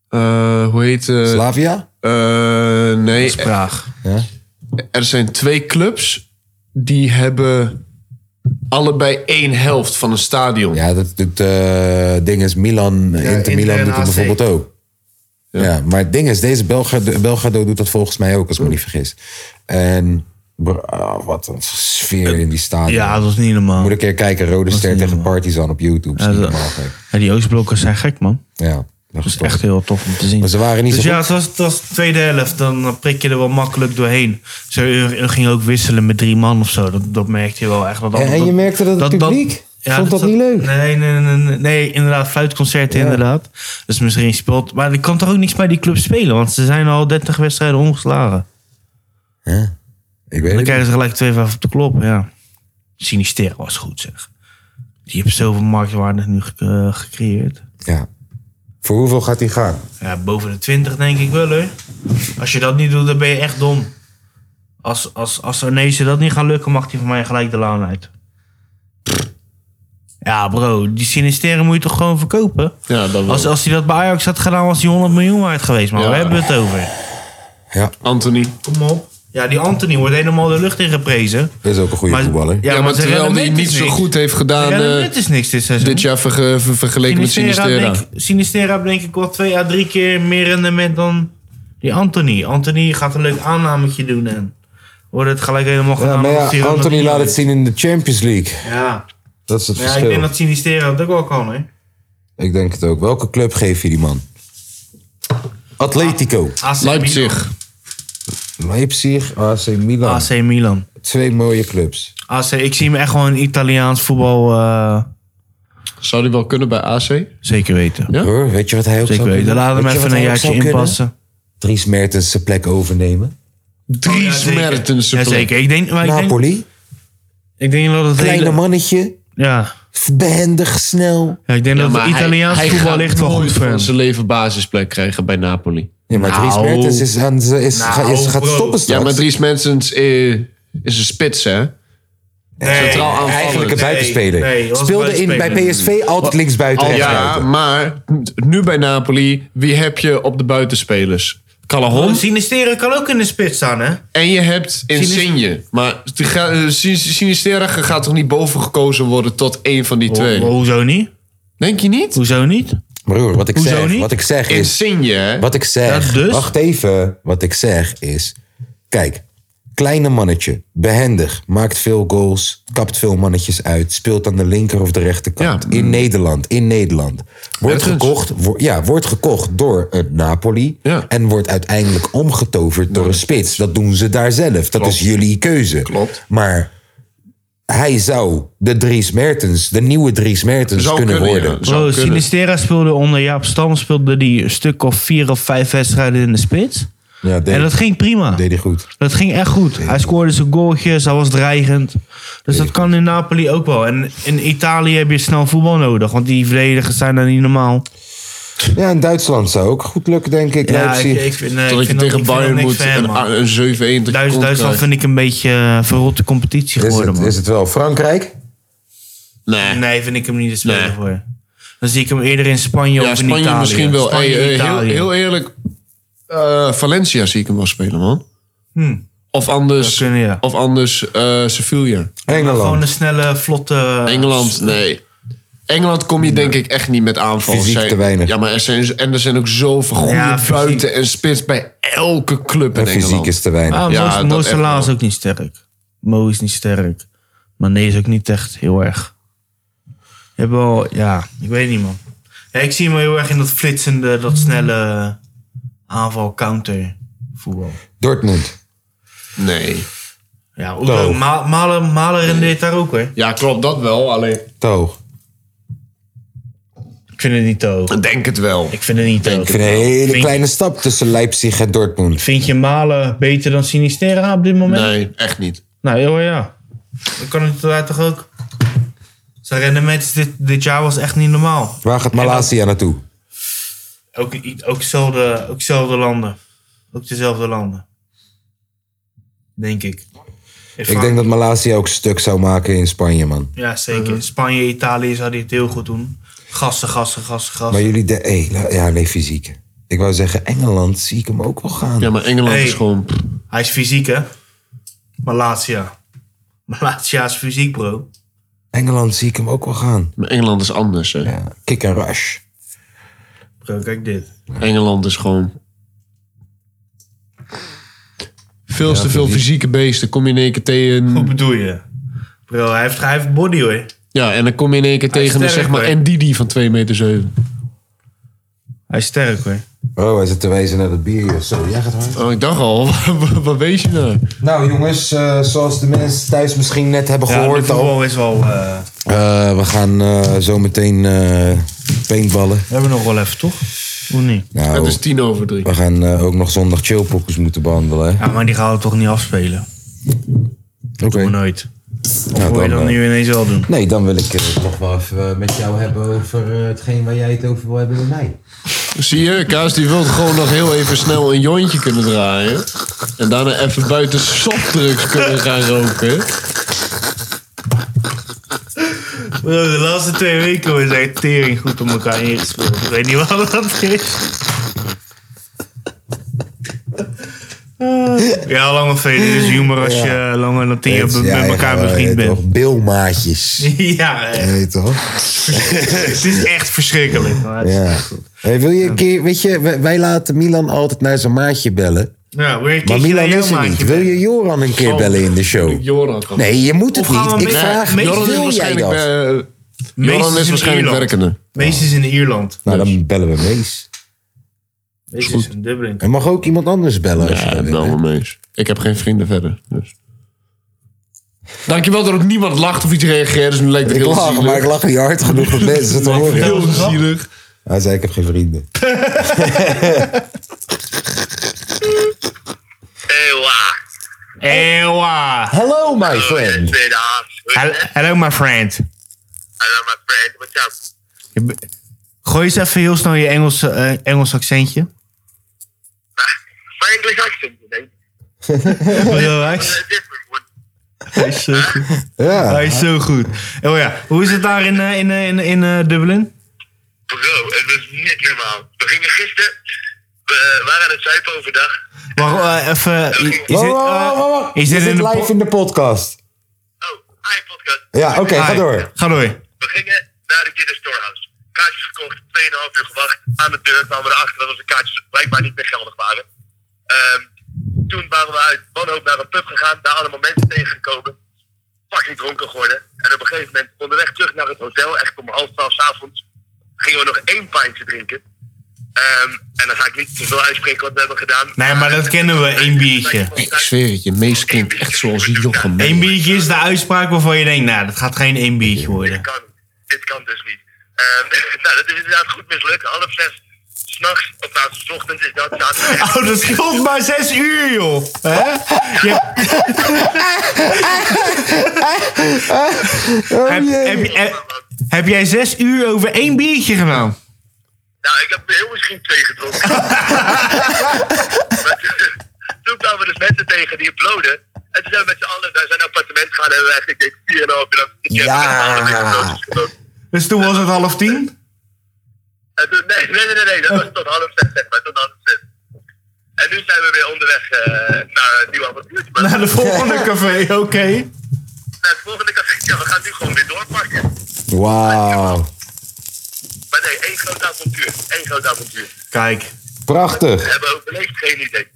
[SPEAKER 3] eh, hoe heet eh
[SPEAKER 1] Slavia?
[SPEAKER 3] eh, nee, er,
[SPEAKER 2] Praag.
[SPEAKER 3] er zijn twee clubs die hebben allebei één helft van een stadion.
[SPEAKER 1] Ja, dat doet eh ding is Milan, Inter
[SPEAKER 2] Inter
[SPEAKER 1] Milan
[SPEAKER 2] en
[SPEAKER 1] doet dat
[SPEAKER 2] AC.
[SPEAKER 1] bijvoorbeeld ook. Ja. maar het ding is, deze Belgado, Belgado doet dat volgens mij ook, als ik me niet vergis. En bro, ah, wat een sfeer in die stadion.
[SPEAKER 2] Ja, dat is niet normaal.
[SPEAKER 1] Moet een keer kijken, Rode Ster
[SPEAKER 2] niet
[SPEAKER 1] tegen
[SPEAKER 2] normaal.
[SPEAKER 1] Partizan op YouTube. Ja,
[SPEAKER 2] Ja,
[SPEAKER 1] dat...
[SPEAKER 2] dat- Ja, die Oostblokken zijn gek, man.
[SPEAKER 1] ja, dat is
[SPEAKER 2] Dat is
[SPEAKER 1] toch-
[SPEAKER 2] echt heel tof om te zien.
[SPEAKER 1] Maar ze waren niet
[SPEAKER 2] dus
[SPEAKER 1] zo
[SPEAKER 2] ja,
[SPEAKER 1] goed.
[SPEAKER 2] het was, het was de tweede helft. Dan prik je er wel makkelijk doorheen. Ze er ging ook wisselen met drie man of zo. Dat, dat merkte je wel echt. Dat,
[SPEAKER 1] En- en je merkte dat het publiek vond dat niet leuk.
[SPEAKER 2] Nee, nee, nee, nee, nee, inderdaad. Fluitconcerten, inderdaad. Dus misschien speelt... Maar er kan toch ook niks bij die club spelen? Want ze zijn al 30 wedstrijden ongeslagen.
[SPEAKER 1] Ik weet
[SPEAKER 2] En
[SPEAKER 1] het
[SPEAKER 2] dan
[SPEAKER 1] niet.
[SPEAKER 2] krijgen ze gelijk twee vijf op de klop, ja. Sinister was goed, zeg. Die heeft zoveel marktwaarde nu ge- eh, gecreëerd.
[SPEAKER 1] Ja. Voor hoeveel gaat hij gaan?
[SPEAKER 2] Ja, boven de 20 denk ik wel, hè. Als je dat niet doet, dan ben je echt dom. Als, als, als Arnezen dat niet gaat lukken, mag hij van mij gelijk de laan uit. Ja, bro, die Sinisteren moet je toch gewoon verkopen?
[SPEAKER 3] Ja, dat wel.
[SPEAKER 2] Als, als hij dat bij Ajax had gedaan, was hij 100 miljoen waard geweest, man.
[SPEAKER 3] Ja.
[SPEAKER 2] Waar hebben we het over?
[SPEAKER 3] Anthony.
[SPEAKER 2] Kom op. Ja, die Anthony wordt helemaal de lucht in geprezen.
[SPEAKER 1] Is ook een goede
[SPEAKER 2] Maar-
[SPEAKER 1] voetballer.
[SPEAKER 3] Ja, maar
[SPEAKER 2] ze
[SPEAKER 3] terwijl
[SPEAKER 2] rendement
[SPEAKER 3] hij niet
[SPEAKER 2] is
[SPEAKER 3] zo
[SPEAKER 2] niks.
[SPEAKER 3] goed heeft gedaan
[SPEAKER 2] Ja,
[SPEAKER 3] eh,
[SPEAKER 2] dat is niks dit seizoen.
[SPEAKER 3] dit jaar verge- ver- vergeleken met Sinistera.
[SPEAKER 2] denk, Sinistera heeft denk ik wel twee à drie keer meer rendement dan die Anthony. Anthony gaat een leuk aannametje doen en wordt het gelijk helemaal
[SPEAKER 1] Ja,
[SPEAKER 2] gedaan.
[SPEAKER 1] maar
[SPEAKER 2] omdat hij
[SPEAKER 1] ja,
[SPEAKER 2] er nog
[SPEAKER 1] Anthony
[SPEAKER 2] niet
[SPEAKER 1] laat
[SPEAKER 2] uit
[SPEAKER 1] het
[SPEAKER 2] is.
[SPEAKER 1] zien in de Champions League.
[SPEAKER 2] Ja.
[SPEAKER 1] Dat is het
[SPEAKER 2] ja, ik
[SPEAKER 1] verschil.
[SPEAKER 2] denk dat Sinistera dat ook wel kan, hè.
[SPEAKER 1] Ik denk het ook. Welke club geef je die man? Atletico.
[SPEAKER 2] AC
[SPEAKER 3] Leipzig.
[SPEAKER 1] Leipzig, AC Milan.
[SPEAKER 2] Milan. AC Milan.
[SPEAKER 1] Twee mooie clubs.
[SPEAKER 2] AC, ik zie hem echt gewoon Italiaans voetbal eh,
[SPEAKER 3] Zou die wel kunnen bij AC?
[SPEAKER 2] zeker weten.
[SPEAKER 3] Ja?
[SPEAKER 1] Hoor, weet je wat hij ook
[SPEAKER 2] Zeker
[SPEAKER 1] zou kunnen?
[SPEAKER 2] weten. Laat hem
[SPEAKER 1] Weet je
[SPEAKER 2] even
[SPEAKER 1] wat
[SPEAKER 2] een
[SPEAKER 1] hij ook
[SPEAKER 2] jaartje
[SPEAKER 1] zou kunnen?
[SPEAKER 2] inpassen.
[SPEAKER 1] Dries Mertens zijn plek overnemen.
[SPEAKER 3] Drie
[SPEAKER 2] Oh, Ja, zeker.
[SPEAKER 3] smerten.
[SPEAKER 2] Ja, zeker. Ik denk, maar ik denk,
[SPEAKER 1] Napoli,
[SPEAKER 2] ik denk dat het
[SPEAKER 1] kleine
[SPEAKER 2] hele-
[SPEAKER 1] mannetje,
[SPEAKER 2] ja.
[SPEAKER 1] behendig, snel.
[SPEAKER 2] ja, ik denk dat het Italiaans voetbal ligt wel goed voor hem.
[SPEAKER 3] zijn leven basisplek krijgen bij Napoli.
[SPEAKER 1] Ja, maar Dries
[SPEAKER 2] Nou.
[SPEAKER 1] Mertens is aan, ze is, ga- is, gaat
[SPEAKER 2] bro.
[SPEAKER 1] stoppen straks.
[SPEAKER 3] Ja, maar Dries Mertens eh, is een spits, hè? Centraal aanvallend.
[SPEAKER 1] Eigenlijk een
[SPEAKER 2] Nee,
[SPEAKER 1] buitenspeler.
[SPEAKER 2] nee, was
[SPEAKER 1] Speelde in,
[SPEAKER 2] buitenspeler.
[SPEAKER 1] bij PSV altijd linksbuiten.
[SPEAKER 3] Al-
[SPEAKER 1] rechts
[SPEAKER 3] ja,
[SPEAKER 1] buiten.
[SPEAKER 3] maar nu bij Napoli, wie heb je op de buitenspelers? Calahon.
[SPEAKER 2] Sinisteren Oh, kan ook in de spits staan, hè?
[SPEAKER 3] En je hebt Insigne. Maar die ga- eh, Sin- Sinistera gaat toch niet boven gekozen worden tot één van die
[SPEAKER 2] Ho-
[SPEAKER 3] twee?
[SPEAKER 2] Oh, hoezo niet?
[SPEAKER 3] Denk je niet?
[SPEAKER 2] Hoezo niet?
[SPEAKER 1] Broer, wat ik
[SPEAKER 2] Hoezo
[SPEAKER 1] zeg,
[SPEAKER 2] niet?
[SPEAKER 1] wat ik zeg is...
[SPEAKER 3] Insigne, hè?
[SPEAKER 1] Wat ik zeg,
[SPEAKER 2] Ja, dus?
[SPEAKER 1] wacht even. Wat ik zeg is, kijk, kleine mannetje, behendig, maakt veel goals, kapt veel mannetjes uit, speelt aan de linker of de rechterkant.
[SPEAKER 3] Ja.
[SPEAKER 1] In Nederland, in Nederland. Wordt
[SPEAKER 3] Ergens.
[SPEAKER 1] gekocht, wo- ja, wordt gekocht door het Napoli
[SPEAKER 3] Ja.
[SPEAKER 1] en wordt uiteindelijk omgetoverd door een spits. Dat doen ze daar zelf. Dat is jullie keuze.
[SPEAKER 3] Klopt.
[SPEAKER 1] Maar hij zou de Dries Mertens, de nieuwe Dries Mertens
[SPEAKER 3] Zou
[SPEAKER 1] kunnen,
[SPEAKER 3] kunnen,
[SPEAKER 1] worden.
[SPEAKER 3] ja. Zou
[SPEAKER 2] Bro,
[SPEAKER 3] kunnen.
[SPEAKER 2] Oh, Sinistera speelde onder Jaap Stam speelde die een stuk of vier of vijf wedstrijden in de spits.
[SPEAKER 1] Ja, deed,
[SPEAKER 2] En dat ging prima.
[SPEAKER 1] deed hij goed.
[SPEAKER 2] Dat ging echt goed. Hij scoorde zijn goaltjes, hij was dreigend. Dus dat kan in Napoli ook wel. En in Italië heb je snel voetbal nodig, want die verdedigers zijn daar niet normaal.
[SPEAKER 1] Ja, in Duitsland zou ook goed lukken, denk ik.
[SPEAKER 2] Ja,
[SPEAKER 1] Leipzig.
[SPEAKER 2] ik, ik vind, nee,
[SPEAKER 3] Totdat
[SPEAKER 2] ik vind dat-
[SPEAKER 3] je tegen
[SPEAKER 2] ik vind dat
[SPEAKER 3] Bayern
[SPEAKER 2] niks
[SPEAKER 3] moet
[SPEAKER 2] van hem,
[SPEAKER 3] een,
[SPEAKER 2] man.
[SPEAKER 3] een 7-1 dat je
[SPEAKER 2] Duits-
[SPEAKER 3] kont
[SPEAKER 2] Duitsland
[SPEAKER 3] krijgt.
[SPEAKER 2] vind ik een beetje eh, verrotte competitie
[SPEAKER 1] Is
[SPEAKER 2] geworden,
[SPEAKER 1] het,
[SPEAKER 2] man.
[SPEAKER 1] is het wel Frankrijk?
[SPEAKER 3] Nee.
[SPEAKER 2] Nee, vind ik hem niet de speler
[SPEAKER 3] Nee.
[SPEAKER 2] voor. Dan zie ik hem eerder in Spanje
[SPEAKER 3] Ja,
[SPEAKER 2] of in
[SPEAKER 3] Spanje
[SPEAKER 2] Italië.
[SPEAKER 3] misschien wel.
[SPEAKER 2] Spanje,
[SPEAKER 3] Hey, eh, heel,
[SPEAKER 2] Italië.
[SPEAKER 3] heel eerlijk, eh, Valencia zie ik hem wel spelen, man. Of anders,
[SPEAKER 2] Zou Hm. kunnen, ja.
[SPEAKER 3] of anders eh, Sevilla.
[SPEAKER 2] Gewoon een
[SPEAKER 1] Engeland. Eh,
[SPEAKER 2] snelle, vlotte...
[SPEAKER 3] Engeland, nee. Engeland kom je denk ik echt niet met aanval.
[SPEAKER 1] Fysiek
[SPEAKER 3] Zij-
[SPEAKER 1] te weinig.
[SPEAKER 3] Ja, maar er zijn, en er zijn ook zoveel goede
[SPEAKER 2] Ja, fysiek.
[SPEAKER 3] buiten en spits bij elke club in
[SPEAKER 1] En fysiek
[SPEAKER 3] Engeland.
[SPEAKER 1] is te weinig.
[SPEAKER 2] Ah,
[SPEAKER 3] Ja,
[SPEAKER 2] Mo,
[SPEAKER 3] dat
[SPEAKER 2] Mo
[SPEAKER 3] echt
[SPEAKER 2] Salah
[SPEAKER 3] wel.
[SPEAKER 2] is ook niet sterk. Mo is niet sterk. Maar nee is ook niet echt heel erg. Je hebt wel... Ja, ik weet niet, man. Ja, ik zie hem heel erg in dat flitsende, dat snelle aanval-counter voetbal.
[SPEAKER 1] Dortmund.
[SPEAKER 3] Nee.
[SPEAKER 2] Ja, Oedo,
[SPEAKER 1] Toch.
[SPEAKER 2] Ma- Malen, Malen rendeert daar ook, hè?
[SPEAKER 3] Ja, klopt, dat wel. Alleen,
[SPEAKER 1] Toog.
[SPEAKER 2] Ik vind het niet te hoog.
[SPEAKER 3] ik denk het wel.
[SPEAKER 2] Ik vind het niet te hoog.
[SPEAKER 1] Ik vind een hele
[SPEAKER 2] Vind-
[SPEAKER 1] kleine stap tussen Leipzig en Dortmund.
[SPEAKER 2] Vind je Malen beter dan Sinistera op dit moment?
[SPEAKER 3] Nee, echt niet.
[SPEAKER 2] Nou, heel ja. Dat kan het daar toch ook? Zijn rendement dit, dit jaar was echt niet normaal.
[SPEAKER 1] Waar gaat Malasia naartoe?
[SPEAKER 2] Ook, ook, dezelfde, ook dezelfde landen. Ook dezelfde landen. Denk ik.
[SPEAKER 1] Ik denk dat Eh. Malasia ook stuk zou maken in Spanje, man.
[SPEAKER 2] Ja, zeker. Spanje, Italië zou die het heel goed doen. Gassen, gassen, gassen, gassen.
[SPEAKER 1] Maar jullie... De hey, la- ja, eh, nee, fysiek. Ik wou zeggen, Engeland zie ik hem ook wel gaan.
[SPEAKER 3] Ja, maar Engeland
[SPEAKER 2] Hey.
[SPEAKER 3] is gewoon...
[SPEAKER 2] Hij is fysiek, hè? Malatia. Malatia is fysiek, bro.
[SPEAKER 1] Engeland zie ik hem ook wel gaan.
[SPEAKER 3] maar Engeland is anders, hè.
[SPEAKER 1] Ja, kick en rush.
[SPEAKER 2] Bro, kijk dit.
[SPEAKER 1] Hm.
[SPEAKER 3] Engeland is gewoon... Veel te veel fysieke beesten. Kom je in één keer
[SPEAKER 2] Hoe
[SPEAKER 3] tegen...
[SPEAKER 2] bedoel je? Bro, hij heeft, hij heeft body, hoor.
[SPEAKER 3] Ja, en dan kom je in één keer
[SPEAKER 2] Hij is
[SPEAKER 3] tegen een,
[SPEAKER 2] sterk,
[SPEAKER 3] zeg maar,
[SPEAKER 2] hoor.
[SPEAKER 3] Ndidi van 2,7 meter.
[SPEAKER 2] Hij is sterk, hoor.
[SPEAKER 1] Oh, hij zit te wijzen naar dat bier. of Zo, jij gaat hard.
[SPEAKER 3] Oh, ik dacht al, wat weet je nou?
[SPEAKER 1] Nou jongens, eh, zoals de mensen thuis misschien net hebben
[SPEAKER 2] Ja, de
[SPEAKER 1] gehoord al.
[SPEAKER 2] voetbal is wel... eh,
[SPEAKER 1] eh, we gaan eh, zo meteen eh paintballen.
[SPEAKER 2] we hebben nog wel even, toch? Hoe niet?
[SPEAKER 3] Het
[SPEAKER 1] Nou,
[SPEAKER 3] is tien over drie.
[SPEAKER 1] we gaan eh, ook nog zondag chillpokkers moeten behandelen. hè?
[SPEAKER 2] Ja, maar die gaan we toch niet afspelen?
[SPEAKER 1] Oké.
[SPEAKER 2] Maar nooit. Of
[SPEAKER 1] Nou,
[SPEAKER 2] wil je
[SPEAKER 1] dan,
[SPEAKER 2] dat
[SPEAKER 1] eh,
[SPEAKER 2] nu ineens wel doen?
[SPEAKER 1] Nee, dan wil ik het nog wel even eh, met jou hebben over eh, hetgeen waar jij het over wil hebben met mij.
[SPEAKER 3] Zie je, Kaas die wil gewoon nog heel even snel een jointje kunnen draaien. En daarna even buiten softdrugs kunnen gaan roken.
[SPEAKER 1] Oh.
[SPEAKER 2] Bro, de laatste twee weken we zijn tering goed op elkaar ingespeeld. Ik weet niet wat dat is. Ah. Ja, lange veden is humor als je eh, langer dan tien jaar
[SPEAKER 1] Het-
[SPEAKER 2] met
[SPEAKER 1] ja,
[SPEAKER 2] elkaar
[SPEAKER 1] ja,
[SPEAKER 2] bevriend
[SPEAKER 1] ja,
[SPEAKER 2] bent.
[SPEAKER 1] Toch, bilmaatjes.
[SPEAKER 2] Ja,
[SPEAKER 1] Je
[SPEAKER 2] eh,
[SPEAKER 1] Weet toch?
[SPEAKER 2] het is echt verschrikkelijk. maar het is-
[SPEAKER 1] Ja. Hey, wil je een keer, weet je, wij, wij laten Milan altijd naar zijn maatje bellen.
[SPEAKER 2] Ja, wil je Nou, een
[SPEAKER 1] Maar
[SPEAKER 2] keertje naar
[SPEAKER 1] Milan
[SPEAKER 2] jouw
[SPEAKER 1] is er niet.
[SPEAKER 2] maatje
[SPEAKER 1] Wil
[SPEAKER 2] bellen?
[SPEAKER 1] je Joran een keer
[SPEAKER 3] Oh.
[SPEAKER 1] bellen in de show?
[SPEAKER 3] Joran kan.
[SPEAKER 1] Nee, je moet het
[SPEAKER 2] Of gaan we
[SPEAKER 1] niet. Ik
[SPEAKER 2] met-
[SPEAKER 1] vraag,
[SPEAKER 2] met-
[SPEAKER 1] wil
[SPEAKER 3] Joran is
[SPEAKER 1] jij
[SPEAKER 3] waarschijnlijk,
[SPEAKER 1] dat?
[SPEAKER 3] eh,
[SPEAKER 2] Mees
[SPEAKER 3] Joran is
[SPEAKER 2] in
[SPEAKER 3] waarschijnlijk
[SPEAKER 2] Ierland.
[SPEAKER 3] werkende.
[SPEAKER 2] Mees is in Ierland.
[SPEAKER 1] Nou, dan bellen we Mees.
[SPEAKER 2] Mees is in Dublin.
[SPEAKER 1] Er mag ook iemand anders bellen als je
[SPEAKER 3] Ja,
[SPEAKER 1] dat wil.
[SPEAKER 3] bel me mees. Ik heb geen vrienden verder. Dus. Dankjewel dat ook niemand lacht of iets reageert. Dus nu lijkt het
[SPEAKER 1] Ik
[SPEAKER 3] heel
[SPEAKER 1] lach,
[SPEAKER 3] zielig.
[SPEAKER 1] maar ik lach niet hard genoeg dat mensen het horen.
[SPEAKER 3] Heel zielig.
[SPEAKER 1] Hij zei, ik heb geen vrienden.
[SPEAKER 4] Ewa.
[SPEAKER 2] Ewa.
[SPEAKER 1] Hello, my friend.
[SPEAKER 4] Tweede haas.
[SPEAKER 2] Hel- Hello, my friend.
[SPEAKER 4] Hallo, my friend. What's up?
[SPEAKER 2] Je be- Gooi eens even heel snel je Engels, eh, Engels accentje.
[SPEAKER 4] My English accent, you know.
[SPEAKER 2] Hij
[SPEAKER 4] It's
[SPEAKER 2] is-
[SPEAKER 4] a different one.
[SPEAKER 2] hij is zo goed.
[SPEAKER 1] Ja.
[SPEAKER 2] Hij is zo goed. Oh ja, hoe is het daar in, eh, in, eh, in, in eh, Dublin?
[SPEAKER 4] Bro, het was niet normaal. We gingen gisteren... We waren aan het zuipen overdag.
[SPEAKER 2] Wacht, eh, even. Is dit, eh,
[SPEAKER 1] Wacht, wacht, wacht, wacht, wacht.
[SPEAKER 2] is dit in de po-
[SPEAKER 1] live in de podcast?
[SPEAKER 4] Oh, hi, podcast.
[SPEAKER 1] Ja, oké, ga
[SPEAKER 2] Hi.
[SPEAKER 1] door.
[SPEAKER 2] Ga door.
[SPEAKER 4] We gingen naar de Guinness Storehouse. Kaartjes gekocht, 2,5 uur gewacht. Aan de deur kwamen we erachter dat onze kaartjes blijkbaar niet meer geldig waren. Ehm, toen waren we uit wanhoop naar een pub gegaan, daar allemaal mensen tegengekomen. Fucking dronken geworden. En op een gegeven moment, onderweg terug naar het hotel, echt om half twaalf 's avonds, gingen we nog één pintje drinken. Ehm, en dan ga ik niet te veel uitspreken wat we hebben gedaan.
[SPEAKER 2] Nee, maar dat kennen we, één biertje.
[SPEAKER 3] Ik zweer het je, mees klinkt echt zoals Jochem.
[SPEAKER 2] Eén biertje is de uitspraak waarvan je denkt, nou, dat gaat geen één biertje worden.
[SPEAKER 4] Dit kan, dit kan dus niet. Ehm, nou, dat is inderdaad goed mislukt. Half zes, s'nachts, of nou, 's ochtends is dat, zaterdag.
[SPEAKER 2] Oh, dat scheelt maar zes uur, joh. Hè? Je-
[SPEAKER 1] Oh,
[SPEAKER 2] heb, heb, heb, heb jij zes uur over één biertje gedaan?
[SPEAKER 4] Nou, ik heb heel misschien twee gedronken. Maar toen- toen kwamen we dus mensen tegen die uploaden. En toen zijn we met z'n allen naar zijn appartement gegaan en hebben we eigenlijk denk ik, 4,5 uur lang. Ik heb
[SPEAKER 1] Ja.
[SPEAKER 4] met z'n allen met uploaders gedronken.
[SPEAKER 2] Dus toen was het half tien?
[SPEAKER 4] En toen- Nee, nee, nee, nee, nee, dat was tot half zes, zeg maar, tot half zes. En nu zijn we weer onderweg eh naar een nieuw avontuur. Maar
[SPEAKER 2] Naar de volgende café, oké.
[SPEAKER 4] naar het volgende café, ja, we gaan nu gewoon weer doorpakken.
[SPEAKER 1] Wauw.
[SPEAKER 4] Maar nee, één groot avontuur. Eén groot avontuur.
[SPEAKER 2] Kijk.
[SPEAKER 4] We
[SPEAKER 1] Prachtig.
[SPEAKER 4] hebben overleefd, geen idee.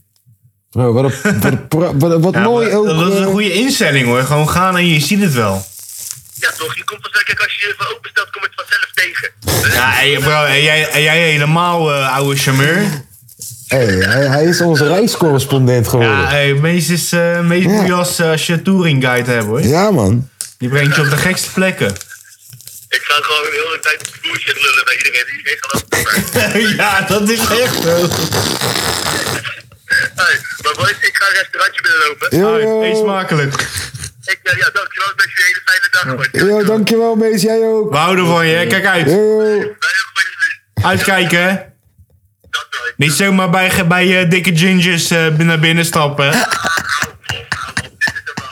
[SPEAKER 1] Bro, wat, een- wat, een pra- wat, wat mooi
[SPEAKER 2] maar
[SPEAKER 1] ook.
[SPEAKER 2] Dat is
[SPEAKER 1] eh,
[SPEAKER 2] een goede instelling hoor. Gewoon gaan en je ziet het wel.
[SPEAKER 4] Ja toch, je komt vanzelf, kijk als je je ervoor openstelt, kom je het vanzelf tegen. Eh,
[SPEAKER 2] Ja, en je- bro, en jij, en jij helemaal eh, oude charmeur.
[SPEAKER 1] hey, hij, hij is onze reiscorrespondent
[SPEAKER 2] Ja,
[SPEAKER 1] geworden.
[SPEAKER 2] hey, Mees is eh Mees
[SPEAKER 1] Ja.
[SPEAKER 2] doe je als, eh, als je touring guide hebt hoor.
[SPEAKER 1] Ja, man.
[SPEAKER 2] Die brengt je op de gekste plekken.
[SPEAKER 4] Ik ga gewoon de hele tijd bullshit lullen bij iedereen die geen geloof heeft.
[SPEAKER 2] ja, dat is echt zo.
[SPEAKER 4] Hey, maar boys, ik ga een restaurantje binnenlopen.
[SPEAKER 1] Yo,
[SPEAKER 2] Hey, Eet
[SPEAKER 1] yo.
[SPEAKER 2] smakelijk.
[SPEAKER 4] Ik, eh, ja, dankjewel. Ik wens jullie een hele fijne dag, man.
[SPEAKER 1] Yo, dankjewel, Mees. Jij ook.
[SPEAKER 2] We houden van je, hè. kijk uit.
[SPEAKER 1] Yo, yo.
[SPEAKER 4] Wij hebben van jullie.
[SPEAKER 2] Uitkijken. hè.
[SPEAKER 4] Dag, hoor.
[SPEAKER 2] Niet zomaar bij, ge- bij eh, dikke gingers eh, bin- naar binnen stappen. hè.
[SPEAKER 4] Dit is een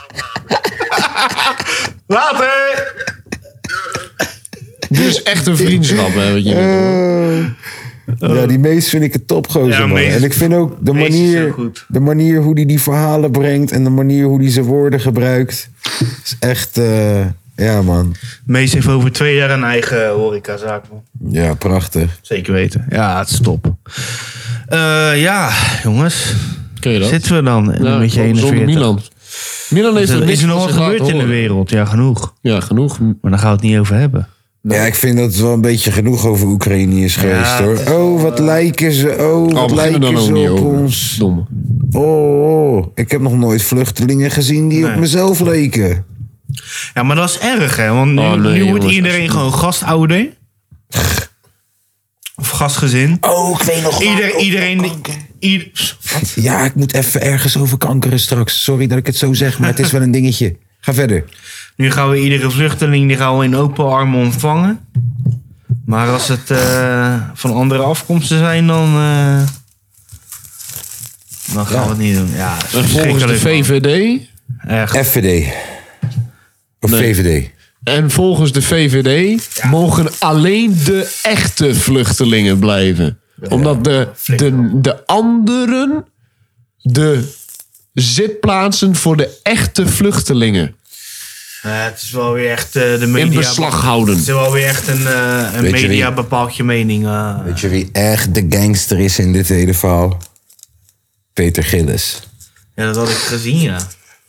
[SPEAKER 4] verhaal.
[SPEAKER 2] Later!
[SPEAKER 3] Dus echt een vriendschap, hè, wat je
[SPEAKER 1] Eh, Ja, die meest vind ik het topgozer.
[SPEAKER 2] Ja,
[SPEAKER 1] man.
[SPEAKER 2] Mees-
[SPEAKER 1] en ik vind ook de
[SPEAKER 2] Mees is heel
[SPEAKER 1] manier,
[SPEAKER 2] goed.
[SPEAKER 1] de manier hoe hij die verhalen brengt en de manier hoe hij zijn woorden gebruikt. Is echt, eh, ja man.
[SPEAKER 2] Mees heeft over twee jaar een eigen horecazaak, man.
[SPEAKER 1] Ja, prachtig.
[SPEAKER 2] Zeker weten. Ja, het is top. Eh, ja, jongens.
[SPEAKER 3] Kun je dat?
[SPEAKER 2] Zitten we dan in
[SPEAKER 3] Ja,
[SPEAKER 2] een beetje
[SPEAKER 3] zonder
[SPEAKER 2] 41?
[SPEAKER 3] Milan. Milan heeft
[SPEAKER 2] Is er,
[SPEAKER 3] niks
[SPEAKER 2] is er nog
[SPEAKER 3] van
[SPEAKER 2] wat
[SPEAKER 3] zich laten
[SPEAKER 2] gebeurd in de
[SPEAKER 3] horen.
[SPEAKER 2] wereld? Ja, genoeg.
[SPEAKER 3] Ja,
[SPEAKER 1] Oh,
[SPEAKER 3] genoeg.
[SPEAKER 2] Maar daar gaan we het niet over hebben.
[SPEAKER 1] Ja, ik vind dat het wel een beetje genoeg over Oekraïne is geweest hoor. oh, wat
[SPEAKER 2] eh,
[SPEAKER 1] lijken ze. Oh,
[SPEAKER 3] Al
[SPEAKER 1] wat
[SPEAKER 3] beginnen
[SPEAKER 1] lijken
[SPEAKER 3] dan ook niet
[SPEAKER 1] ze op
[SPEAKER 3] over.
[SPEAKER 1] ons.
[SPEAKER 3] Domme.
[SPEAKER 1] Oh, oh, ik heb nog nooit vluchtelingen gezien die op mezelf leken.
[SPEAKER 2] Ja, maar dat is erg, hè? Want nu,
[SPEAKER 3] Oh, nee,
[SPEAKER 2] nu wordt
[SPEAKER 3] jongens,
[SPEAKER 2] iedereen
[SPEAKER 3] alsjeblieft.
[SPEAKER 2] gewoon gastouder. Of gastgezin.
[SPEAKER 1] Oh, ik weet nog
[SPEAKER 2] Ieder, iedereen. Ieder,
[SPEAKER 1] Ja, ik moet even ergens over kankeren straks. Sorry dat ik het zo zeg, maar het is wel een dingetje. Ga verder.
[SPEAKER 2] nu gaan we iedere vluchteling die gaan we in open armen ontvangen. Maar als het eh, van andere afkomsten zijn, dan. eh, dan gaan we het niet doen. Ja, dat is
[SPEAKER 3] En volgens de
[SPEAKER 2] verschrikkelijk, man.
[SPEAKER 3] VVD...
[SPEAKER 2] Echt.
[SPEAKER 1] FVD. Of VVD.
[SPEAKER 3] En volgens de VVD mogen alleen de echte vluchtelingen blijven. Omdat de, de, de anderen de zitplaatsen voor de echte vluchtelingen
[SPEAKER 2] Eh, het is wel weer echt eh, de media.
[SPEAKER 3] in beslag houden.
[SPEAKER 2] Het is wel weer echt een, eh, een
[SPEAKER 1] Weet je
[SPEAKER 2] media
[SPEAKER 1] wie-
[SPEAKER 2] bepaalt je mening. eh.
[SPEAKER 1] Weet je wie echt de gangster is in dit hele verhaal? Peter Gillis.
[SPEAKER 2] ja, dat had ik gezien, ja.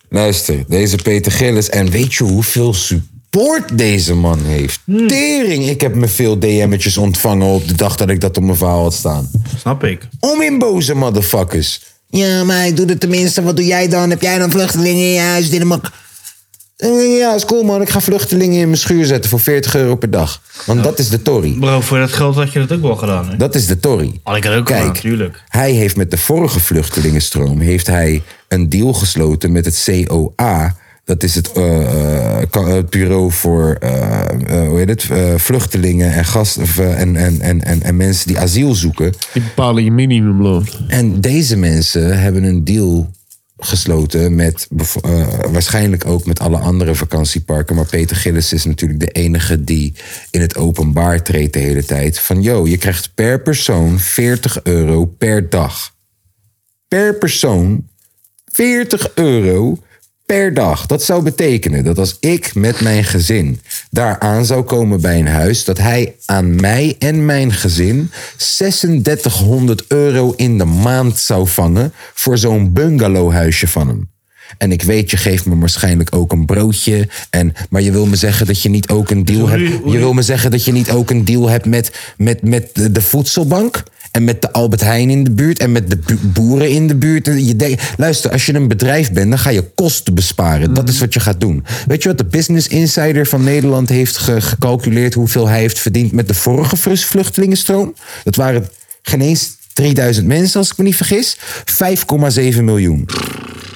[SPEAKER 1] Luister, deze Peter Gillis. En weet je hoeveel support deze man heeft? Tering, ik heb me veel DM'tjes ontvangen op de dag dat ik dat op mijn verhaal had staan.
[SPEAKER 2] Snap ik.
[SPEAKER 1] Om in boze motherfuckers. Ja, maar ik doe het tenminste. Wat doe jij dan? Heb jij dan vluchtelingen in je huis? Dit en mak. Eh, Ja, is cool man. Ik ga vluchtelingen in mijn schuur zetten voor 40 euro per dag. Want dat is de Tory.
[SPEAKER 2] Bro, voor dat geld had je dat ook wel gedaan, hè?
[SPEAKER 1] Dat is de Tory.
[SPEAKER 2] Had Oh, ik dat ook gedaan,
[SPEAKER 1] Kijk,
[SPEAKER 2] natuurlijk.
[SPEAKER 1] hij heeft met de vorige vluchtelingenstroom heeft hij een deal gesloten met het COA. Dat is het, eh, eh, ka- het bureau voor eh, eh, hoe heet het? Eh, vluchtelingen en, gast, of, eh, en, en, en, en, en mensen die asiel zoeken.
[SPEAKER 3] Die bepalen je minimumloon.
[SPEAKER 1] En deze mensen hebben een deal gesloten met bevo- eh, waarschijnlijk ook met alle andere vakantieparken. Maar Peter Gillis is natuurlijk de enige die in het openbaar treedt de hele tijd. Van yo, je krijgt per persoon 40 euro per dag. Per persoon 40 euro per dag. Dat zou betekenen dat als ik met mijn gezin daar aan zou komen bij een huis, dat hij aan mij en mijn gezin 3600 euro in de maand zou vangen voor zo'n bungalowhuisje van hem. En ik weet, je geeft me waarschijnlijk ook een broodje. En, maar je wil me zeggen dat je niet ook een deal hebt. Je wil me zeggen dat je niet ook een deal hebt met, met, met de, de voedselbank. En met de Albert Heijn in de buurt. En met de bu- boeren in de buurt. En Je denkt, luister, als je een bedrijf bent, dan ga je kosten besparen. Dat is wat je gaat doen. Weet je wat de Business Insider van Nederland heeft ge- gecalculeerd hoeveel hij heeft verdiend met de vorige vlus- vluchtelingenstroom? Dat waren geen eens 3000 mensen, als ik me niet vergis. 5,7 miljoen.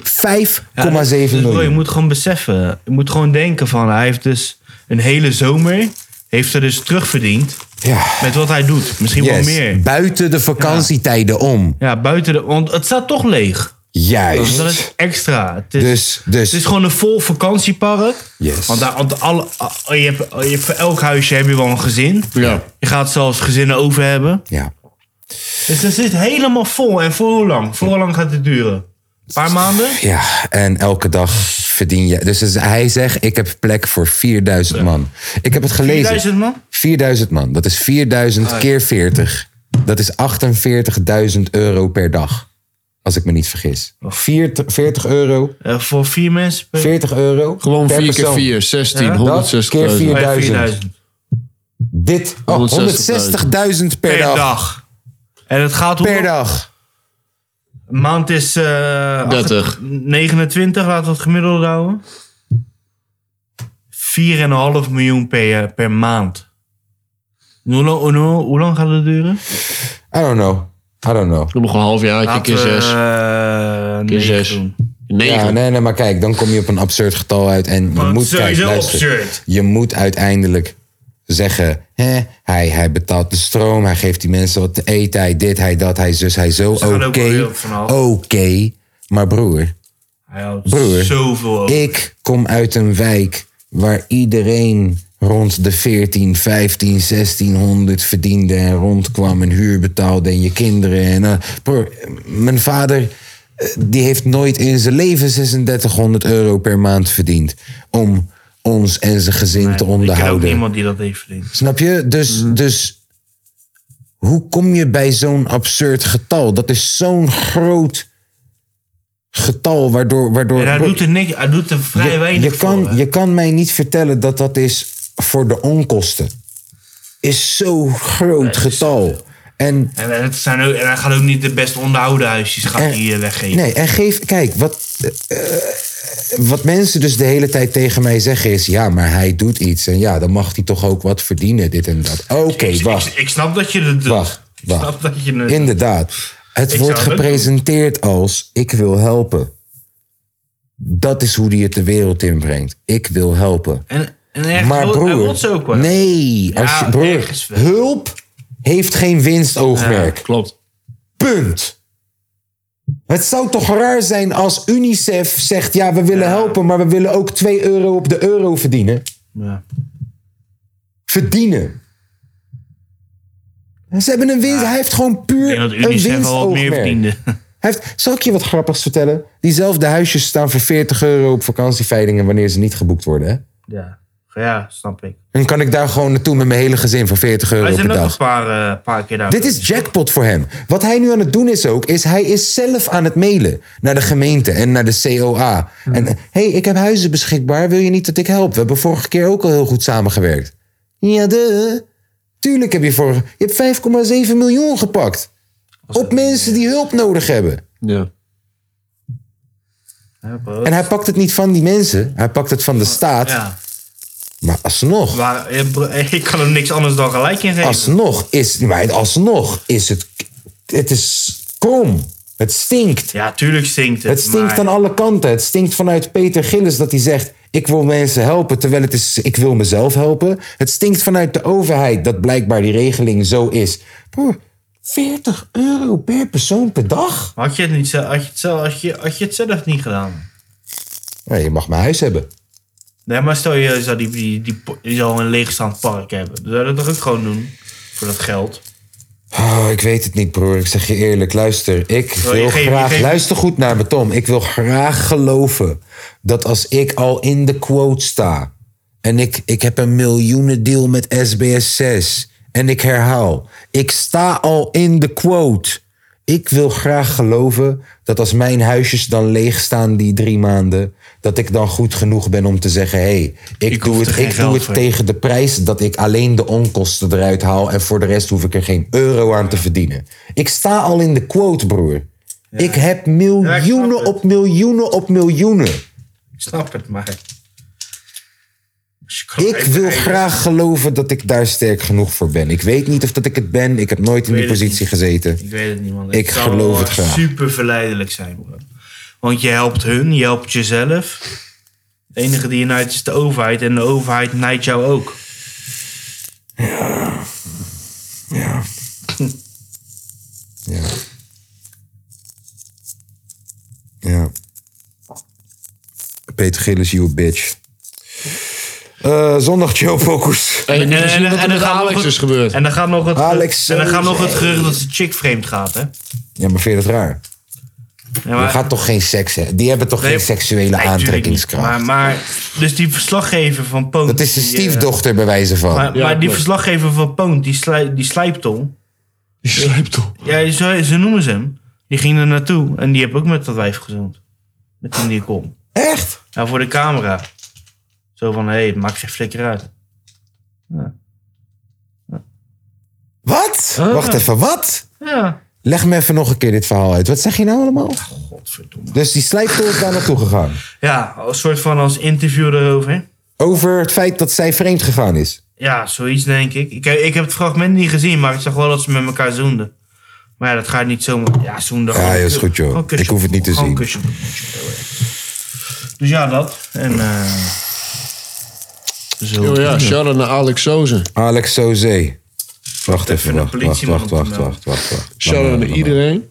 [SPEAKER 1] 5,7
[SPEAKER 2] Ja, dus- dus bro, Je
[SPEAKER 1] miljoen.
[SPEAKER 2] moet gewoon beseffen. Je moet gewoon denken van, hij heeft dus een hele zomer... heeft er dus terugverdiend
[SPEAKER 1] Ja.
[SPEAKER 2] met wat hij doet. Misschien
[SPEAKER 1] Yes.
[SPEAKER 2] wel meer.
[SPEAKER 1] Buiten de vakantietijden om.
[SPEAKER 2] Ja, buiten de... Want het staat toch leeg. Dus
[SPEAKER 1] Juist.
[SPEAKER 2] dat is extra. Het is,
[SPEAKER 1] Dus, dus.
[SPEAKER 2] het is gewoon een vol vakantiepark.
[SPEAKER 1] Yes.
[SPEAKER 2] Want, daar, want alle, eh, je hebt, je hebt, voor elk huisje heb je wel een gezin.
[SPEAKER 3] Ja.
[SPEAKER 2] Je gaat zelfs gezinnen over hebben.
[SPEAKER 1] Ja.
[SPEAKER 2] Dus het zit helemaal vol. En voor hoe lang? Voor hoe lang gaat het duren? Een paar maanden?
[SPEAKER 1] Ja, en elke dag verdien je. Dus het is- hij zegt: Ik heb plek voor 4000 man. Ik heb het gelezen.
[SPEAKER 2] 4000 man?
[SPEAKER 1] 4000 man. Dat is
[SPEAKER 2] Ah,
[SPEAKER 1] 4000 keer 40. Dat is 48.000 euro per dag. Als ik me niet vergis.
[SPEAKER 2] Oh.
[SPEAKER 1] 40, 40 euro.
[SPEAKER 2] Eh, voor vier mensen per
[SPEAKER 1] 40 euro.
[SPEAKER 3] Gewoon
[SPEAKER 1] per
[SPEAKER 3] 4 keer
[SPEAKER 1] persoon.
[SPEAKER 3] 4, 16,
[SPEAKER 2] Ja.
[SPEAKER 1] Dat keer
[SPEAKER 3] 160.000.
[SPEAKER 1] vier.
[SPEAKER 2] bij
[SPEAKER 1] 4000.
[SPEAKER 2] 4000
[SPEAKER 1] Dit. Oh, 160.000 per,
[SPEAKER 2] per
[SPEAKER 1] dag.
[SPEAKER 2] dag. En het gaat om.
[SPEAKER 1] Per dag.
[SPEAKER 2] Een maand is. eh
[SPEAKER 3] 30.
[SPEAKER 2] 29, laten we het gemiddelde houden. 4,5 miljoen per, eh, per maand. En Hoe lang, hoe, lang- hoe lang gaat het duren?
[SPEAKER 1] I don't know. I don't know.
[SPEAKER 3] Nog een half jaar, keer 6.
[SPEAKER 2] we, eh,
[SPEAKER 3] Keer
[SPEAKER 2] negen
[SPEAKER 3] 6.
[SPEAKER 2] doen.
[SPEAKER 3] 9.
[SPEAKER 1] Ja, nee, nee, maar kijk, dan kom je op een absurd getal uit. En je
[SPEAKER 2] Want
[SPEAKER 1] moet, kijk,
[SPEAKER 2] sowieso
[SPEAKER 1] luister,
[SPEAKER 2] absurd.
[SPEAKER 1] je moet uiteindelijk zeggen... Hè, hij, hij betaalt de stroom, hij geeft die mensen wat te eten... hij dit, hij dat, hij zus, hij zo.
[SPEAKER 2] gaan
[SPEAKER 1] Oké,
[SPEAKER 2] ook wel heel
[SPEAKER 1] oké.
[SPEAKER 2] vanaf.
[SPEAKER 1] maar broer,
[SPEAKER 2] Hij houdt
[SPEAKER 1] Broer,
[SPEAKER 2] zoveel over.
[SPEAKER 1] ik kom uit een wijk waar iedereen rond de 14, 15, 1600 verdiende en rondkwam en huur betaalde en je kinderen. En, eh, broer, mijn vader eh, die heeft nooit in zijn leven 3600 euro per maand verdiend om ons en zijn gezin te
[SPEAKER 2] Ik ken ook
[SPEAKER 1] onderhouden.
[SPEAKER 2] niemand Mm. die dat heeft verdiend.
[SPEAKER 1] Snap je? Dus, dus hoe kom je bij zo'n absurd getal? Dat is zo'n groot getal waardoor... waardoor
[SPEAKER 2] En hij doet er, niks, hij doet er vrij
[SPEAKER 1] je,
[SPEAKER 2] weinig
[SPEAKER 1] je, kan,
[SPEAKER 2] voor. hè?
[SPEAKER 1] je kan mij niet vertellen dat dat is voor de onkosten. Is zo'n groot getal. En,
[SPEAKER 2] En, het zijn ook, en hij gaat ook niet de best onderhouden huisjes gaat
[SPEAKER 1] en-
[SPEAKER 2] hij eh, weggeven.
[SPEAKER 1] nee, en geef, kijk, wat, eh, wat mensen dus de hele tijd tegen mij zeggen is: ja, maar hij doet iets. En ja, dan mag hij toch ook wat verdienen, dit en dat. Oké,
[SPEAKER 2] Dus Ik-
[SPEAKER 1] wacht.
[SPEAKER 2] Ik, ik snap dat je het doet.
[SPEAKER 1] Wacht,
[SPEAKER 2] Ik
[SPEAKER 1] wacht.
[SPEAKER 2] snap dat je het
[SPEAKER 1] Inderdaad. Het
[SPEAKER 2] Ik
[SPEAKER 1] wordt
[SPEAKER 2] zou het ook
[SPEAKER 1] gepresenteerd als ik wil helpen. Dat is hoe die het de wereld inbrengt. Ik wil helpen.
[SPEAKER 2] En, en hij
[SPEAKER 1] maar
[SPEAKER 2] rot- hij
[SPEAKER 1] broer,
[SPEAKER 2] rotst ook wel.
[SPEAKER 1] nee, als
[SPEAKER 2] Ja,
[SPEAKER 1] je, broer,
[SPEAKER 2] ergens wel.
[SPEAKER 1] hulp heeft geen winstoogmerk.
[SPEAKER 3] Klopt.
[SPEAKER 1] Punt. Het zou toch raar zijn als UNICEF zegt: ja, we willen helpen, maar we willen ook 2 euro op de euro verdienen.
[SPEAKER 2] Ja.
[SPEAKER 1] Verdienen. Ze hebben een winst. Hij heeft gewoon puur
[SPEAKER 2] Ik denk dat
[SPEAKER 1] een
[SPEAKER 2] UNICEF al wat meer
[SPEAKER 1] winstoogmerk.
[SPEAKER 2] verdiende.
[SPEAKER 1] Hij heeft, zal ik je wat grappigs vertellen? Diezelfde huisjes staan voor 40 euro op vakantieveilingen wanneer ze niet geboekt worden. Hè?
[SPEAKER 2] Ja. ja, snap ik.
[SPEAKER 1] Dan kan ik daar gewoon naartoe met mijn hele gezin voor 40 euro
[SPEAKER 2] Wij
[SPEAKER 1] per
[SPEAKER 2] zijn ook een
[SPEAKER 1] dag.
[SPEAKER 2] paar, eh, paar keer daar.
[SPEAKER 1] Dit is jackpot voor hem. Wat hij nu aan het doen is ook, is hij is zelf aan het mailen naar de gemeente en naar de COA.
[SPEAKER 2] Hmm.
[SPEAKER 1] En hé, hey, ik heb huizen beschikbaar, wil je niet dat ik help? We hebben vorige keer ook al heel goed samengewerkt. Ja, de. Tuurlijk heb je vorige. Je hebt 5,7 miljoen gepakt. Op mensen die hulp nodig hebben.
[SPEAKER 3] Ja.
[SPEAKER 2] Ja,
[SPEAKER 1] En hij pakt het niet van die mensen, hij pakt het van de staat.
[SPEAKER 2] Ja.
[SPEAKER 1] Maar alsnog,
[SPEAKER 2] Maar eh, bro- ik kan hem niks anders dan gelijk in geven.
[SPEAKER 1] alsnog is, maar alsnog is het, het is krom. Het stinkt.
[SPEAKER 2] Ja, tuurlijk stinkt het.
[SPEAKER 1] Het stinkt
[SPEAKER 2] maar-
[SPEAKER 1] aan alle kanten. Het stinkt vanuit Peter Gillis dat hij zegt: Ik wil mensen helpen, terwijl het is: Ik wil mezelf helpen. Het stinkt vanuit de overheid dat blijkbaar die regeling zo is. Broer, 40 euro per persoon per dag?
[SPEAKER 2] Had je het, niet, zelf- had je het, zelf, had je, had je het zelf niet gedaan?
[SPEAKER 1] Nou, je mag mijn huis hebben.
[SPEAKER 2] Nee, maar stel je zou, die, die, die, je zou een leegstaand park hebben. Dan zou je dat toch ook gewoon doen? Voor dat geld.
[SPEAKER 1] Oh, ik weet het niet, broer. Ik zeg je eerlijk, luister. Ik
[SPEAKER 2] je
[SPEAKER 1] wil
[SPEAKER 2] geeft- je
[SPEAKER 1] graag.
[SPEAKER 2] geeft-
[SPEAKER 1] Luister goed naar me, Tom. Ik wil graag geloven dat als ik al in de quote sta. en ik, ik heb een miljoenendeal met SBS6. en ik herhaal, ik sta al in de quote. Ik wil graag geloven dat als mijn huisjes dan leeg staan die drie maanden. dat ik dan goed genoeg ben om te zeggen: hé, hey, ik,
[SPEAKER 2] Ik hoef
[SPEAKER 1] doe
[SPEAKER 2] er
[SPEAKER 1] het,
[SPEAKER 2] geen
[SPEAKER 1] ik doe
[SPEAKER 2] geld
[SPEAKER 1] het
[SPEAKER 2] voor.
[SPEAKER 1] tegen tegen de prijs dat ik alleen de onkosten eruit haal en voor de rest hoef ik er geen euro aan te verdienen. Ik sta al in de quote, broer. Ik heb miljoenen
[SPEAKER 2] het.
[SPEAKER 1] op miljoenen op miljoenen.
[SPEAKER 2] Ik snap het, maar... Als je kan
[SPEAKER 1] Ik
[SPEAKER 2] even-
[SPEAKER 1] wil graag geloven dat ik daar sterk genoeg voor ben. Ik weet niet of dat ik het ben. Ik heb nooit in die
[SPEAKER 2] weet het
[SPEAKER 1] positie
[SPEAKER 2] niet.
[SPEAKER 1] gezeten.
[SPEAKER 2] Ik weet het niet, man.
[SPEAKER 1] Ik
[SPEAKER 2] zou
[SPEAKER 1] geloof
[SPEAKER 2] wel
[SPEAKER 1] het graag.
[SPEAKER 2] super verleidelijk zijn, bro. Want je helpt hun, je helpt jezelf. De enige die je nijdt is de overheid. En de overheid nijdt jou ook.
[SPEAKER 1] Ja. Ja. Peter Gillis, you a bitch. Eh, zondag Joe Focus.
[SPEAKER 3] En, en, en,
[SPEAKER 2] en- en-
[SPEAKER 3] wat er
[SPEAKER 2] en
[SPEAKER 3] met
[SPEAKER 2] dan gaan we
[SPEAKER 3] Alex
[SPEAKER 2] nog-
[SPEAKER 3] is gebeurd.
[SPEAKER 2] En dan gaat nog het,
[SPEAKER 1] Alex,
[SPEAKER 2] en dan gaat
[SPEAKER 1] eh,
[SPEAKER 2] nog het gerucht dat ze chick vreemd gaat, hè?
[SPEAKER 1] Ja, maar vind je dat raar?
[SPEAKER 2] Ja,
[SPEAKER 1] Je
[SPEAKER 2] maar-
[SPEAKER 1] gaat toch geen seks hebben? Die hebben toch
[SPEAKER 2] Nee,
[SPEAKER 1] geen seksuele
[SPEAKER 2] nee,
[SPEAKER 1] aantrekkingskracht?
[SPEAKER 2] tuurlijk niet. Maar, maar, dus die verslaggever van Poont...
[SPEAKER 1] Dat is de
[SPEAKER 2] die, eh,
[SPEAKER 1] stiefdochter bij wijze van.
[SPEAKER 2] maar,
[SPEAKER 3] Ja,
[SPEAKER 2] maar die
[SPEAKER 3] klopt.
[SPEAKER 2] verslaggever van Poont, die, slij, die slijptol...
[SPEAKER 3] Die slijpt op.
[SPEAKER 2] Ja, zo, ze noemen ze hem. Die ging er naartoe en die heb ook met dat wijf gezoend. Met die die kom.
[SPEAKER 1] Echt?
[SPEAKER 2] Ja, voor de camera. Zo van, hé, hey, het maakt geen flikker uit.
[SPEAKER 1] Wat? Wacht even, wat?
[SPEAKER 2] Ah. Ja.
[SPEAKER 1] Leg me even nog een keer dit verhaal uit. Wat zeg je nou allemaal?
[SPEAKER 2] Godverdomme.
[SPEAKER 1] Dus die slijptol is daar naartoe gegaan.
[SPEAKER 2] Ja, een soort van als interview erover.
[SPEAKER 1] Over het feit dat zij vreemd gegaan is.
[SPEAKER 2] Ja, zoiets denk ik. ik. Ik heb het fragment niet gezien, maar ik zag wel dat ze met elkaar zoenden. Maar ja, dat gaat niet zomaar. Ja, zoenden.
[SPEAKER 1] Ja, ja, is goed, joh.
[SPEAKER 2] Gewoon kusje
[SPEAKER 1] Ik hoef het niet te
[SPEAKER 2] gewoon
[SPEAKER 1] zien.
[SPEAKER 2] kusje op het mondje, joh, hè. Dus ja, dat. En eh zo.
[SPEAKER 3] Oh ja, shout-out naar Alex Sozen.
[SPEAKER 1] Alex Soze. Wacht
[SPEAKER 2] Even
[SPEAKER 1] even,
[SPEAKER 2] de
[SPEAKER 1] wacht, wacht,
[SPEAKER 2] politieman
[SPEAKER 1] wacht, wacht,
[SPEAKER 2] opmelden.
[SPEAKER 1] wacht, wacht, wacht.
[SPEAKER 3] Shout-out
[SPEAKER 1] Wacht,
[SPEAKER 3] naar
[SPEAKER 1] wacht,
[SPEAKER 3] iedereen.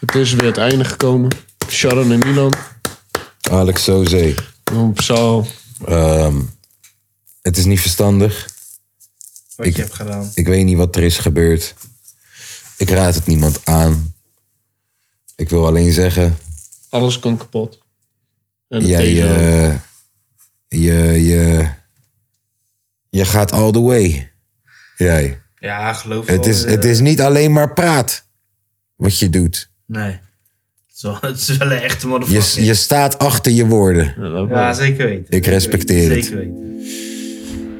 [SPEAKER 3] Het is weer het einde gekomen. Shout-out naar Milan.
[SPEAKER 1] wacht. Alex Soze.
[SPEAKER 3] Op Saal.
[SPEAKER 1] Ehm, Het is niet verstandig.
[SPEAKER 2] Wat
[SPEAKER 1] Ik-
[SPEAKER 2] je hebt gedaan.
[SPEAKER 1] Ik weet niet wat er is gebeurd. Ik raad het niemand aan. Ik wil alleen zeggen,
[SPEAKER 3] Alles kan kapot. En het
[SPEAKER 1] jij,
[SPEAKER 3] tegendeel.
[SPEAKER 1] eh, je, je, je gaat all the way. Jij.
[SPEAKER 2] Ja, geloof eh,
[SPEAKER 1] Het is, het is niet alleen maar praat wat je doet.
[SPEAKER 2] Nee. Het is wel, het is wel een echte
[SPEAKER 1] Je,
[SPEAKER 2] motherfucker.
[SPEAKER 1] je staat achter je woorden.
[SPEAKER 3] Ja, dat wel.
[SPEAKER 2] Ja, zeker weten.
[SPEAKER 1] Ik respecteer
[SPEAKER 2] Zeker
[SPEAKER 1] het.
[SPEAKER 2] Zeker weten.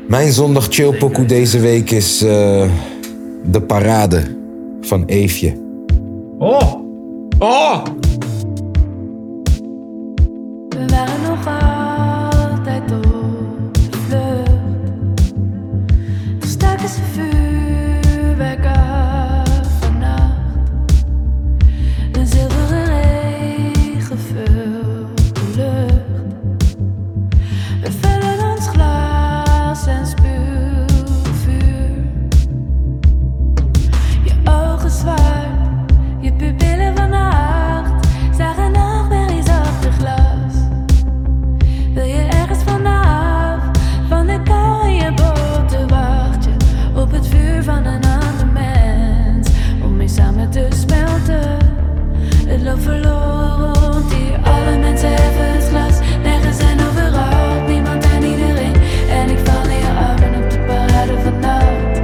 [SPEAKER 1] Mijn zondag chillpokoe deze week is eh, de parade van Eefje.
[SPEAKER 2] Oh! Oh!
[SPEAKER 9] We waren nog altijd op de vlucht. Nog Staken ze vuurwerk af vannacht. Een zilveren regen vult de lucht. We vullen ons glas en spuwen vuur. Je ogen zwart, je pupillen van nacht. Zagen nog weer eens achter glas. Wil je ergens vanaf, van de kou in je boten wacht je op het vuur van een ander mens. Om mee samen te smelten, het loopt verloren rond hier. Alle mensen hebben het glas, nergens en overal, niemand en iedereen. En ik val in je armen op de parade van nacht.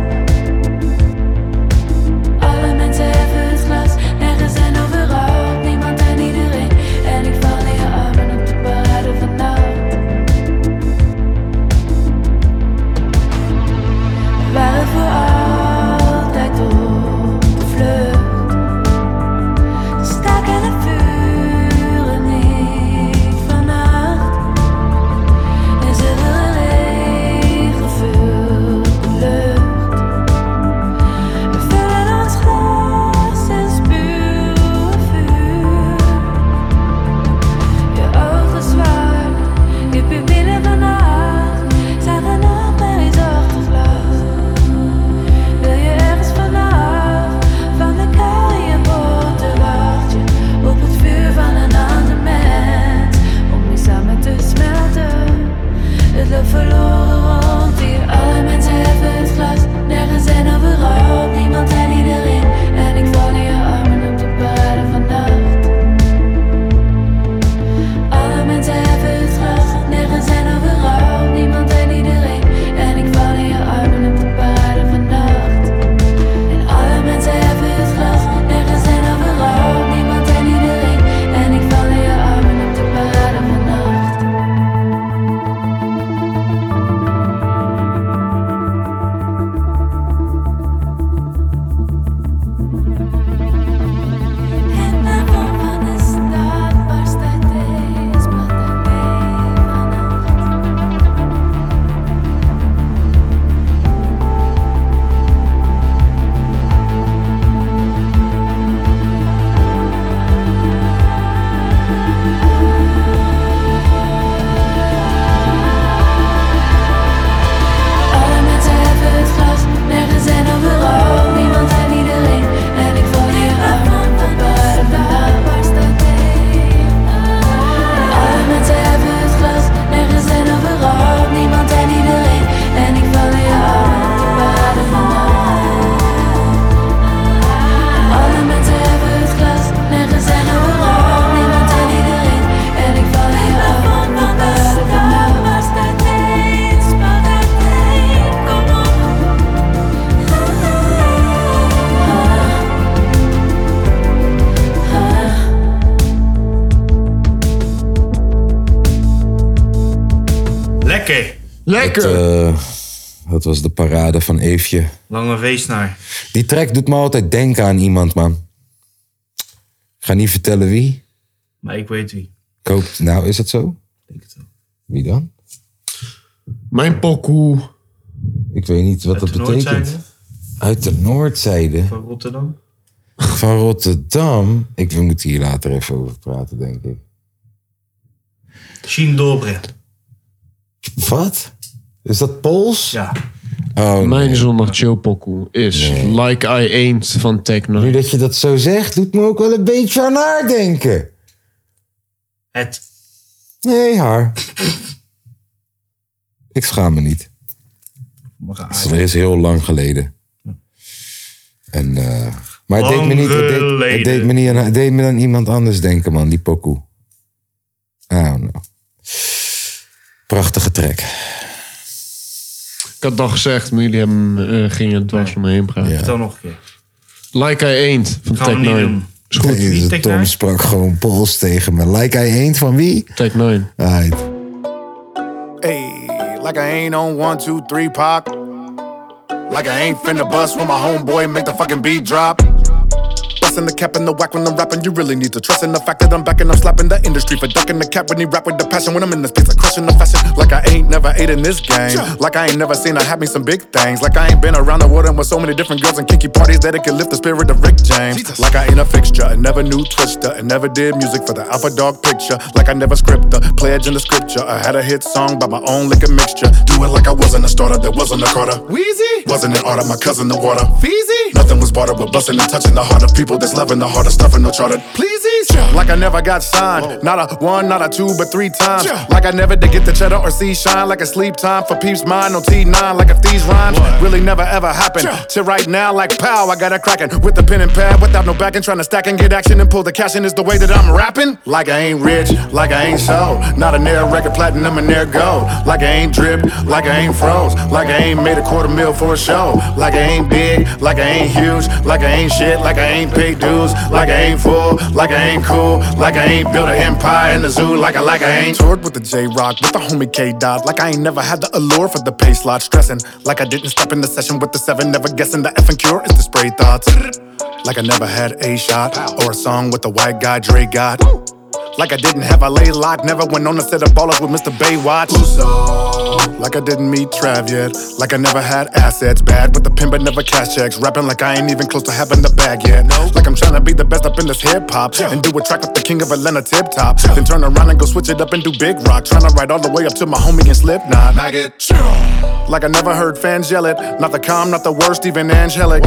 [SPEAKER 9] Alle mensen hebben het glas, nergens en overal, niemand en iedereen. En ik val in je armen op de parade van nacht. We waren voor altijd op de vlucht. Ze staken het vuur en ik vannacht. En zilveren regen vult de lucht. We vullen ons glas en spuwen vuur. Je ogen zwaar, je pupillen vannacht. Zagen nog maar eens achter glas. Wil je ergens vanaf, van de kou in je botten wacht je op het vuur van een ander mens. Om niet samen te smelten. Het loopt verloren rond hier. Alle mensen hebben het glas. Nergens en overal. Niemand en iedereen. En ik val in je armen op de parade van nacht. Alle mensen hebben het glas. Nergens en overal. Niemand en iedereen. En ik val in je armen op de parade van nacht. En alle mensen hebben het glas. Nergens en overal. Niemand en iedereen. En ik val in je armen op de parade van nacht. En waarom van de stad barst uit deze pandemie vannacht? Alle mensen hebben het glas, nergens en overal, niemand en iedereen. En ik val hier af, want dat waren daar barst uit heen. Alle mensen hebben het glas, nergens en overal, niemand en iedereen. En ik val hier af, want dat waren Alle mensen hebben het glas, nergens en overal, niemand en iedereen. En ik val hier af, want dat waren daar barst uit heen. Spat uit heen, kom op.
[SPEAKER 2] Lekker!
[SPEAKER 1] Het,
[SPEAKER 3] Lekker!
[SPEAKER 1] eh, dat was de parade van Eefje.
[SPEAKER 2] Lange weesnaar.
[SPEAKER 1] Die track doet me altijd denken aan iemand, man. Ik ga niet vertellen wie.
[SPEAKER 2] Maar ik weet wie.
[SPEAKER 1] Ik hoop, nou, is dat zo?
[SPEAKER 2] Ik denk het wel.
[SPEAKER 1] Wie dan?
[SPEAKER 3] Mijn pokoe.
[SPEAKER 1] Oh, Ik weet niet wat
[SPEAKER 2] Uit de
[SPEAKER 1] dat betekent.
[SPEAKER 2] Noordzijde
[SPEAKER 1] Uit de noordzijde
[SPEAKER 2] van Rotterdam.
[SPEAKER 1] van Rotterdam. Ik, we moeten hier later even over praten, denk ik.
[SPEAKER 2] Shin Dobre.
[SPEAKER 1] Wat? Is dat Pools?
[SPEAKER 2] Ja.
[SPEAKER 1] Oh,
[SPEAKER 3] Mijn zondag chill pokoe is Like I Ain't van Techno.
[SPEAKER 1] nu dat je dat zo zegt, doet me ook wel een beetje aan haar denken.
[SPEAKER 2] Het.
[SPEAKER 1] Nee, haar. Ik schaam me niet. Dus dat is heel lang geleden. En, eh, maar het deed, me niet, het, deed, het deed me niet aan, het deed me aan iemand anders denken, man. Die pokoe. Ah, nou. Prachtige track.
[SPEAKER 10] Ik had het al gezegd, maar jullie hebben, eh, gingen er dwars om me heen praten.
[SPEAKER 2] Vertel nog een keer.
[SPEAKER 10] Like I Ain't van
[SPEAKER 2] Gaan we
[SPEAKER 10] Tech
[SPEAKER 2] niet
[SPEAKER 10] 9.
[SPEAKER 2] doen.
[SPEAKER 10] Is goed.
[SPEAKER 1] Jezus, Tom sprak gewoon Pools tegen me. Like hij eend van wie?
[SPEAKER 10] Tech 9.
[SPEAKER 1] Right.
[SPEAKER 3] Hey, like I ain't on one, two, three, pop. Like I ain't finna bust when my homeboy make the fucking beat drop. Bustin' the cap and the whack when I'm rapping, you really need to trust in the fact that I'm back and I'm slapping the industry for ducking the cap when he rap with the passion. When I'm in this place, I crushing the fashion. Like I ain't never ate in this game. Like I ain't never seen I had me some big things. Like I ain't been around the world and with so many different girls and kinky parties that it could lift the spirit of Rick James. Like I ain't a fixture, and never knew Twister, and never did music for the Alpha Dog picture. Like I never script the pledge in the scripture. I had a hit song by my own liquor mixture. Do it like I wasn't a starter, that wasn't a Carter. Wheezy? Wasn't an order, my cousin the water. Feezy? Nothing was bartered but busting and touching the heart of people that's loving the harder stuff and no charted. Pleases? Like I never got signed. Not a one, not a two, but three times. Like I never did get the cheddar or see shine. Like a sleep time for peeps mine on T9. Like if these rhymes really never ever happened. Till right now, like pow, I got a cracking with the pen and pad without no backing. Trying to stack and get action and pull the cash in is the way that I'm rapping. Like I ain't rich, like I ain't sold. Not a near record platinum and near gold. Like I ain't dripped, like I ain't froze. Like I ain't made a quarter mil for a show. Like I ain't big, like I ain't huge. Like I ain't shit, like I ain't paid dues. Like I ain't full, like I ain't cool. Like I ain't built an empire in the zoo. Like I, like I ain't toured with the J Rock, with the homie K Dot. Like I ain't never had the allure for the pay slot. Stressing, like I didn't step in the session with the seven. Never guessing the effing cure is the spray thoughts. Like I never had a shot or a song with the white guy Dre got. Like I didn't have a lay lock, never went on a set of ballers with Mr. Baywatch. Like I didn't meet Trav yet. Like I never had assets. Bad with the pin, but never cash checks. Rapping like I ain't even close to having the bag yet. Like I'm trying to be the best up in this hip hop. And do a track with the king of Atlanta tip top. Then turn around and go switch it up and do big rock. Trying to ride all the way up to my homie and Slipknot. Like I never heard fans yell it. Not the calm, not the worst, even angelic.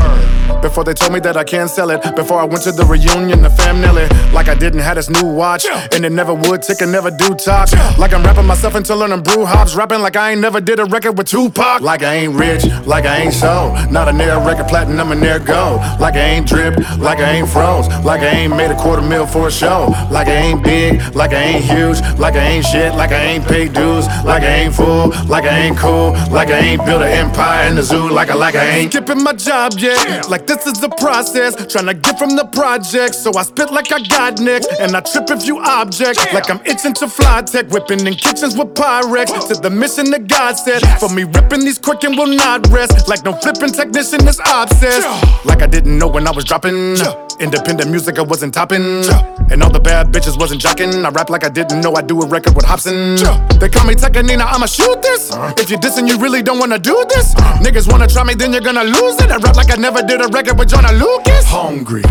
[SPEAKER 3] Before they told me that I can't sell it. Before I went to the reunion, the fam nearly. Like I didn't have this new watch. And it never would tick and never do talk. Like I'm rapping myself into learning brew hops. Rapping like I ain't never did a record with Tupac. Like I ain't rich, like I ain't sold. Not a near record platinum and near gold. Like I ain't dripped, like I ain't froze. Like I ain't made a quarter mil for a show. Like I ain't big, like I ain't huge. Like I ain't shit, like I ain't paid dues. Like I ain't fool, like I ain't cool. Like I ain't built an empire in the zoo. Like I, like I ain't skipping my job yet. Like this is the process. Trying to get from the project. So I spit like I got next. And I trip if you object. Like I'm itching to fly tech. Whipping in kitchens with Pyrex. To the mission that God said. For me, ripping these quick and will not rest. Like no flipping technician is obsessed. Like I didn't know when I was dropping. Independent music I wasn't topping. And all the bad bitches wasn't jocking. I rap like I didn't know I do a record with Hobson. They call me Tekanina, I'ma shoot this. If you dissing, you really don't wanna do this. Niggas wanna try me, then you're gonna lose it. I rap like I never did a record with Jonah Lucas. Hungry.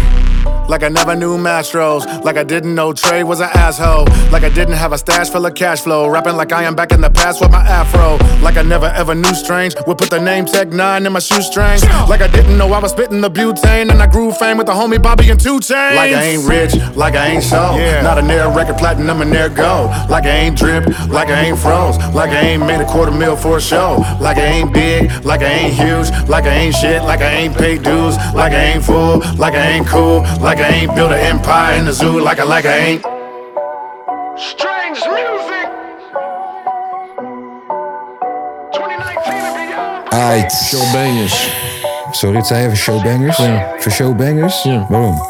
[SPEAKER 3] Like I never knew Mastros. Like I didn't know Trey was an asshole. Like I didn't have a stash full of cash flow. Rapping like I am back in the past with my afro. Like I never ever knew strange. Would put the name Tech 9 in my shoestrings. Like I didn't know I was spitting the butane. And I grew fame with the homie Bobby and 2 Chainz. Like I ain't rich, like I ain't sold. Not a near record platinum and near gold. Like I ain't dripped, like I ain't froze. Like I ain't made a quarter mil for a show. Like I ain't big, like I ain't huge. Like I ain't shit, like I ain't paid dues. Like I ain't full, like I ain't cool. Like I ain't built an empire in the zoo. Like I, like I ain't.
[SPEAKER 11] Strange music.
[SPEAKER 1] Aight. Showbangers. Sorry, het zei even showbangers? Voor showbangers? Waarom?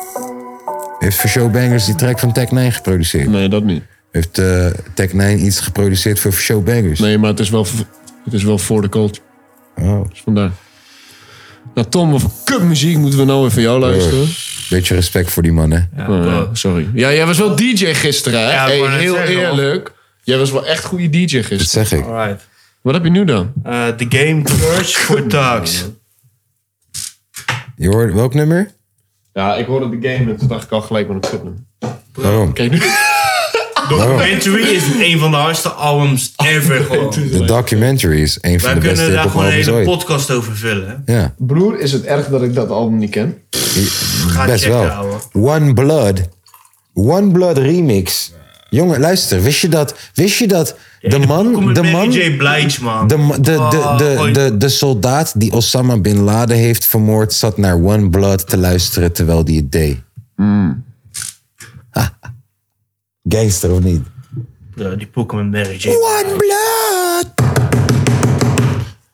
[SPEAKER 1] Heeft voor showbangers die track van Tech 9 geproduceerd?
[SPEAKER 10] Nee, dat niet.
[SPEAKER 1] Heeft eh Tech 9 iets geproduceerd voor showbangers?
[SPEAKER 10] Nee, maar het is wel, v- het is wel voor de cult.
[SPEAKER 1] Oh.
[SPEAKER 10] Dus vandaar. Nou, Tom, wat voor kutmuziek moeten we nou weer van jou luisteren?
[SPEAKER 1] Beetje respect voor die man, hè?
[SPEAKER 10] Oh, ja, sorry. Ja, jij was wel DJ gisteren, hè?
[SPEAKER 1] Ja, ik
[SPEAKER 10] Hey,
[SPEAKER 1] wou net
[SPEAKER 10] heel
[SPEAKER 1] zeggen,
[SPEAKER 10] eerlijk. Jij was wel echt goede DJ gisteren. Dat
[SPEAKER 1] zeg ik.
[SPEAKER 10] Wat heb je nu dan?
[SPEAKER 2] The Eh, Game Curse for Dogs.
[SPEAKER 1] Je hoort welk nummer?
[SPEAKER 10] Ja, ik hoorde de game en toen dacht ik al gelijk wat een kutnummer.
[SPEAKER 1] Waarom?
[SPEAKER 10] Kijk nu.
[SPEAKER 2] Documentary is een van de hardste albums ever gewoon.
[SPEAKER 1] De documentary is een van
[SPEAKER 2] Wij
[SPEAKER 1] de beste
[SPEAKER 2] kunnen daar
[SPEAKER 1] hip
[SPEAKER 2] gewoon een
[SPEAKER 1] ooit.
[SPEAKER 2] hele podcast over vullen. hè.
[SPEAKER 1] Ja,
[SPEAKER 10] Broer, is het erg dat ik dat album niet ken?
[SPEAKER 1] best
[SPEAKER 2] checken,
[SPEAKER 1] wel.
[SPEAKER 2] ouwe.
[SPEAKER 1] One Blood. One Blood remix Jongen, luister, wist je dat, wist je dat de
[SPEAKER 2] Kom
[SPEAKER 1] man,
[SPEAKER 2] met
[SPEAKER 1] de
[SPEAKER 2] Mary
[SPEAKER 1] man,
[SPEAKER 2] J. Blige, man.
[SPEAKER 1] de, ma- de, de,
[SPEAKER 2] Oh,
[SPEAKER 1] de,
[SPEAKER 2] gooi-
[SPEAKER 1] de, de soldaat die Osama Bin Laden heeft vermoord, zat naar One Blood te luisteren terwijl die het deed.
[SPEAKER 2] Hmm.
[SPEAKER 1] Gangster of niet?
[SPEAKER 2] Ja, die pokken met Mary J.
[SPEAKER 1] One Blood!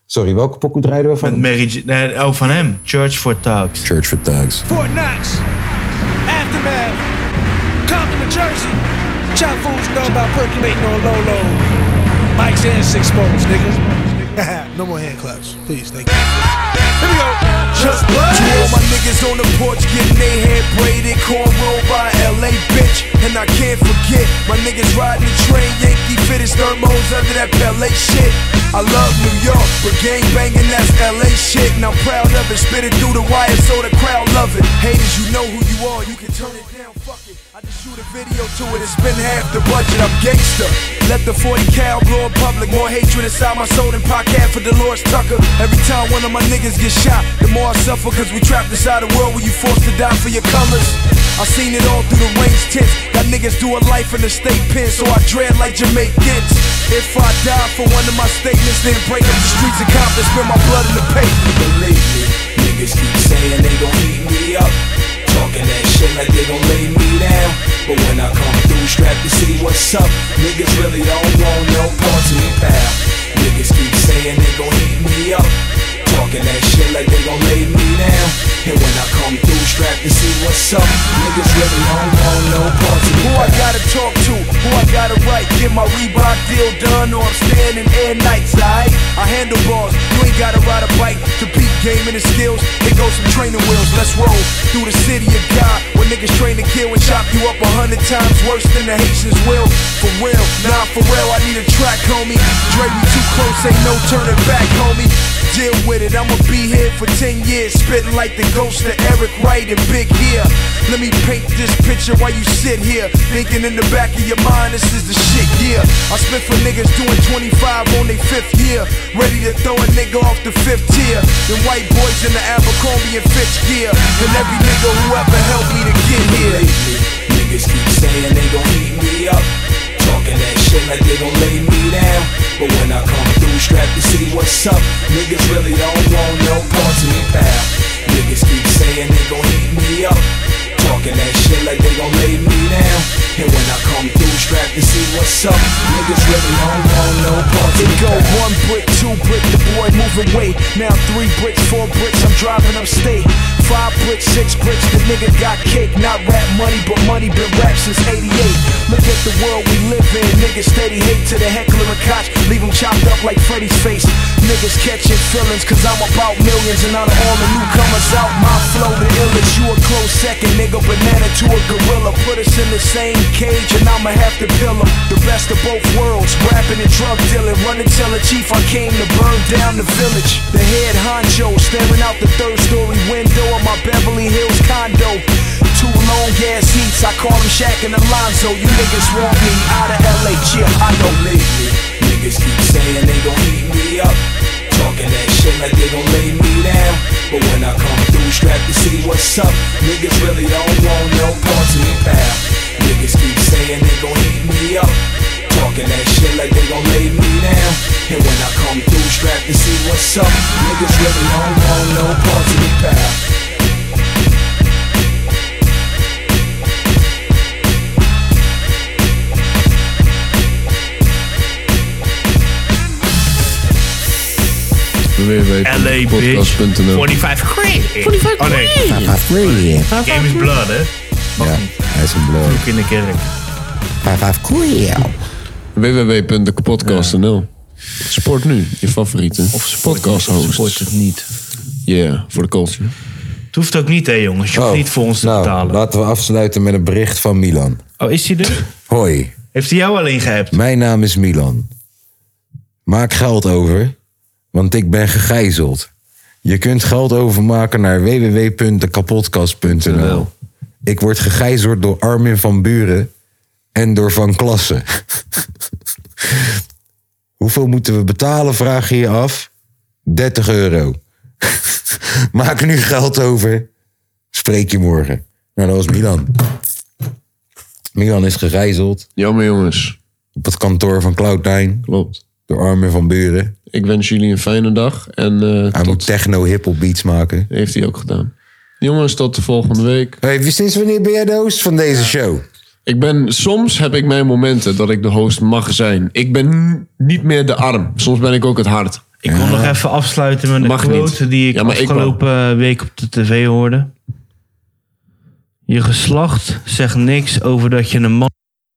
[SPEAKER 1] Sorry, welke pokoe draaiden we van?
[SPEAKER 2] Met Mary J. Nee, oh, van hem. Church for Thugs.
[SPEAKER 1] Church for Thugs.
[SPEAKER 12] Fort Knox, Aftermath, Compton, New Jersey. Chop fools know about percolating on low low. Mike's and six bones, niggas. no more hand claps, please, thank you. Here we go. Just blood.
[SPEAKER 11] To all my niggas on the porch getting their hair braided, cornrow by LA bitch. And I can't forget my niggas riding the train, Yankee fittest thermos under that ballet shit. I love New York, but gang banging that's LA shit. And I'm proud of it, spit it through the wire so the crowd love it. Haters, you know who you are, you can turn it down, fuck it. I just shoot a video to it, it's been half the budget, I'm gangster. Let the 40 cal blow in public, more hatred inside my soul than pocket for Dolores Tucker. Every time one of my niggas get shot, the more I suffer, cause we trapped inside a world where you forced to die for your colors. I seen it all through the range tents. Got niggas do a life in the state pen, so I dread like Jamaicans. If I die for one of my statements, then break up the streets of Compton, spill my blood in the pavement. Believe me, niggas keep saying they gon' eat me up. Talking that shit like they gon' lay me down. But when I come through, strap to see what's up. Niggas really don't want no parts of me, pal. Niggas keep saying they gon' eat me up. Talking that shit like they gon' lay me down. And when I come through, strap to see what's up. Niggas really don't want no parts of me. Who I gotta talk to? Who I gotta write? Get my Reebok deal done, or I'm standing air nights, aight? I handle bars. You ain't gotta ride a bike to peak game and the skills. Here goes some training wheels. Let's roll through the city of God, where niggas train to kill and chop you up a hundred times worse than the Haitians will. For real, nah, for real, I need a track, homie. Dre, we too close, ain't no turning back, homie. Deal with it, I'ma be here for 10 years, spitting like the ghost of Eric Wright and Big Ear. Let me paint this picture while you sit here, thinking in the back of your mind, this is the shit, yeah. I spit for niggas doing 25 on their fifth year, ready to throw a nigga off the fifth tier. Them white boys in the Abercrombie and Fitch gear, and every nigga who ever helped me to get here.
[SPEAKER 12] Niggas keep saying they gon' eat me up. Talking that shit like they gon' lay me down. But when I come through, strap to see what's up. Niggas really don't want no parts of me, pal. Niggas keep saying they gon' eat me up. Talking that shit like they gon' lay me down. And when I come through, strap to see what's up. Niggas really don't want no parts of me.
[SPEAKER 11] Go one brick, two brick, the boy moving weight. Now three bricks, four bricks, I'm driving upstate. Five bricks, six bricks, the nigga got cake. Not rap money, but money been rap since 88. Look at the world we live in. Niggas steady hate to the heckler and cotch. Leave him chopped up like Freddy's face. Niggas catching feelings, cause I'm about millions. And out of all the newcomers out, my flow the illest. You a close second, nigga. Banana to a gorilla. Put us in the same cage, and I'ma have to pill 'em. The best of both worlds, rapping and drug dealing. Running tell the chief I came to burn down the village. The head honcho, staring out the third story window of my Beverly Hills condo. Two long ass heats, I call him Shaq and Alonzo. You niggas want me out of LA, yeah, I know.
[SPEAKER 12] lately. Niggas keep saying they gon' eat me up. Talking that shit like they gon' lay me down. But when I come through, strap to see what's up. Niggas really don't want no parts of me, pal. Niggas keep saying they gon' eat me up. Talking that shit like they gon' lay me down. And when I come through, strap to see what's up. Niggas really don't want no parts of me, pal.
[SPEAKER 2] www.podcast.nl. 45 quid.
[SPEAKER 1] 45
[SPEAKER 2] Oh nee.
[SPEAKER 1] quid. 45 quid.
[SPEAKER 2] Game is blood, hè?
[SPEAKER 1] Ja, hij is een blur.
[SPEAKER 2] Ook in de kerk.
[SPEAKER 1] 55 quid.
[SPEAKER 3] www.dekapodcast.nl Sport nu, je favoriete. Of podcast host. Sport
[SPEAKER 2] het niet.
[SPEAKER 3] Ja, voor de culture.
[SPEAKER 2] Het hoeft ook niet, hè, jongens. Je hoeft niet voor ons te
[SPEAKER 1] nou,
[SPEAKER 2] betalen.
[SPEAKER 1] Laten we afsluiten met een bericht van Milan.
[SPEAKER 2] Oh, is hij er?
[SPEAKER 1] Hoi.
[SPEAKER 2] Heeft hij jou alleen geappt?
[SPEAKER 1] Mijn naam is Milan. Maak geld over, want ik ben gegijzeld. Je kunt geld overmaken naar www.dekapotkast.nl. Ik word gegijzeld door Armin van Buren en door Van Klassen. Hoeveel moeten we betalen, vraag je je af? 30 euro. Maak nu geld over. Spreek je morgen. Nou, dat was Milan. Milan is gegijzeld. Jammer jongens. Op het kantoor van Cloud9. Klopt. Door Armin van Buren.
[SPEAKER 3] Ik wens jullie een fijne dag. En, eh,
[SPEAKER 1] hij moet techno-hiphop beats maken.
[SPEAKER 3] Heeft hij ook gedaan. Jongens, tot de volgende week.
[SPEAKER 1] Hey, sinds wanneer ben jij de host van deze show?
[SPEAKER 3] Ik ben, soms heb ik mijn momenten dat ik de host mag zijn. Ik ben n- niet meer de arm. Soms ben ik ook het hart.
[SPEAKER 2] Ik wil nog even afsluiten met een
[SPEAKER 3] Mag
[SPEAKER 2] quote
[SPEAKER 3] niet.
[SPEAKER 2] die ik
[SPEAKER 3] Ja, maar ik
[SPEAKER 2] afgelopen week op de tv hoorde. Je geslacht zegt niks over dat je een man...